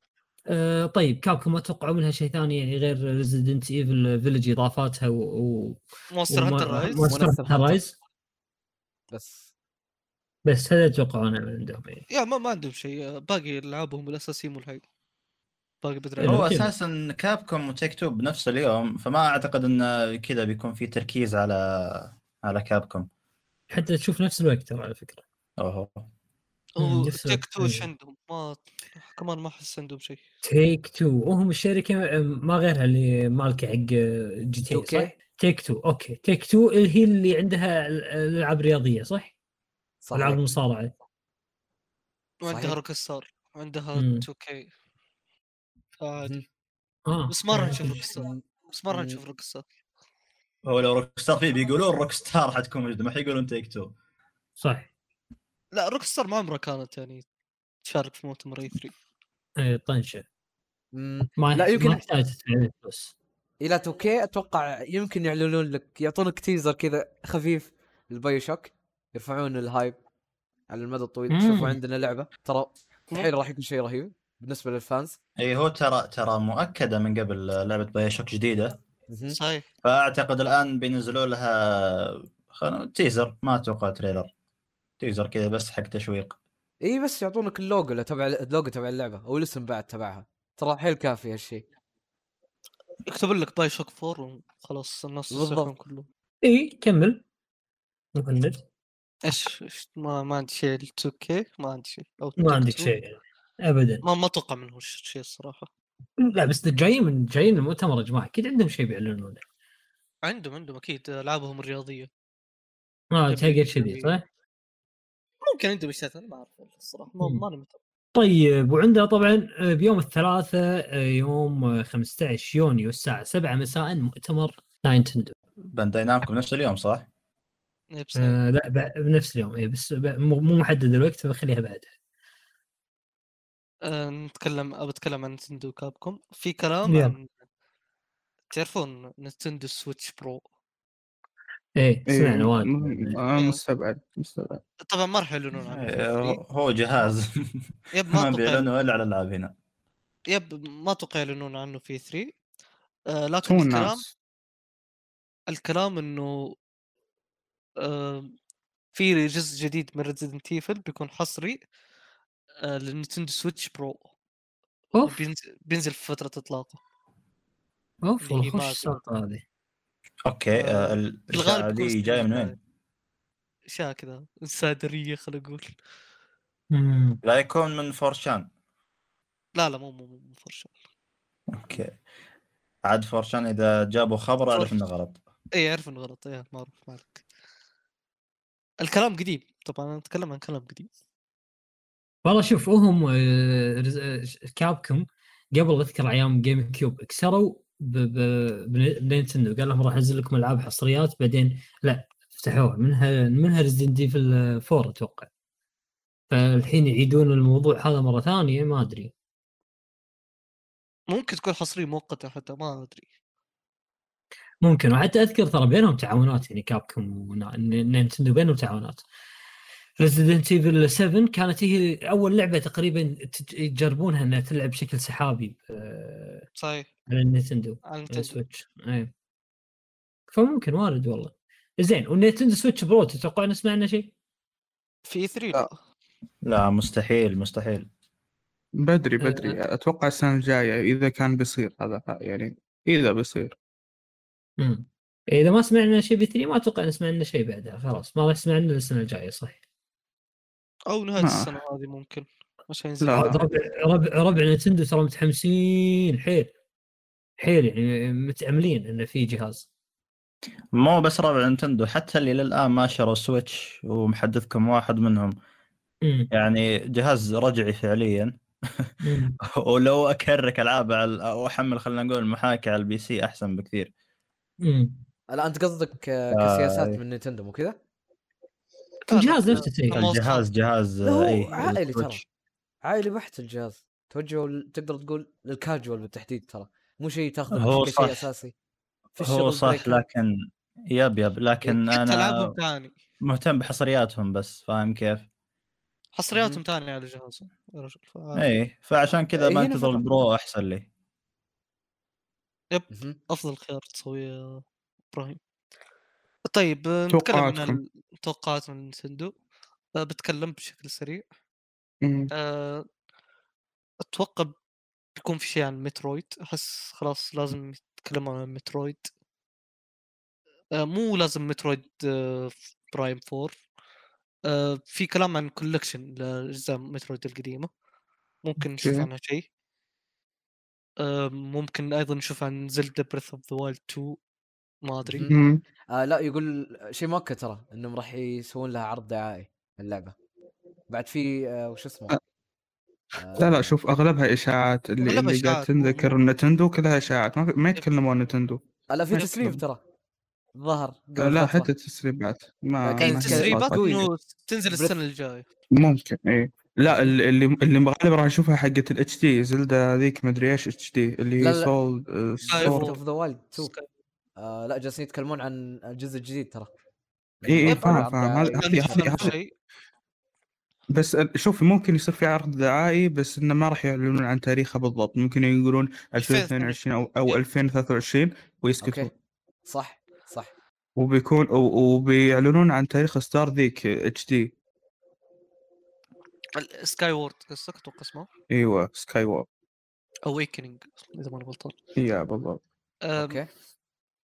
Speaker 1: آه طيب كابكم ما توقعوا منها شيء ثاني يعني غير ريزيدنت ايفل فيلج اضافاتها و, و...
Speaker 3: مونستر هانتر رايز
Speaker 5: ونفس
Speaker 1: مونستر
Speaker 5: الهانتر.
Speaker 1: رايز
Speaker 5: بس
Speaker 1: بس هذا يتوقعون من عندهم يعني
Speaker 3: يا ما, ما عندهم شيء باقي العابهم الاساسيه مو الحق باقي
Speaker 1: حلو.
Speaker 4: هو
Speaker 3: بدري
Speaker 1: كيف؟
Speaker 4: اساسا كابكوم وتيك تو بنفس اليوم فما اعتقد انه كذا بيكون في تركيز على على كابكوم
Speaker 1: حتى تشوف نفس الوقت ترى على فكره
Speaker 4: اوه
Speaker 1: مم، نفس
Speaker 3: تيك تو ايش
Speaker 1: الشيء.
Speaker 3: عندهم ما كمان ما احس عندهم شيء
Speaker 1: تيك تو وهم الشركه ما غيرها اللي مالكه حق جي تي صح؟
Speaker 5: اوكي
Speaker 1: تيك تو اوكي تيك تو اللي هي اللي عندها ال- الالعاب الرياضيه صح؟ العاب
Speaker 5: صح
Speaker 1: المصارعه
Speaker 3: وعندها
Speaker 5: صحيح.
Speaker 3: روك ستار وعندها
Speaker 1: مم.
Speaker 3: 2 كي فعادي
Speaker 1: اه
Speaker 3: بس ما راح نشوف روك ستار بس ما راح
Speaker 5: مم.
Speaker 3: نشوف روك ستار
Speaker 4: هو لو روك ستار فيه بيقولون روك ستار حتكون موجوده ما حيقولون تيك تو
Speaker 1: صح
Speaker 3: لا روك ستار ما عمرها كانت يعني تشارك في مؤتمر اي 3
Speaker 1: إيه، طنشه
Speaker 5: مم.
Speaker 1: ما
Speaker 5: لا، يمكن-
Speaker 1: ما يحتاج تدفع فلوس
Speaker 5: الى توكي اتوقع يمكن يعلنون لك يعطونك تيزر كذا خفيف للبايو شوك يرفعون الهايب على المدى الطويل
Speaker 1: مم.
Speaker 5: شوفوا عندنا لعبه ترى الحين راح يكون شيء رهيب بالنسبه للفانز
Speaker 4: اي هو ترى ترى مؤكده من قبل لعبه باي شوك جديده
Speaker 5: مهم.
Speaker 3: صحيح
Speaker 4: فاعتقد الان بينزلوا لها خلنا تيزر ما اتوقع تريلر تيزر كذا بس حق تشويق
Speaker 5: اي بس يعطونك اللوجو اللي تبع اللوجو تبع اللعبه او الاسم بعد تبعها ترى حيل كافي هالشيء
Speaker 3: يكتب لك باي شوك 4 وخلاص الناس
Speaker 5: بالضبط.
Speaker 3: يسولفون كلهم
Speaker 1: اي كمل مهند
Speaker 3: ايش ايش ما ما عندي شيء 2 كي ما عندي شيء او
Speaker 1: ما عندك
Speaker 3: 2K.
Speaker 1: شيء يعني. ابدا
Speaker 3: ما ما اتوقع منهم ش- شيء الصراحه
Speaker 1: لا بس جايين من جايين المؤتمر يا جماعه اكيد عندهم شيء بيعلنونه
Speaker 3: عندهم عندهم اكيد العابهم الرياضيه
Speaker 1: ما
Speaker 3: جميل،
Speaker 1: تلقى آه، كذي
Speaker 3: جميل.
Speaker 1: صح؟
Speaker 3: ممكن عندهم شيء انا ما اعرف والله الصراحه ما
Speaker 1: مم.
Speaker 3: ماني متابع
Speaker 1: طيب وعندنا طبعا آه، بيوم الثلاثاء آه، يوم آه، 15 يونيو الساعه 7 مساء مؤتمر ناينتندو
Speaker 4: بانداي نامكو نفس اليوم صح؟
Speaker 3: إيه بس
Speaker 1: آه لا ب- بنفس اليوم اي بس ب- مو مو محدد الوقت فخليها بعدها
Speaker 3: آه، نتكلم أبى أتكلم عن نتندو كابكم في كلام
Speaker 1: يلا.
Speaker 3: عن تعرفون نتندو سويتش برو
Speaker 1: ايه
Speaker 2: إيه،
Speaker 1: سمعنا
Speaker 2: م-
Speaker 1: وايد
Speaker 2: آه،
Speaker 3: إيه.
Speaker 2: مستبعد مستبعد
Speaker 3: طبعا ما راح يعلنون عنه
Speaker 1: آه،
Speaker 4: إيه، هو جهاز
Speaker 3: يب ما
Speaker 4: ما
Speaker 3: أتوقع
Speaker 4: بيعلنوا الا على الالعاب هنا
Speaker 3: يب ما أتوقع يعلنون عنه في 3 آه،
Speaker 2: تو
Speaker 3: لكن الكلام
Speaker 2: الناس
Speaker 3: الكلام إنه آه، في جزء جديد من ريزيدنت ايفل بيكون حصري آه، للنتندو سويتش برو
Speaker 1: اوف
Speaker 3: بينزل- بينزل في فترة إطلاقه
Speaker 1: اوف
Speaker 3: اللي هي
Speaker 1: والله خوش
Speaker 3: مازن.
Speaker 1: السلطه هذه
Speaker 4: اوكي
Speaker 3: آه،
Speaker 4: آه، ال-
Speaker 3: في الغالب
Speaker 4: الإشاعة
Speaker 3: بيكون
Speaker 4: دي
Speaker 3: ستيف
Speaker 4: جايه من
Speaker 3: جوبز.
Speaker 4: وين؟
Speaker 3: أشياء كذا إنسادرية خلينا نقول
Speaker 1: مم.
Speaker 4: لا يكون من فورشان
Speaker 3: لا لا مو مو مو مو فرشة
Speaker 4: اوكي عاد فورشان اذا جابوا خبر اعرف انه غلط
Speaker 3: اي اعرف انه غلط ايه معروف مالك الكلام قديم طبعا انا اتكلم عن كلام قديم
Speaker 1: والله شوف آه، هم كابكم قبل اذكر ايام جيم كيوب كسروا ب- ب- بن- بنينتندو قال لهم راح انزل لكم العاب حصريات بعدين لا فتحوها منها منها ريزدنت ايفل 4 اتوقع فالحين يعيدون الموضوع هذا مره ثانيه ما ادري
Speaker 3: ممكن تكون حصريه مؤقته حتى ما ادري
Speaker 1: ممكن وحتى اذكر ترى بينهم تعاونات يعني كابكم ونينتندو بينهم تعاونات ريزيدنت ايفل 7 كانت هي اول لعبه تقريبا تج- يجربونها انها تلعب بشكل سحابي آه،
Speaker 3: صحيح
Speaker 1: على النينتندو
Speaker 3: على
Speaker 1: على
Speaker 3: نتندو
Speaker 1: سويتش اي فممكن وارد والله زين والنينتندو سويتش برو تتوقع نسمع عنه شيء؟
Speaker 3: في E 3
Speaker 2: لا.
Speaker 3: لا
Speaker 4: لا مستحيل مستحيل
Speaker 2: بدري بدري اتوقع السنه الجايه اذا كان بيصير هذا يعني اذا بيصير
Speaker 1: امم اذا ما سمعنا شيء ب 3 ما اتوقع نسمع عنه شيء بعدها خلاص ما راح نسمع عنه السنه الجايه صح؟
Speaker 3: او نهايه
Speaker 2: ما.
Speaker 3: السنه هذه ممكن عشان ينزل
Speaker 2: لا.
Speaker 1: عاد ربع ربع ربع نينتندو ترى متحمسين حيل حيل يعني متاملين انه في جهاز
Speaker 4: مو بس ربع نتندو حتى اللي للان ما شروا سويتش ومحدثكم واحد منهم
Speaker 1: امم
Speaker 4: يعني جهاز رجعي فعليا
Speaker 1: مم.
Speaker 4: ولو اكرك العاب على- او احمل خلينا نقول محاكي على البي سي احسن بكثير
Speaker 1: مم.
Speaker 5: لا انت قصدك آه،
Speaker 4: آه،
Speaker 5: كسياسات
Speaker 4: أي.
Speaker 5: من نينتندو وكذا
Speaker 1: الجهاز نفسه شيء.
Speaker 3: أنا واثق.
Speaker 4: الجهاز جهاز
Speaker 5: لا، هو
Speaker 4: اي
Speaker 5: عائلي ترى.
Speaker 4: السويتش.
Speaker 5: عائلي بحت الجهاز توجهوا ل- تقدر تقول للكاجوال بالتحديد ترى مو شيء
Speaker 4: هو
Speaker 5: تاخذه
Speaker 4: صح.
Speaker 5: كشيء اساسي في
Speaker 4: هو
Speaker 5: الشغل
Speaker 4: صح
Speaker 5: break.
Speaker 4: لكن يب يب لكن
Speaker 3: حتى
Speaker 4: انا
Speaker 3: العابهم ثاني
Speaker 4: مهتم بحصرياتهم بس فاهم كيف؟
Speaker 3: حصرياتهم ثاني على الجهاز يا رجل ف...
Speaker 4: اي إيه، فعشان كذا
Speaker 5: آه. إيه، هنا
Speaker 4: بنتظر
Speaker 5: فقط.
Speaker 4: البرو احسن لي
Speaker 5: مهم.
Speaker 3: افضل خيار تسويه يا ابراهيم طيب آه، نتكلم عن
Speaker 2: توقعاتكم.
Speaker 3: التوقعات من نينتندو آه، بتكلم بشكل سريع
Speaker 2: مم.
Speaker 3: آه، اتوقع بيكون في شيء عن مترويد احس خلاص لازم يتكلموا عن مترويد آه، مو لازم مترويد آه، برايم 4 آه، في كلام عن كولكشن لاجزاء مترويد القديمه ممكن نشوف
Speaker 2: أوكي.
Speaker 3: عنها شيء آه، ممكن ايضا نشوف عن زلدا بريث اوف ذا وايلد 2 ما ادري
Speaker 5: مهم.
Speaker 2: مم.
Speaker 5: آه لا يقول شيء مؤكد ترى انهم راح يسوون لها عرض دعائي اللعبه بعد في آه وش اسمه آه،
Speaker 2: لا لا شوف اغلبها اشاعات اللي,
Speaker 3: أغلبها
Speaker 2: اللي قاعد
Speaker 3: إشاعات، مو-
Speaker 2: تنذكر نتندو كلها اشاعات ما, في- ما يتكلموا عن نتندو
Speaker 5: آه، لا في
Speaker 3: ما
Speaker 5: تسريب
Speaker 2: يتكلم.
Speaker 5: ترى ظهر
Speaker 2: آه، لا
Speaker 5: فترة.
Speaker 2: حتى التسريبات ما
Speaker 5: كان
Speaker 2: ما هي
Speaker 5: كان-
Speaker 3: تسريبات
Speaker 2: إشاعات.
Speaker 3: انه تنزل
Speaker 5: Breath-
Speaker 3: السنه الجايه
Speaker 2: ممكن اي لا ال- اللي اللي غالبا راح نشوفها حقت الاتش دي زلدا ذيك مدري ايش اتش دي اللي
Speaker 5: لا،
Speaker 2: هي آه،
Speaker 5: لا.
Speaker 2: سول
Speaker 1: آه،
Speaker 5: Breath
Speaker 2: سول
Speaker 5: of the Wild 2
Speaker 3: Sky.
Speaker 5: آه لا جالسين يتكلمون عن الجزء الجديد ترى
Speaker 2: إي، إي،
Speaker 5: عرض
Speaker 2: فاهم، إيه،
Speaker 5: دعائي.
Speaker 2: فاهم. هذا-
Speaker 3: ما
Speaker 2: هذه-
Speaker 3: نشوف
Speaker 2: هذه-
Speaker 3: عنها
Speaker 2: هذه-
Speaker 3: شيء.
Speaker 2: بس ال- شوف ممكن يصير في عرض دعائي بس انه ما راح يعلنون عن تاريخها بالضبط ممكن يقولون 2022 او او 2023 ويسكتون
Speaker 5: اوكي صح صح
Speaker 2: وبيكون و- وبيعلنون عن تاريخ ستار ذيك اتش دي
Speaker 3: سكاي وورد قصدك اتوقع اسمه
Speaker 2: ايوه سكاي وور
Speaker 3: اويكننج اذا ماني غلطان
Speaker 2: يا بالضبط
Speaker 1: آه،
Speaker 3: أم،
Speaker 5: اوكي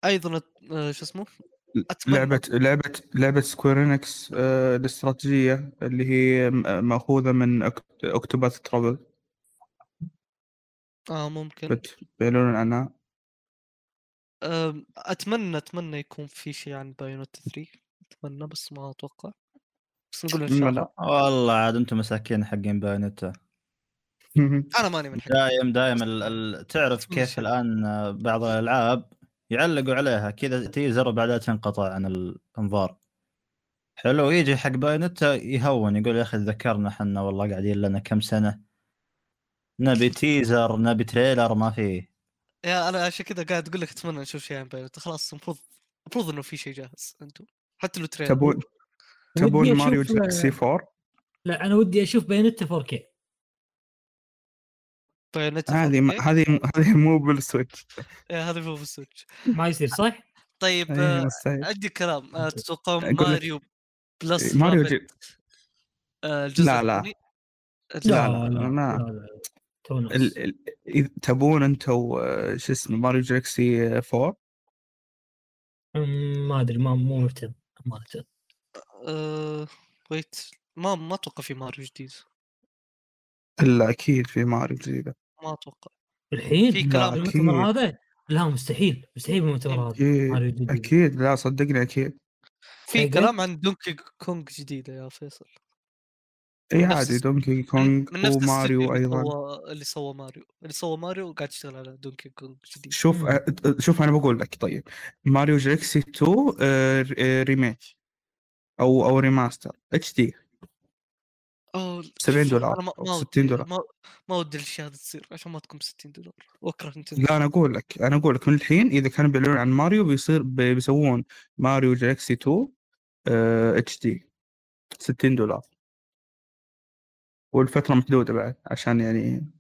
Speaker 3: ايضا أت- أه، شو اسمه اتمنى
Speaker 2: لعبة لعبة لعبة سكويرينكس آه الاستراتيجية اللي هي م- مأخوذة من أكت- أكتوباث ترابل
Speaker 3: اه ممكن
Speaker 2: بت- بيعلنون عنها
Speaker 3: أم، اتمنى اتمنى يكون في شيء عن بايونت 3 اتمنى بس ما اتوقع بس نقول ان شاء الله
Speaker 4: والله عاد انتم مساكين حقين بايونيتا
Speaker 3: انا ماني من حق
Speaker 4: دايم دايم ال... ال... تعرف كيف
Speaker 3: مساكين.
Speaker 4: الان بعض الالعاب يعلقوا عليها كذا تيزر وبعدها تنقطع عن الانظار حلو يجي حق بايونيتا يهون يقول يا اخي ذكرنا حنا والله قاعدين لنا كم سنه نبي تيزر نبي تريلر ما فيه
Speaker 3: يا انا عشان كذا قاعد اقول لك اتمنى نشوف شيء عن بايونت خلاص المفروض المفروض انه في شيء جاهز انتم حتى لو تريلر
Speaker 2: تبون
Speaker 1: ودي
Speaker 2: تبون
Speaker 1: أشوف-
Speaker 2: ماريو جاكسي 4
Speaker 1: لا انا ودي اشوف بيانات 4K
Speaker 3: بايونت
Speaker 2: هذه ما-
Speaker 3: إيه؟
Speaker 2: هذه هذه مو بالسويتش
Speaker 3: هذا إيه، هو في السويتش
Speaker 1: ما يصير صح؟
Speaker 3: طيب
Speaker 2: إيه،
Speaker 3: آه،
Speaker 2: مستحيل.
Speaker 3: عندي كلام آه، تتوقعون
Speaker 2: أقول لك-
Speaker 3: ماريو بلس
Speaker 2: ماريو
Speaker 3: رابط،
Speaker 2: جي-
Speaker 3: آه، الجزء
Speaker 2: لا، لا.
Speaker 3: الثاني؟
Speaker 2: لا،
Speaker 3: الجزء-
Speaker 2: لا،
Speaker 1: لا,
Speaker 2: ما-
Speaker 1: لا. تو نص.
Speaker 2: ال- ال- إذا تبون انتو آه، شو اسمه ماريو جاكسي 4
Speaker 1: أمم، ما ادري ما مو مهتم ما مهتم
Speaker 3: آه، ويت ما ما اتوقع في ماريو جديد
Speaker 2: الا اكيد في ماريو جديده
Speaker 3: ما اتوقع
Speaker 1: الحين
Speaker 3: في كلام
Speaker 1: المؤتمر هذا لا مستحيل مستحيل بالمؤتمر هذا
Speaker 2: اكيد
Speaker 1: ماريو جديد.
Speaker 2: اكيد لا صدقني اكيد إيه،
Speaker 3: في
Speaker 1: أيوة.
Speaker 3: كلام عن دونكي كونج جديده يا فيصل
Speaker 2: اي
Speaker 3: نفس
Speaker 2: عادي
Speaker 3: الس-
Speaker 2: دونكي كونج
Speaker 3: من نفس
Speaker 2: وماريو
Speaker 3: الاستديو اللي
Speaker 2: ايضا
Speaker 3: سوى- اللي سوى ماريو اللي سوى ماريو وقاعد يشتغل على دونكي كونج جديد
Speaker 2: شوف
Speaker 1: مم.
Speaker 2: أ- شوف انا بقول لك طيب ماريو جاكسي 2 آه، ر- آه، ريميك او او ريماستر اتش دي
Speaker 3: أو
Speaker 2: 70 دولار
Speaker 3: آه، أنا ما-
Speaker 2: أو
Speaker 3: ما
Speaker 2: 60
Speaker 3: ودي-
Speaker 2: دولار.
Speaker 3: ما, ما ودي الاشياء هذه تصير عشان ما تكون 60 دولار واكره نتندو
Speaker 2: لا انا اقول لك انا اقول لك من الحين اذا كانوا بيعلنون عن ماريو بيصير بي- بيسوون ماريو جاكسي 2 اتش دي 60 دولار والفتره محدوده بعد عشان يعني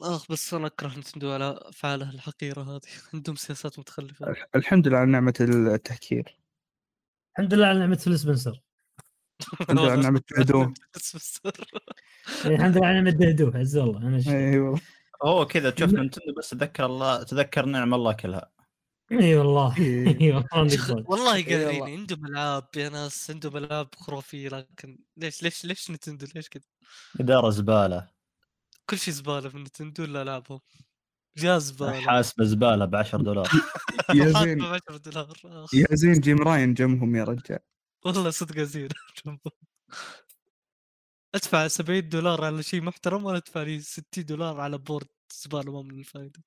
Speaker 3: اخ بس انا اكره نتندو على افعالها الحقيره هذه عندهم سياسات متخلفه
Speaker 2: الح- الحمد لله على نعمه التهكير
Speaker 1: الحمد لله على نعمه فيل سبنسر
Speaker 2: الحمد لله على نعمه الهدوء
Speaker 1: يعني الحمد لله على نعمه دهدوه عز الله انا ش...
Speaker 2: اي والله
Speaker 4: هو كذا تشوف
Speaker 1: لا.
Speaker 4: نتندو بس تذكر الله تذكر نعم الله كلها
Speaker 1: اي والله
Speaker 2: إيه.
Speaker 1: اي والله عندك
Speaker 3: شخ-
Speaker 1: صوت.
Speaker 3: والله
Speaker 5: إي والله.
Speaker 3: قادرين عندهم العاب يا ناس عندهم العاب خرافيه لكن ليش ليش ليش نتندو ليش كذا؟
Speaker 4: اداره زباله
Speaker 3: كل شيء زباله في نتندو الا العابهم جاز زباله
Speaker 4: حاسبه زباله ب 10 دولار
Speaker 2: يا
Speaker 3: محاسبة
Speaker 2: زين
Speaker 3: ب 10 دولار آخ،
Speaker 2: يا زين جيم راين جنبهم يا رجال
Speaker 3: والله صدق زين ادفع 70 دولار على شيء محترم ولا ادفع لي 60 دولار على بورد زباله ما من الفائده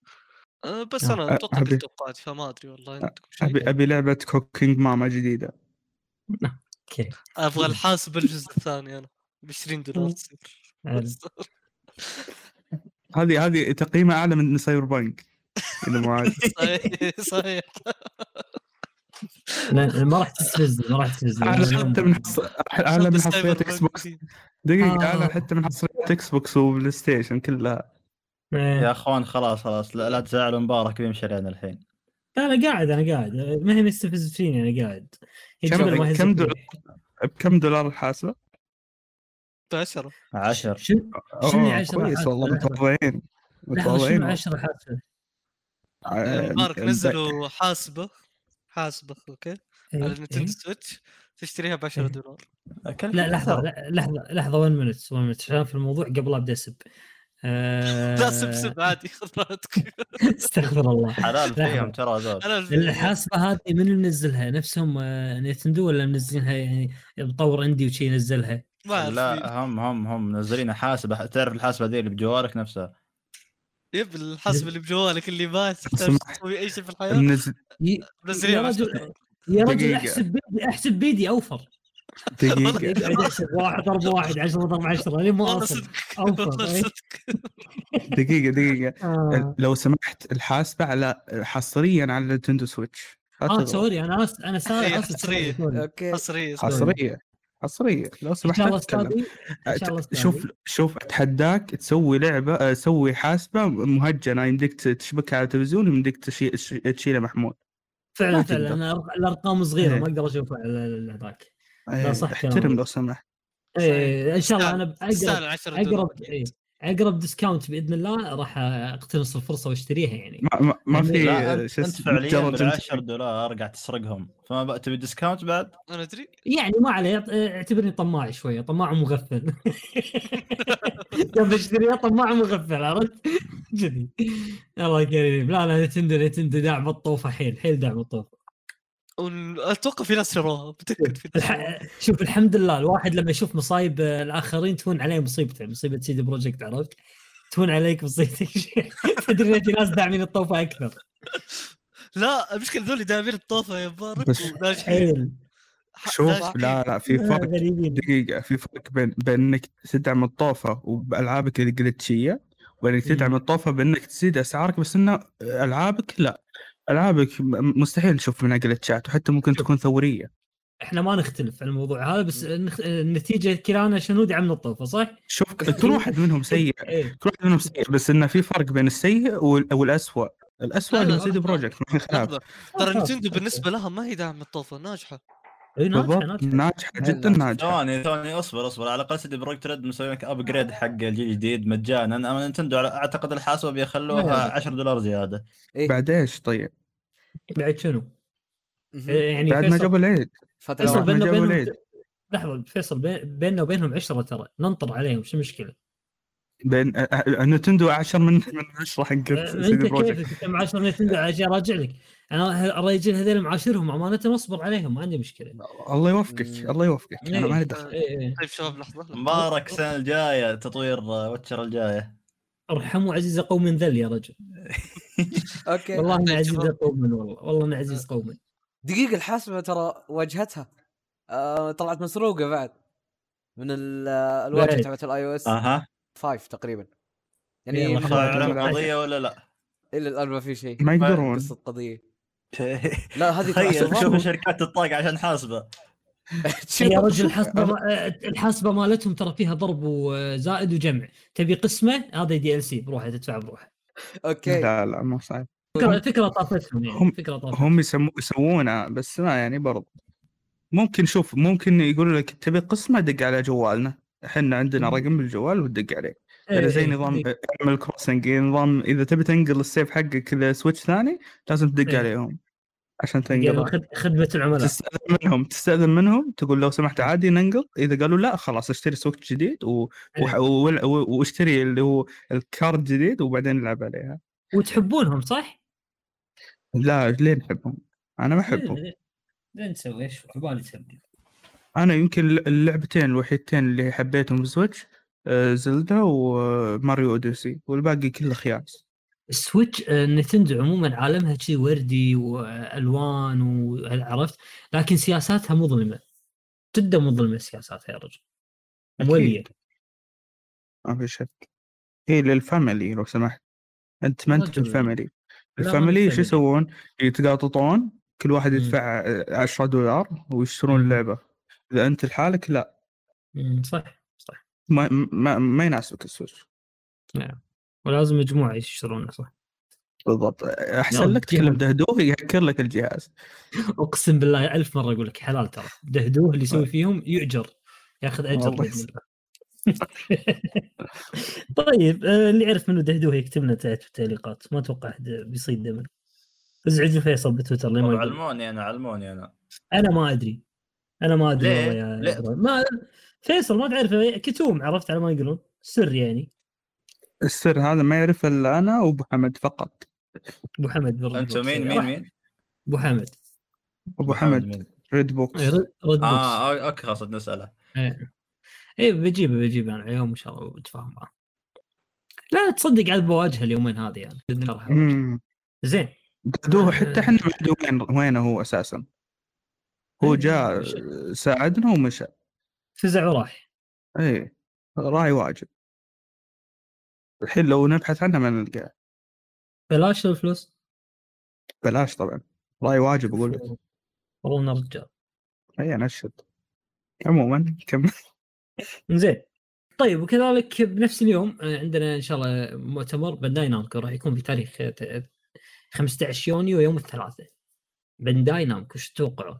Speaker 3: أه، بس
Speaker 4: نعم.
Speaker 2: أ-
Speaker 3: انا اتوقع
Speaker 2: أبي-
Speaker 3: قلت توقعات فما ادري والله عندكم شيء
Speaker 2: ابي ابي لعبه كوكينج ماما جديده
Speaker 1: اوكي
Speaker 3: ابغى الحاسب الجزء الثاني انا ب 20 دولار تصير
Speaker 1: عادي.
Speaker 2: هذه هذه تقييمها اعلى من سايبر بانك اذا مو عادي
Speaker 3: صحيح صحيح
Speaker 1: لا لا، ما راح تستفزني ما راح تستفزني
Speaker 2: اعلى
Speaker 1: أنا-
Speaker 2: حتى من حص... اعلى
Speaker 3: شفت
Speaker 2: من
Speaker 3: السايبر
Speaker 2: حصريات اكس
Speaker 3: بانك
Speaker 2: بوكس
Speaker 3: دي.
Speaker 2: دقيقه
Speaker 1: آه.
Speaker 2: اعلى حتى من حصريات اكس بوكس وبلاي ستيشن كلها
Speaker 1: إيه.
Speaker 4: يا اخوان خلاص خلاص لا, لا تزعلوا مبارك بيمشي علينا الحين
Speaker 1: لا انا قاعد انا قاعد ما هي مستفز فيني انا قاعد هي
Speaker 2: كم-
Speaker 1: جملة ما هي
Speaker 2: كم
Speaker 1: زبدة.
Speaker 2: دولار؟ بكم دولار الحاسبه؟
Speaker 3: 10
Speaker 4: عشر
Speaker 1: شو شنو
Speaker 2: أوه،
Speaker 1: عشرة
Speaker 2: كويس
Speaker 1: حاسبة؟
Speaker 2: والله
Speaker 1: لحظة.
Speaker 2: متواضعين
Speaker 1: لحظه شنو
Speaker 2: متواضعين
Speaker 1: 10 حاسبه
Speaker 2: آه،
Speaker 3: مبارك
Speaker 2: الب-
Speaker 3: نزلوا حاسبه حاسبه اوكي
Speaker 1: إيه،
Speaker 3: على
Speaker 1: إيه.
Speaker 3: نينتندو سويتش تشتريها ب 10
Speaker 1: إيه.
Speaker 3: دولار
Speaker 1: لا لحظه لا- لحظه لحظه 1 مينت 1 مينت عشان في الموضوع قبل ابدا اسب آه،
Speaker 3: لا سب سب عادي خذ راحتك
Speaker 1: استغفر الله
Speaker 4: حلال
Speaker 1: لحظة.
Speaker 4: فيهم ترى ذول
Speaker 3: انا الفيديو-
Speaker 1: الحاسبه هذه من اللي منزلها نفسهم آه، نينتندو ولا منزلينها يعني مطور عندي وشي نزلها
Speaker 3: ما اعرف مين.
Speaker 4: لا هم هم هم منزلين حاسبه تعرف الحاسبه ذي اللي بجوارك نفسها
Speaker 3: يب الحاسب اللي بجوالك اللي ما تحتاج
Speaker 2: سمحت.
Speaker 3: تسوي اي شيء في الحياه
Speaker 2: نز-
Speaker 1: ي-
Speaker 3: نزليها
Speaker 1: يا
Speaker 3: ب 10
Speaker 1: رجل-
Speaker 3: دولار.
Speaker 1: يا رجل
Speaker 2: دقيقة.
Speaker 1: احسب بيدي احسب بيدي اوفر
Speaker 2: دقيقه
Speaker 1: اقعد احسب واحد ضرب واحد 10 ضرب 10 لين ما
Speaker 3: والله
Speaker 1: اوصل
Speaker 3: صدق
Speaker 1: أوفر،
Speaker 3: والله
Speaker 1: إيه.
Speaker 3: صدق
Speaker 2: دقيقه دقيقه
Speaker 1: آه.
Speaker 2: لو سمحت الحاسبه على حصريا على نينتندو سويتش
Speaker 1: اه
Speaker 2: لا تغلط.
Speaker 1: سوري انا آس- انا
Speaker 3: إيه،
Speaker 1: سوري اسف
Speaker 3: حصرية.
Speaker 1: سوري.
Speaker 5: اوكي
Speaker 3: حصريه
Speaker 2: حصريه حصريه
Speaker 1: ان
Speaker 2: لو آه، سمحت
Speaker 1: شاء
Speaker 2: لا
Speaker 1: الله
Speaker 2: تتكلم
Speaker 1: استاذي إن شاء الله
Speaker 2: أت-
Speaker 1: أستاذي.
Speaker 2: شوف شوف اتحداك تسوي لعبه آه، سوي حاسبه مهجنه يمديك ت- تشبكها على التلفزيون ويمديك تشي- تشي- تشيلها محمول
Speaker 1: فعلا
Speaker 2: ما
Speaker 1: فعلا
Speaker 2: تقدر.
Speaker 1: انا أرق- الارقام صغيره
Speaker 2: إيه.
Speaker 1: ما اقدر اشوفها على ال- هذاك
Speaker 2: آه،
Speaker 1: صح
Speaker 2: احترم
Speaker 1: كلامك.
Speaker 2: لو سمحت
Speaker 1: إيه، ان شاء الله انا اقرب
Speaker 3: تستاهل 10 دولار
Speaker 1: اقرب إيه، اقرب ديسكاونت باذن الله راح اقتنص الفرصه واشتريها يعني
Speaker 2: ما, ما, ما في
Speaker 4: لا
Speaker 2: آه،
Speaker 4: انت
Speaker 2: شو
Speaker 4: أنت
Speaker 2: اسمه،
Speaker 4: فعليا
Speaker 2: مجرد
Speaker 4: بال 10
Speaker 2: أنت-
Speaker 4: دولار قاعد تسرقهم فما بقى تبي ديسكاونت بعد؟
Speaker 3: انا ادري
Speaker 1: يعني ما عليه يط- اعتبرني طماع شويه طماع مغفل لما اشتريها طماع مغفل عرفت؟ كذي الله كريم لا لا نتندو نتندو داعم الطوفه حيل حيل داعم الطوفه
Speaker 3: وال- اتوقع في ناس شروها متاكد في ناس شروها.
Speaker 1: الح... شوف الحمد لله الواحد لما يشوف مصايب آه، الاخرين تهون عليه مصيبته مصيبه سيدي بروجكت عرفت؟ تهون عليك مصيبتك تدري إن في ناس داعمين الطوفه اكثر
Speaker 3: لا المشكله ذول دايرين الطوفه يا مبارك
Speaker 2: بس-
Speaker 3: وناجحين
Speaker 1: حيل
Speaker 3: ح-
Speaker 2: شوف
Speaker 3: ناجحين.
Speaker 2: لا لا في
Speaker 1: آه،
Speaker 2: فرق
Speaker 1: غريبين
Speaker 2: دقيقة في فرق بين بين انك تدعم الطوفة وبالعابك الجلتشية وانك تدعم
Speaker 1: مم.
Speaker 2: الطوفة بانك تزيد اسعارك بس انه العابك لا العابك م- مستحيل نشوف منها جلتشات وحتى ممكن
Speaker 1: شوف.
Speaker 2: تكون ثورية
Speaker 1: احنا ما نختلف على الموضوع هذا بس النخ- النتيجه كلانا شنو دعمنا الطوفه صح؟
Speaker 2: شوف كل واحد منهم سيء
Speaker 1: ايه
Speaker 2: كل واحد منهم سيء بس انه في فرق بين السيء وال- والاسوأ الاسوأ
Speaker 3: لا، لا،
Speaker 2: اللي سيدي بروجكت ما في خلاف
Speaker 3: لحظة، ترى
Speaker 1: خلاص،
Speaker 3: نتندو
Speaker 1: آه، أوكي.
Speaker 3: بالنسبه لها ما هي داعمه الطوفه ناجحه
Speaker 1: إيه، ناجحه
Speaker 2: بالضبط
Speaker 1: ناجحه
Speaker 2: ناجحة
Speaker 5: لا،
Speaker 2: جدا
Speaker 5: لا.
Speaker 2: ناجحة
Speaker 4: ثواني ثواني اصبر اصبر على الاقل سيدي بروجكت ريد مسوي لك ابجريد حق الجيل الجديد مجانا اما نتندو على- اعتقد الحاسبه
Speaker 1: لا، لا.
Speaker 4: بيخلوها 10 دولار زياده
Speaker 5: إيه.
Speaker 2: بعد ايش طيب
Speaker 1: بعد شنو؟
Speaker 5: مهم.
Speaker 1: إيه، يعني
Speaker 2: بعد ما
Speaker 1: فيصل
Speaker 2: جابوا العيد
Speaker 5: فترة
Speaker 1: فيصل
Speaker 2: بعد ما
Speaker 1: بيننا
Speaker 2: جابوا
Speaker 1: وبينهم
Speaker 2: العيد
Speaker 1: لحظه فيصل بي- بيننا وبينهم عشره ترى ننطر عليهم شو المشكله؟
Speaker 2: بين أ- أ- نتندو عشر من من عشرة حق
Speaker 1: أه،
Speaker 2: سيدي
Speaker 1: انت
Speaker 2: بروجكت
Speaker 1: كيفك انت معاشر نتندو عشان راجع لك انا ه- الرجال هذول معاشرهم امانه اصبر عليهم ما عندي مشكله
Speaker 2: الله يوفقك
Speaker 5: مم.
Speaker 2: الله يوفقك انا ما لي دخل
Speaker 1: إيه، إيه.
Speaker 3: طيب شباب لحظه لحظة.
Speaker 4: مبارك السنه الجايه تطوير واتشر الجايه
Speaker 1: ارحموا عزيز قوم ذل يا رجل
Speaker 5: اوكي
Speaker 1: والله انا
Speaker 3: طيب،
Speaker 1: عزيز
Speaker 3: شباب.
Speaker 1: قوم والله والله انا عزيز قوم
Speaker 5: دقيقة الحاسبة ترى واجهتها آه طلعت مسروقة بعد من ال- آه، الواجهة
Speaker 1: بعد.
Speaker 5: تبعت الاي او اس
Speaker 4: اها
Speaker 5: 5 تقريبا
Speaker 1: يلا
Speaker 5: يعني
Speaker 1: خلاص.
Speaker 5: من-
Speaker 4: طلع علم
Speaker 2: عشان-
Speaker 4: قضيه ولا لا؟
Speaker 5: الى الان ما في شيء
Speaker 2: ما يقدرون
Speaker 5: قصة قضية لا هذه
Speaker 4: تخيل
Speaker 5: ترى
Speaker 4: شوف
Speaker 5: شوف-
Speaker 4: شركات الطاقه عشان حاسبه
Speaker 5: شوف.
Speaker 1: يا رجل الحسبه ما- الحسبه مالتهم ترى فيها ضرب وزائد وجمع تبي قسمه هذا دي ال سي بروحه تدفع بروحه
Speaker 5: اوكي
Speaker 2: لا لا مو صعب
Speaker 1: فكره فكره طافتهم
Speaker 2: هم-
Speaker 1: يعني فكره طافتهم
Speaker 2: هم يسمو يسوونه بس ما يعني برضه ممكن شوف ممكن يقولوا لك تبي قسمه دق على جوالنا احنا عندنا
Speaker 1: مم.
Speaker 2: رقم بالجوال وتدق عليه
Speaker 1: إيه،
Speaker 2: يعني زي
Speaker 1: إيه،
Speaker 2: نظام
Speaker 1: إيه.
Speaker 2: اعمل كروسنج نظام اذا تبي تنقل السيف حقك اذا سويتش ثاني لازم تدق
Speaker 1: إيه.
Speaker 2: عليهم عشان
Speaker 1: يعني
Speaker 2: تنقل
Speaker 1: خد- خدمه العملاء
Speaker 2: تستاذن منهم تستاذن منهم تقول لو سمحت عادي ننقل اذا قالوا لا خلاص اشتري سويتش جديد و... وح- و... و... واشتري اللي هو الكارد جديد وبعدين نلعب عليها
Speaker 1: وتحبونهم صح؟ إيه.
Speaker 2: لا ليه نحبهم؟ انا ما احبهم
Speaker 1: لا نسوي ايش عبالي تسوي
Speaker 2: انا يمكن اللعبتين الوحيدتين اللي حبيتهم بالسويتش آه، زلدا وماريو اوديسي والباقي كله خياس
Speaker 1: السويتش آه، نتندو عموما عالمها شيء وردي والوان وعرفت لكن سياساتها مظلمه جدا مظلمه سياساتها يا رجل
Speaker 2: أكيد.
Speaker 1: موليه
Speaker 2: ما في شك هي للفاميلي لو سمحت انت ما
Speaker 1: والله
Speaker 2: انت في
Speaker 1: جميل.
Speaker 2: الفاميلي
Speaker 1: لا، ما
Speaker 2: الفاميلي شو
Speaker 1: بالفاميلي.
Speaker 2: يسوون؟ يتقاططون كل واحد
Speaker 1: مم.
Speaker 2: يدفع آه، 10 دولار ويشترون اللعبه اذا انت لحالك لا
Speaker 1: أمم، صح صح
Speaker 2: ما ما, ما يناسبك السويتش
Speaker 1: ولازم مجموعه يشترونه صح
Speaker 2: بالضبط احسن
Speaker 1: يا
Speaker 2: لك تكلم
Speaker 1: رجال.
Speaker 2: دهدوه يهكر لك الجهاز
Speaker 1: اقسم بالله ألف مره اقول لك حلال ترى دهدوه اللي
Speaker 4: طيب.
Speaker 1: يسوي فيهم يؤجر ياخذ اجر
Speaker 2: والله
Speaker 1: بإذن الله. طيب آه، اللي يعرف منه دهدوه يكتب لنا تحت في التعليقات ما اتوقع احد بيصيد دمن ازعجوا فيصل بتويتر ليه ما
Speaker 4: طب
Speaker 1: يقول.
Speaker 4: علموني انا علموني انا
Speaker 1: انا ما ادري انا ما ادري
Speaker 4: ليه؟
Speaker 1: والله يا
Speaker 4: ليه؟
Speaker 1: إبراهيم. ما فيصل ما تعرفه كتوم عرفت على ما يقولون سر يعني
Speaker 2: السر هذا ما يعرفه الا انا وابو حمد فقط
Speaker 1: ابو حمد بالرجوع.
Speaker 4: انتم مين
Speaker 1: راح
Speaker 4: مين مين؟
Speaker 1: ابو حمد
Speaker 2: ابو حمد
Speaker 4: مين؟
Speaker 2: ريد بوكس
Speaker 1: رد بوكس.
Speaker 4: اه أو- اوكي خلاص نساله
Speaker 1: ايه بجيبه بجيبه انا يوم ان شاء الله بتفاهم معه لا تصدق عاد بواجهه اليومين هذه يعني باذن الله راح أواجهه.
Speaker 2: مم.
Speaker 1: زين
Speaker 2: دهدوه حتى
Speaker 1: آه.
Speaker 2: احنا ما ندري وين وين هو اساسا هو
Speaker 1: إيه،
Speaker 2: جاء
Speaker 1: مشى.
Speaker 2: ساعدنا ومشى
Speaker 1: فزع وراح
Speaker 2: اي راعي واجب الحين لو نبحث عنه ما نلقاه
Speaker 1: بلاش الفلوس
Speaker 2: بلاش طبعا راعي واجب اقول لك
Speaker 1: والله إنه رجال
Speaker 2: اي انشد عموما كم
Speaker 1: زين طيب وكذلك بنفس اليوم آه، عندنا ان شاء الله مؤتمر بانداي نامكو راح يكون بتاريخ آه، ت- 15 يونيو يوم الثلاثاء بانداي نامكو شو تتوقعوا؟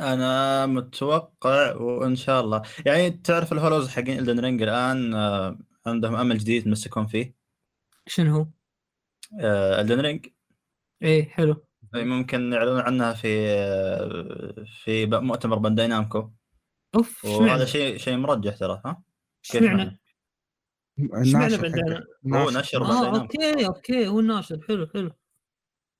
Speaker 4: انا متوقع وان شاء الله يعني تعرف الهولوز حقين الدن رينج الان آه، عندهم امل جديد يتمسكون فيه
Speaker 1: شنو هو؟
Speaker 4: الدن رينج
Speaker 1: ايه حلو
Speaker 4: ممكن يعلنون عنها في آه، في ب- مؤتمر بانداي نامكو
Speaker 1: اوف إيش معنى؟
Speaker 4: وهذا شيء شيء مرجح ترى ها
Speaker 1: إيش
Speaker 4: كيف يعني؟
Speaker 1: معنى؟ إيش معنى بانداي
Speaker 4: هو نشر بانداي
Speaker 1: اه
Speaker 4: نامكو
Speaker 1: اوكي اوكي هو الناشر حلو حلو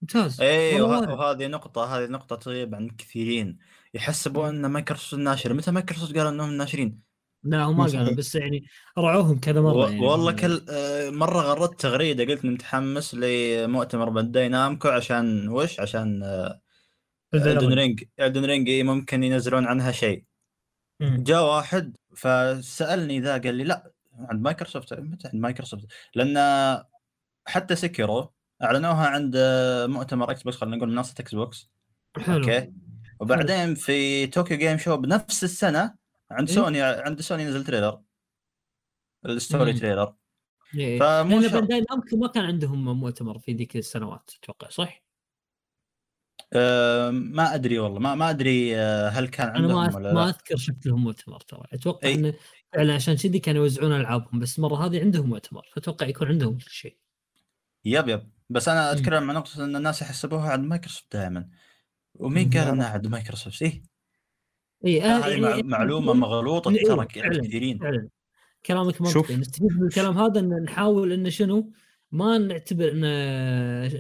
Speaker 1: ممتاز والله
Speaker 4: اي إيه، وه-
Speaker 1: واعد.
Speaker 4: وهذه نقطة هذه نقطة تغيب عن كثيرين يحسبوا ان مايكروسوفت الناشر متى مايكروسوفت قالوا انهم ناشرين
Speaker 1: لا هو ما
Speaker 2: مو
Speaker 1: قالوا
Speaker 2: صحيح.
Speaker 1: بس يعني رعوهم كذا
Speaker 4: و...
Speaker 1: مره يعني
Speaker 4: والله كل آه، مرة غردت تغريدة قلت إني متحمس لمؤتمر بانداي نامكو عشان وش عشان آه، الدن رينج الدن رينج إيه ممكن ينزلون عنها شيء
Speaker 1: مم.
Speaker 4: جاء واحد فسألني ذا قال لي لا عند مايكروسوفت متى عند مايكروسوفت لأن حتى سكرو أعلنوها عند آه، مؤتمر اكس بوكس خلينا نقول منصة اكس بوكس
Speaker 1: حلو إيه،
Speaker 4: اوكي وبعدين في طوكيو جيم شو بنفس السنه عند
Speaker 1: إيه.
Speaker 4: سوني عند سوني نزل تريلر الستوري
Speaker 1: مم.
Speaker 4: تريلر
Speaker 1: إيه.
Speaker 4: فمو
Speaker 1: لان
Speaker 4: شرط
Speaker 1: بانداي نامكو ما كان عندهم مؤتمر في ذيك السنوات اتوقع صح؟
Speaker 4: آه، ما ادري والله ما ما ادري آه، هل كان
Speaker 1: انا ما
Speaker 4: عندهم
Speaker 1: أذ-
Speaker 4: ولا
Speaker 1: ما
Speaker 4: لا
Speaker 1: اذكر شفت لهم مؤتمر ترى اتوقع
Speaker 4: إي.
Speaker 1: انه فعلا عشان كذي كانوا يوزعون العابهم بس المره هذه عندهم مؤتمر فاتوقع يكون عندهم كل شيء
Speaker 4: يب يب بس انا
Speaker 1: مم.
Speaker 4: اتكلم عن نقطه ان الناس يحسبوها عند مايكروسوفت دائما ومين
Speaker 1: مم.
Speaker 4: قال انها عند مايكروسوفت ايه
Speaker 1: اي آه،
Speaker 4: هذه
Speaker 1: يعني-
Speaker 4: مع- معلومه مغلوطه
Speaker 1: إيه،
Speaker 4: ترى
Speaker 1: فعلاً.
Speaker 4: كثيرين
Speaker 1: فعلا يعني كلامك
Speaker 2: شوف.
Speaker 1: منطقي نستفيد من الكلام هذا ان نحاول ان شنو ما نعتبر ان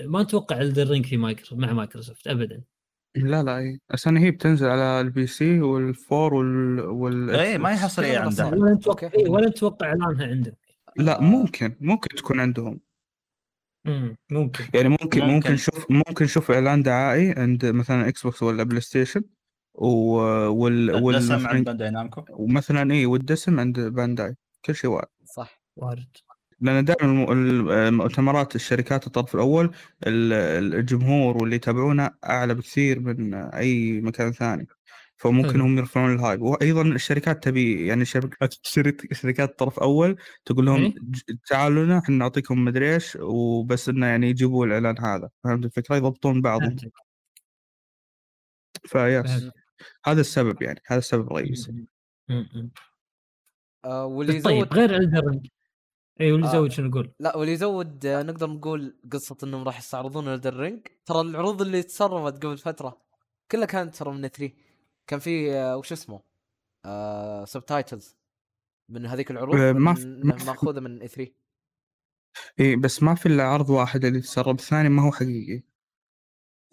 Speaker 1: ما نتوقع الدرينك في مايكروسوفت مع مايكروسوفت ابدا
Speaker 2: لا لا اي عشان هي بتنزل على البي سي والفور وال وال
Speaker 4: اي ما
Speaker 2: Xbox.
Speaker 4: يحصل ايه
Speaker 5: كلام
Speaker 4: عندها
Speaker 5: صعب.
Speaker 1: ولا نتوقع
Speaker 5: أوكي.
Speaker 1: إي، ولا نتوقع اعلانها عندهم
Speaker 2: لا ممكن ممكن تكون عندهم
Speaker 1: امم ممكن
Speaker 2: يعني ممكن
Speaker 4: ممكن.
Speaker 2: ممكن شوف ممكن شوف اعلان دعائي عند مثلا اكس بوكس ولا بلاي ستيشن و... وال... وال...
Speaker 4: الدسم عند
Speaker 2: مثلاً-
Speaker 4: بانداي نامكو
Speaker 2: ومثلا اي والدسم عند بانداي كل شيء واحد
Speaker 5: صح
Speaker 1: وارد
Speaker 2: لان دائما الم- المؤتمرات الشركات الطرف الاول ال- الجمهور واللي يتابعونه اعلى بكثير من اي مكان ثاني فممكن
Speaker 1: حلو.
Speaker 2: هم يرفعون الهايب وايضا الشركات تبي يعني شركات شركات- شركات طرف اول تقول لهم
Speaker 1: إيه.
Speaker 2: ج- تعالوا لنا احنا نعطيكم مدري ايش وبس انه يعني يجيبوا الاعلان هذا فهمت الفكره يضبطون بعضهم
Speaker 1: فهمتك
Speaker 2: فيس
Speaker 1: فهمتك
Speaker 2: هذا السبب يعني هذا السبب الرئيسي
Speaker 1: أمم، أمم.
Speaker 5: آه واللي
Speaker 1: طيب
Speaker 5: يزود
Speaker 1: غير الدرينك اي واللي
Speaker 5: آه.
Speaker 1: زود شنو نقول
Speaker 5: لا واللي يزود آه، نقدر نقول قصه انهم راح يستعرضون الدر رينج ترى العروض اللي تسربت قبل فتره كلها كانت ترى من 3 كان في آه، وش اسمه آه سبتايتلز من هذيك العروض
Speaker 2: آه، ما
Speaker 5: من-
Speaker 2: في- ما في-
Speaker 5: ماخوذه من E اي 3
Speaker 2: اي إيه، بس ما في الا عرض واحد اللي تسرب الثاني ما هو حقيقي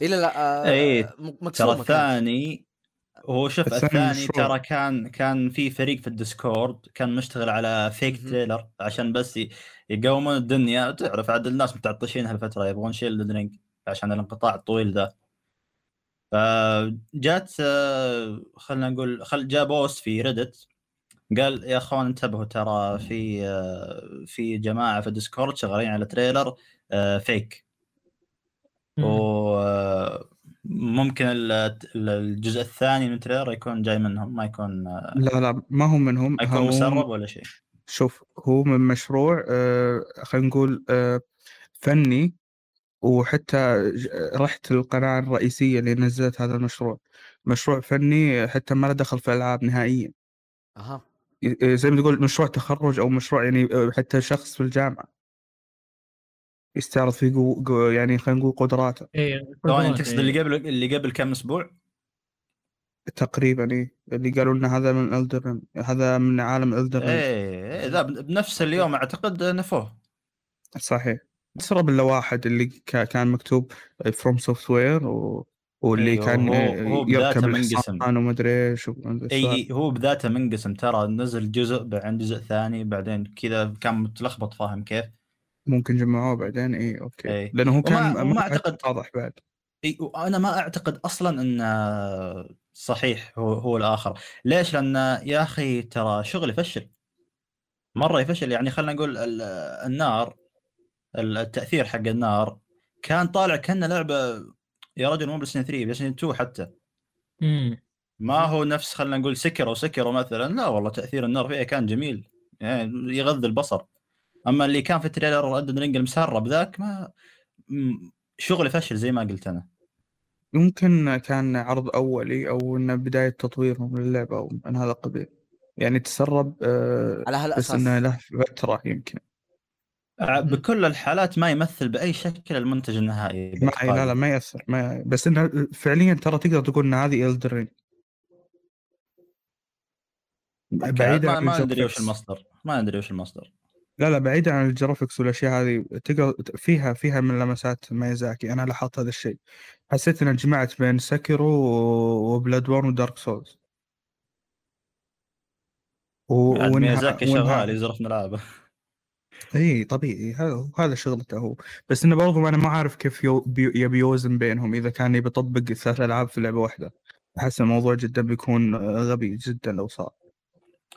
Speaker 5: اي لا لا آه
Speaker 4: إيه،
Speaker 5: م- مكسومة
Speaker 4: ترى
Speaker 5: كانت.
Speaker 4: الثاني هو شوف
Speaker 2: الثاني
Speaker 4: الثاني
Speaker 2: مشروع.
Speaker 4: ترى كان كان في فريق في الديسكورد كان مشتغل على فيك
Speaker 5: مهم.
Speaker 4: تريلر عشان بس ي- يقومون الدنيا تعرف عاد الناس متعطشين هالفتره يبغون شيء للدرينج عشان الانقطاع الطويل ذا فجات آه، خلنا نقول خل جاء بوست في ريدت قال يا اخوان انتبهوا ترى في آه، في جماعه في الديسكورد شغالين على تريلر آه، فيك وممكن الجزء الثاني من التريلر يكون جاي منهم ما يكون ما
Speaker 2: لا لا ما هم منهم
Speaker 4: يكون
Speaker 2: هم-
Speaker 4: مسرب ولا شيء
Speaker 2: شوف هو من مشروع آه، خلينا نقول آه، فني وحتى ج- رحت القناة الرئيسية اللي نزلت هذا المشروع مشروع فني حتى ما له دخل في الألعاب نهائيا
Speaker 5: اها
Speaker 2: ي- آه، زي ما تقول مشروع تخرج أو مشروع يعني آه، حتى شخص في الجامعة يستعرض فيه قو... قو... يعني خلينا نقول قدراته
Speaker 1: اي
Speaker 4: ثواني
Speaker 1: إيه.
Speaker 4: تقصد اللي قبل اللي قبل كم اسبوع
Speaker 2: تقريبا إيه اللي قالوا لنا هذا من ألدرن هذا من عالم ألدرن
Speaker 4: ايه ذا بن- بنفس اليوم اعتقد نفوه
Speaker 2: صحيح تسرب الا واحد اللي كا- كان مكتوب فروم سوفت وير و... واللي
Speaker 4: أيوه،
Speaker 2: كان
Speaker 4: هو- هو
Speaker 2: يركب
Speaker 4: بذاته منقسم.
Speaker 2: الحصان ومدري ايش ومدري السالفة.
Speaker 4: اي هو بذاته منقسم ترى نزل جزء بعدين جزء ثاني بعدين كذا كان متلخبط فاهم كيف؟
Speaker 2: ممكن جمعوه بعدين اي اوكي
Speaker 4: إي.
Speaker 2: لانه هو كان
Speaker 4: وما أعتقد-
Speaker 2: واضح بعد
Speaker 4: اي وانا ما اعتقد اصلا انه آه، صحيح هو هو الاخر ليش لان يا اخي ترى شغل يفشل مره يفشل يعني خلينا نقول ال- آه، النار ال- التاثير حق النار كان طالع كانه لعبه يا رجل مو بلايستيشن 3 بلايستيشن 2 حتى ما هو نفس خلينا نقول سكرو سكرو مثلا لا والله تاثير النار فيها كان جميل يعني يغذي البصر اما اللي كان في تريلر ادن رينج المسرب ذاك ما م- شغل فشل زي ما قلت انا
Speaker 2: يمكن كان عرض اولي او انه بدايه تطويرهم للعبه او من هذا القبيل يعني تسرب آه
Speaker 5: على
Speaker 2: بس
Speaker 5: هالاساس
Speaker 2: انه له فتره يمكن
Speaker 4: بكل الحالات ما يمثل باي شكل المنتج النهائي
Speaker 2: ما لا لا ما ياثر ما ي- بس انه فعليا ترى تقدر تقول ان هذه الدرين
Speaker 4: بعيد ما, ما ندري
Speaker 2: الجرافيكس.
Speaker 4: وش المصدر ما ندري وش المصدر
Speaker 2: لا لا بعيدا عن الجرافيكس والاشياء هذه تقدر فيها فيها من لمسات ميازاكي انا لاحظت هذا الشيء حسيت انها جمعت بين سكرو وبلاد بورن ودارك سولز و...
Speaker 4: بعد
Speaker 2: وإنها-
Speaker 4: ميازاكي
Speaker 2: وإنها-
Speaker 4: شغال يزرف ملعبه
Speaker 2: اي طبيعي هذا هذا شغلته هو بس انه برضو انا ما عارف كيف يو- بي- يبي يوزن بينهم اذا كان يبي يطبق ثلاث العاب في لعبه واحده احس الموضوع جدا بيكون غبي جدا لو صار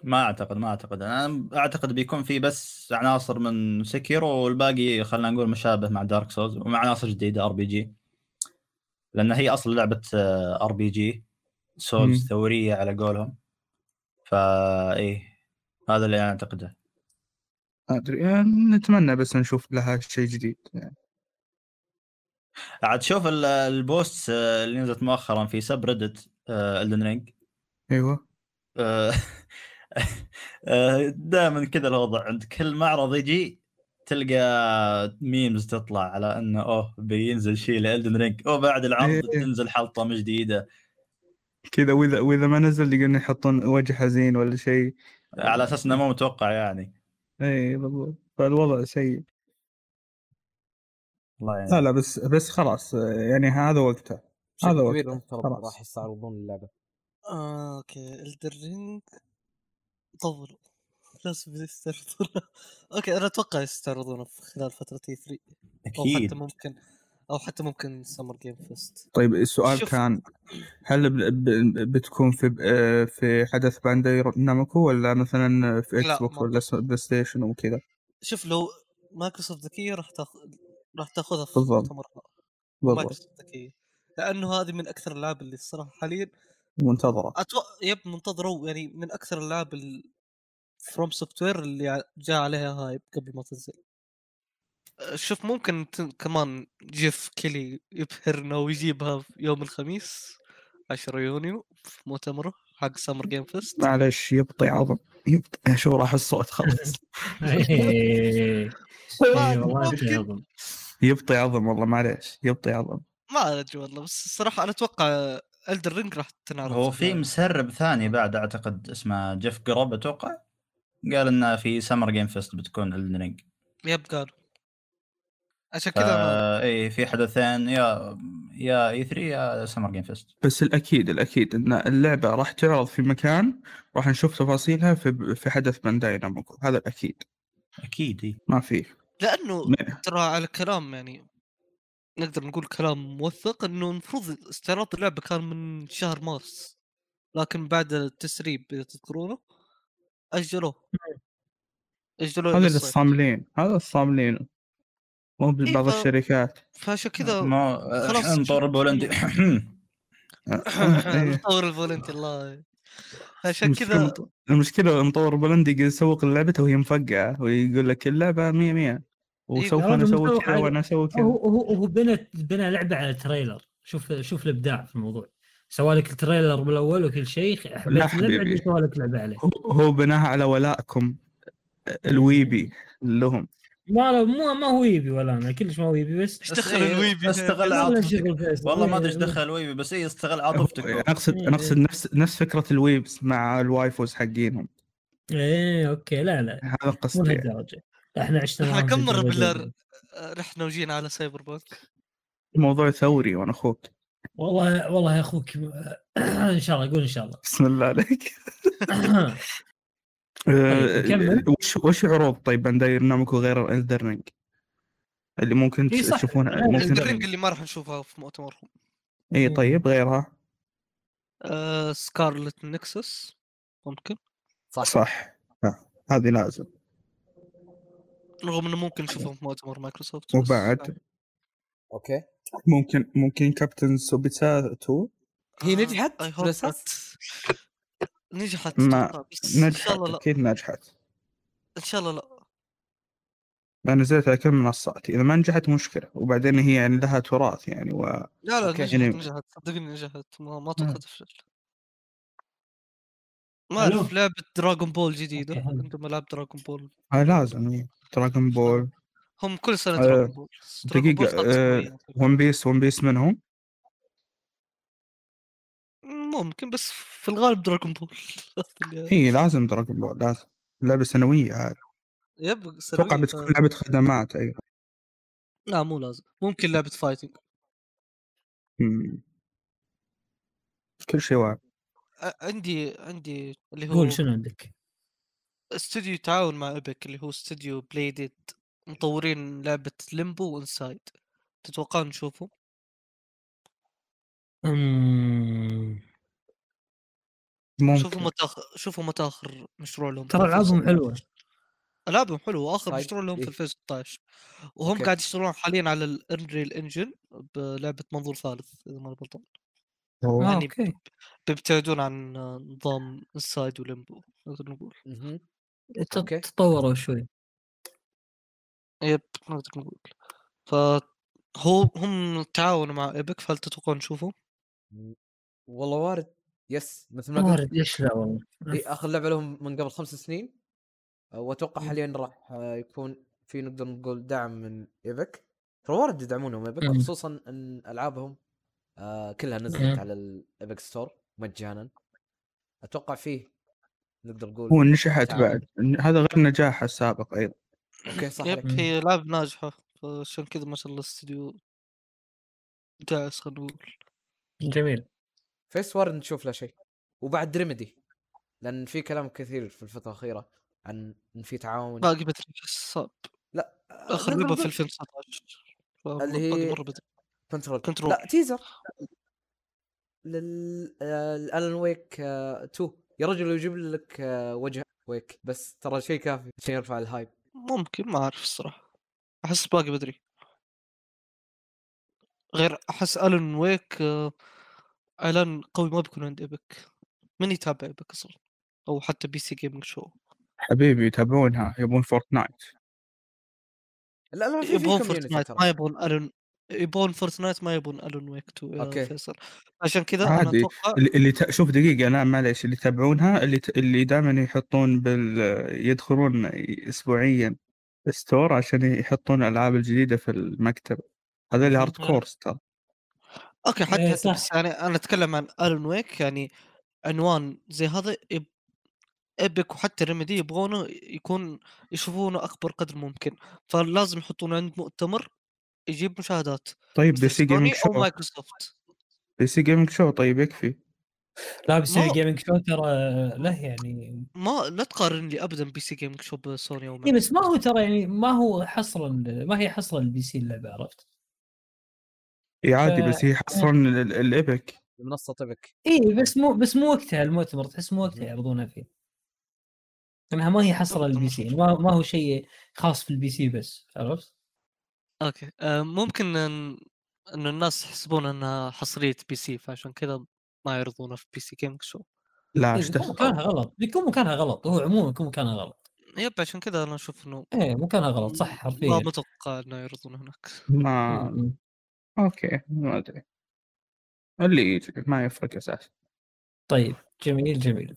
Speaker 4: ما اعتقد ما اعتقد انا اعتقد بيكون في بس عناصر من سكيرو والباقي خلينا نقول مشابه مع دارك سوز ومع عناصر جديده ار بي جي لان هي آه، اصلا لعبه ار بي جي سولز
Speaker 2: مم.
Speaker 4: ثوريه على قولهم فا ايه هذا اللي انا اعتقده
Speaker 2: ما ادري يعني نتمنى بس نشوف لها شيء جديد يعني
Speaker 4: عاد شوف ال- البوست آه، اللي نزلت مؤخرا في سب آه، ريدت الدن رينج
Speaker 2: ايوه
Speaker 4: دائما آه، كذا الوضع عند كل معرض يجي تلقى ميمز تطلع على انه اوه بينزل شيء لالدن رينج اوه بعد العرض
Speaker 2: إيه.
Speaker 4: تنزل حلطمه جديده
Speaker 2: كذا واذا واذا ما نزل يقولون يحطون وجه حزين ولا شيء
Speaker 4: على اساس انه مو متوقع يعني
Speaker 2: اي بالضبط فالوضع سيء
Speaker 4: الله يعني.
Speaker 2: لا لا بس بس خلاص يعني هذا وقته
Speaker 5: بشكل
Speaker 2: هذا
Speaker 5: كبير
Speaker 2: وقته.
Speaker 5: المفترض
Speaker 2: خلاص.
Speaker 5: راح يستعرضون اللعبه
Speaker 3: آه، اوكي الدرينج طولوا لازم يستعرضونه اوكي انا اتوقع يستعرضونه في خلال فتره اي 3 او حتى
Speaker 4: اكيد
Speaker 3: ممكن او حتى ممكن سمر جيم فيست
Speaker 2: طيب السؤال
Speaker 3: شوف.
Speaker 2: كان هل ب- ب- بتكون في ب- آه، في حدث بانداي نامكو ولا مثلا في
Speaker 3: لا،
Speaker 2: اكس بوك
Speaker 3: ما
Speaker 2: ولا س- بلاي ستيشن وكذا
Speaker 3: شوف لو مايكروسوفت ذكيه راح تاخذ راح تاخذها في
Speaker 2: بالضبط.
Speaker 3: مؤتمرها
Speaker 2: بالضبط
Speaker 3: مايكروسوفت ذكيه لانه هذه من اكثر الالعاب اللي الصراحه حاليا
Speaker 2: منتظره
Speaker 3: اتوقع يب منتظره يعني من اكثر الالعاب فروم سوفت وير اللي ع- جاء عليها هايب قبل ما تنزل أه، شوف ممكن تن- كمان جيف كيلي يبهرنا ويجيبها في يوم الخميس 10 يونيو في مؤتمره حق سمر جيم فيست
Speaker 2: معلش يبطي عظم يبطي شو راح الصوت خلاص
Speaker 1: إيه.
Speaker 2: يبطي عظم والله معليش يبطي عظم
Speaker 3: ما ادري والله بس الصراحه انا اتوقع الدر رينج راح تنعرض
Speaker 4: هو في مسرب ثاني بعد اعتقد اسمه جيف جروب اتوقع قال انه في سمر جيم فيست بتكون الدن رينج
Speaker 3: يب قالوا عشان كذا
Speaker 4: فا اي في حدثين إيه، يا يا اي 3 يا سمر جيم فيست
Speaker 2: بس الاكيد الاكيد ان اللعبه راح تعرض في مكان راح نشوف تفاصيلها في في حدث بانداي نامكو هذا الاكيد
Speaker 4: اكيد إي.
Speaker 2: ما فيه
Speaker 3: طيب، لانه
Speaker 2: م-
Speaker 3: ترى على كلام يعني نقدر نقول كلام موثق انه المفروض استعراض اللعبه كان من شهر مارس لكن بعد التسريب اذا تذكرونه اجلوه اجلوه
Speaker 2: نعم. هذا
Speaker 3: للصيف.
Speaker 2: للصاملين هذا الصاملين مو بعض
Speaker 3: ف-
Speaker 2: الشركات
Speaker 3: فعشان كذا
Speaker 4: ما
Speaker 3: خلاص.
Speaker 4: انطر البولندي
Speaker 2: إيه.
Speaker 3: مطور الفولنتي الله عشان
Speaker 2: المشكلة
Speaker 3: كذا
Speaker 2: مط- المشكله مطور بولندي قاعد يسوق لعبته وهي مفقعه ويقول لك اللعبه 100 100 وسوف
Speaker 1: هذا
Speaker 2: انا اسوي
Speaker 1: إيه، مطور
Speaker 2: كذا
Speaker 1: على-
Speaker 2: وانا اسوي كذا
Speaker 1: هو هو هو بنى بنى لعبه على تريلر شوف شوف الابداع في الموضوع سوى لك التريلر بالاول وكل شيء
Speaker 2: لا
Speaker 1: حبيت اللعبه
Speaker 2: حبيبي.
Speaker 1: بعدين سوى لك لعبه عليه
Speaker 2: هو- هو بناها على ولائكم الويبي لهم
Speaker 1: ما لا مو ما هو يبي ولا انا كلش ما هو يبي بس
Speaker 3: ايش
Speaker 4: بس
Speaker 3: دخل
Speaker 4: إيه،
Speaker 3: الويبي
Speaker 4: استغل
Speaker 1: ما له شغل
Speaker 4: عاطفتك
Speaker 1: فيصل.
Speaker 4: والله ما ادري ايش
Speaker 1: إيه،
Speaker 4: دخل ويبي بس اي استغل عاطفتك
Speaker 2: اقصد
Speaker 1: إيه.
Speaker 2: نقصد يعني نفس نفس فكره الويبس مع الوايفوز حقينهم
Speaker 1: ايه اوكي لا لا
Speaker 2: هذا
Speaker 1: مو
Speaker 2: قصدي
Speaker 1: لهالدرجه احنا عشنا
Speaker 3: إحنا
Speaker 1: معاهم
Speaker 3: كم
Speaker 1: في
Speaker 3: مرة
Speaker 1: التجربة
Speaker 3: بالله- نحن وجينا على سايبر بانك
Speaker 2: موضوع ثوري وانا اخوك
Speaker 1: والله والله يا اخوك ان شاء الله قول ان شاء الله
Speaker 2: بسم الله عليك آه،
Speaker 1: طيب، نكمل.
Speaker 2: وش وش عروض طيب بانداي نامكو غير الدرنج اللي ممكن
Speaker 1: إي إيه، صح،
Speaker 2: تشوفونها
Speaker 1: غير
Speaker 2: ممكن نعم.
Speaker 1: Elden
Speaker 3: الرينج اللي ما راح نشوفها في مؤتمرهم
Speaker 2: اي
Speaker 1: إيه.
Speaker 2: طيب غيرها
Speaker 3: آه سكارلت نكسس ممكن
Speaker 5: صح
Speaker 2: صح آه، هذه لازم
Speaker 3: رغم انه ممكن نشوفهم في مؤتمر مايكروسوفت بس
Speaker 2: وبعد
Speaker 5: اوكي
Speaker 2: ممكن ممكن كابتن سوبيتا 2
Speaker 5: هي نجحت؟
Speaker 3: آه، I hope
Speaker 5: بلسات؟
Speaker 3: not. نجحت
Speaker 2: ما
Speaker 3: أتوقع، بس ان شاء
Speaker 2: نجحت
Speaker 3: الله لا
Speaker 2: اكيد نجحت
Speaker 3: ان شاء الله لا
Speaker 2: انا نزلت على كل منصات اذا ما نجحت مشكله وبعدين هي يعني لها تراث يعني و
Speaker 3: لا لا
Speaker 5: أوكي.
Speaker 3: نجحت
Speaker 2: يعني-
Speaker 3: نجحت صدقني نجحت ما ما
Speaker 2: مم.
Speaker 3: اتوقع تفشل ما اعرف
Speaker 4: ألو.
Speaker 3: لعبه دراغون بول جديده
Speaker 1: أوكي، حلو.
Speaker 3: عندهم العاب دراغون بول
Speaker 2: آه لازم دراغون بول
Speaker 3: هم كل سنه
Speaker 2: آه،
Speaker 3: دراغون بول بس دراغون بول
Speaker 2: دقيقة،
Speaker 3: صارت
Speaker 2: آه،
Speaker 3: أسبوعياً.
Speaker 2: ون بيس ون بيس منهم
Speaker 3: ممكن بس في الغالب دراغون بول اللي-
Speaker 2: اي لازم دراغون بول لازم لعبه سنويه هذه
Speaker 3: يب
Speaker 2: اتوقع
Speaker 3: سنوية،
Speaker 2: بتكون
Speaker 3: آه،
Speaker 2: لعبه خدمات ايوه
Speaker 3: لا مو لازم ممكن لعبه فايتنج
Speaker 2: مم. كل شيء واعي
Speaker 3: عندي عندي اللي هو
Speaker 1: قول شنو عندك؟
Speaker 3: استوديو تعاون مع ايبك اللي هو استوديو بليدد مطورين لعبة ليمبو وانسايد تتوقع نشوفه
Speaker 1: أمم،
Speaker 2: ممكن
Speaker 3: شوفوا متى آخ- شوفوا متى اخر مشروع لهم في
Speaker 1: ترى العابهم
Speaker 3: 2016.
Speaker 1: حلوه
Speaker 3: العابهم حلوه واخر
Speaker 5: طيب،
Speaker 3: مشروع لهم
Speaker 5: إيه.
Speaker 3: في 2016 وهم
Speaker 5: أوكي.
Speaker 3: قاعد يشتغلون حاليا على الانريل انجن بلعبه منظور ثالث اذا ما أنا غلطان
Speaker 2: أوه.
Speaker 1: آه،
Speaker 3: يعني
Speaker 1: اوكي
Speaker 3: بيبتعدون عن نظام انسايد وليمبو نقدر نقول
Speaker 5: مهم.
Speaker 1: ت-
Speaker 5: أوكي.
Speaker 1: تطوروا شوي
Speaker 3: يب نقدر نقول فهو هم تعاونوا مع ايبك فهل تتوقعون نشوفه؟
Speaker 5: والله وارد يس مثل ما قلت
Speaker 1: وارد ليش لا والله
Speaker 5: إيه،
Speaker 3: آه،
Speaker 5: اخر لعبه لهم من قبل خمس سنين أه، واتوقع حاليا راح أه، يكون في نقدر نقول دعم من ايبك ترى وارد يدعمونهم ايبك
Speaker 1: مم.
Speaker 5: خصوصا ان العابهم آه، كلها نزلت
Speaker 1: مم.
Speaker 5: على الايبك ستور مجانا اتوقع فيه نقدر نقول
Speaker 2: هو نجحت
Speaker 5: تعاون.
Speaker 2: بعد هذا غير نجاحها السابق ايضا
Speaker 5: اوكي صح
Speaker 3: يب
Speaker 5: عليك. إمم.
Speaker 3: هي لعبة ناجحة فعشان كذا ما شاء الله الاستوديو داعس خلينا نقول
Speaker 1: جميل
Speaker 5: فيس وارد نشوف له شيء وبعد ريميدي لان في كلام كثير في الفتره الاخيره عن ان في تعاون
Speaker 3: باقي باتري
Speaker 5: آه،
Speaker 3: صعب
Speaker 5: لا
Speaker 3: اخر لعبة في 2019
Speaker 5: اللي
Speaker 3: باقي
Speaker 5: هي-
Speaker 3: مرة باتري
Speaker 5: كنترول
Speaker 3: كنترول.
Speaker 5: لا تيزر لل آه، الالن ويك 2 يا رجل يجيب لك آه، وجه ويك بس ترى شيء كافي عشان يرفع الهايب
Speaker 3: ممكن ما اعرف الصراحة احس باقي بدري غير احس الون ويك آه، اعلان قوي ما بيكون عند ايبك من يتابع ايبك اصلا او حتى بي سي جيمنج شو
Speaker 5: آه،
Speaker 2: حبيبي يتابعونها يبون فورتنايت
Speaker 5: لا لا في في
Speaker 3: يبغون طيب.
Speaker 5: كوميونتي
Speaker 3: فورتنايت
Speaker 5: ترى
Speaker 3: إيه، ما يبغون الون يبغون فورتنايت ما يبغون الون ويك تو يا
Speaker 5: أوكي.
Speaker 3: فيصل عشان كذا انا
Speaker 2: عادي.
Speaker 3: اتوقع
Speaker 2: اللي- اللي ت... شوف دقيقة لا معليش اللي يتابعونها اللي ت... اللي دائما يحطون بال يدخلون اسبوعيا ستور عشان يحطون الالعاب الجديدة في المكتب هذا اللي
Speaker 3: مهم.
Speaker 2: هارد كور ترى
Speaker 3: اوكي حتى
Speaker 1: إيه،
Speaker 3: حتى
Speaker 1: صح.
Speaker 3: بس يعني انا اتكلم عن الون ويك يعني عنوان زي هذا يب... ايبك وحتى ريميدي يبغونه يكون يشوفونه اكبر قدر ممكن فلازم يحطونه عند مؤتمر يجيب مشاهدات
Speaker 2: طيب
Speaker 3: مثل
Speaker 2: بي سي
Speaker 3: سوني
Speaker 2: جيمنج
Speaker 3: او
Speaker 2: شو
Speaker 3: مايكروسوفت
Speaker 2: بي سي جيمنج شو طيب يكفي
Speaker 1: لا بس
Speaker 3: ما-
Speaker 1: الجيمنج شو ترى له يعني
Speaker 3: ما لا تقارن لي ابدا بي سي جيمنج شو بسوني او
Speaker 1: اي إيه، بس ما هو ترى يعني ما هو حصرا ما هي حصرا البي سي اللعبه عرفت؟
Speaker 2: اي عادي
Speaker 1: ف-
Speaker 2: بس هي حصرا ال- ال- الايبك
Speaker 5: المنصه تبك
Speaker 1: اي إيه، بس مو بس مو وقتها المؤتمر تحس مو وقتها يعرضونها فيه. لانها ما هي حصرا البي سي يعني ما, ما هو شيء خاص في البي سي بس عرفت؟
Speaker 3: اوكي آه، ممكن ان انه الناس يحسبون انها حصريه بي سي فعشان كذا ما يعرضونه في بي سي جيمنج شو
Speaker 2: لا
Speaker 3: آه،
Speaker 1: إيه،
Speaker 2: ايش
Speaker 1: بيكون
Speaker 2: دخل
Speaker 1: مكانها غلط بيكون مكانها غلط هو عموما بيكون مكانها غلط
Speaker 3: يب عشان كذا انا اشوف انه
Speaker 1: ايه مكانها غلط صح إيه.
Speaker 3: ما
Speaker 1: حرفيا
Speaker 3: متوقع انه يعرضونه هناك
Speaker 2: ما
Speaker 1: مم.
Speaker 2: اوكي ما ادري اللي يجي ما يفرق اساسا
Speaker 1: طيب جميل جميل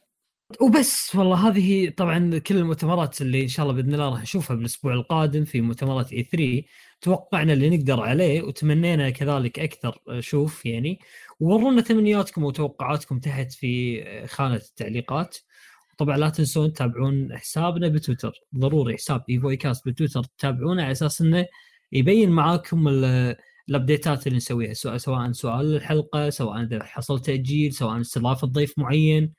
Speaker 1: وبس والله هذه طبعا كل المؤتمرات اللي ان شاء الله باذن الله راح نشوفها بالاسبوع القادم في مؤتمرات اي 3 توقعنا اللي نقدر عليه وتمنينا كذلك اكثر شوف يعني ورونا تمنياتكم وتوقعاتكم تحت في خانه التعليقات طبعا لا تنسون تتابعون حسابنا بتويتر ضروري حساب ايفوي كاست بتويتر تتابعونه على اساس انه يبين معاكم ال- الابديتات اللي نسويها سواء سواء سؤال الحلقه سواء اذا حصل تاجيل سواء استضافه ضيف معين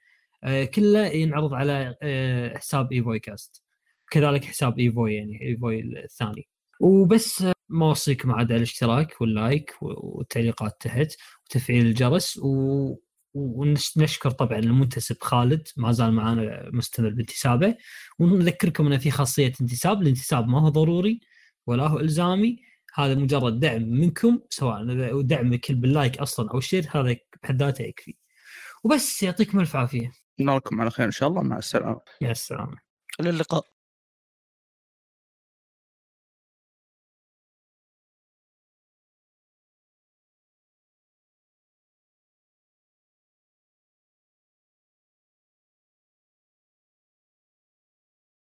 Speaker 1: آه، كله ينعرض على آه، حساب ايفوي كاست كذلك حساب ايفوي يعني ايفوي الثاني وبس آه، ما اوصيكم عاد على الاشتراك واللايك و- والتعليقات تحت وتفعيل الجرس و... ونشكر طبعا المنتسب خالد ما زال معنا مستمر بانتسابه ونذكركم انه في خاصيه انتساب الانتساب ما هو ضروري ولا هو الزامي هذا مجرد دعم منكم سواء إذا دعمك باللايك اصلا او الشير هذا بحد ذاته يكفي وبس يعطيكم الف عافيه
Speaker 2: نراكم على خير ان شاء الله مع السلامه
Speaker 1: مع السلامه
Speaker 3: للقاء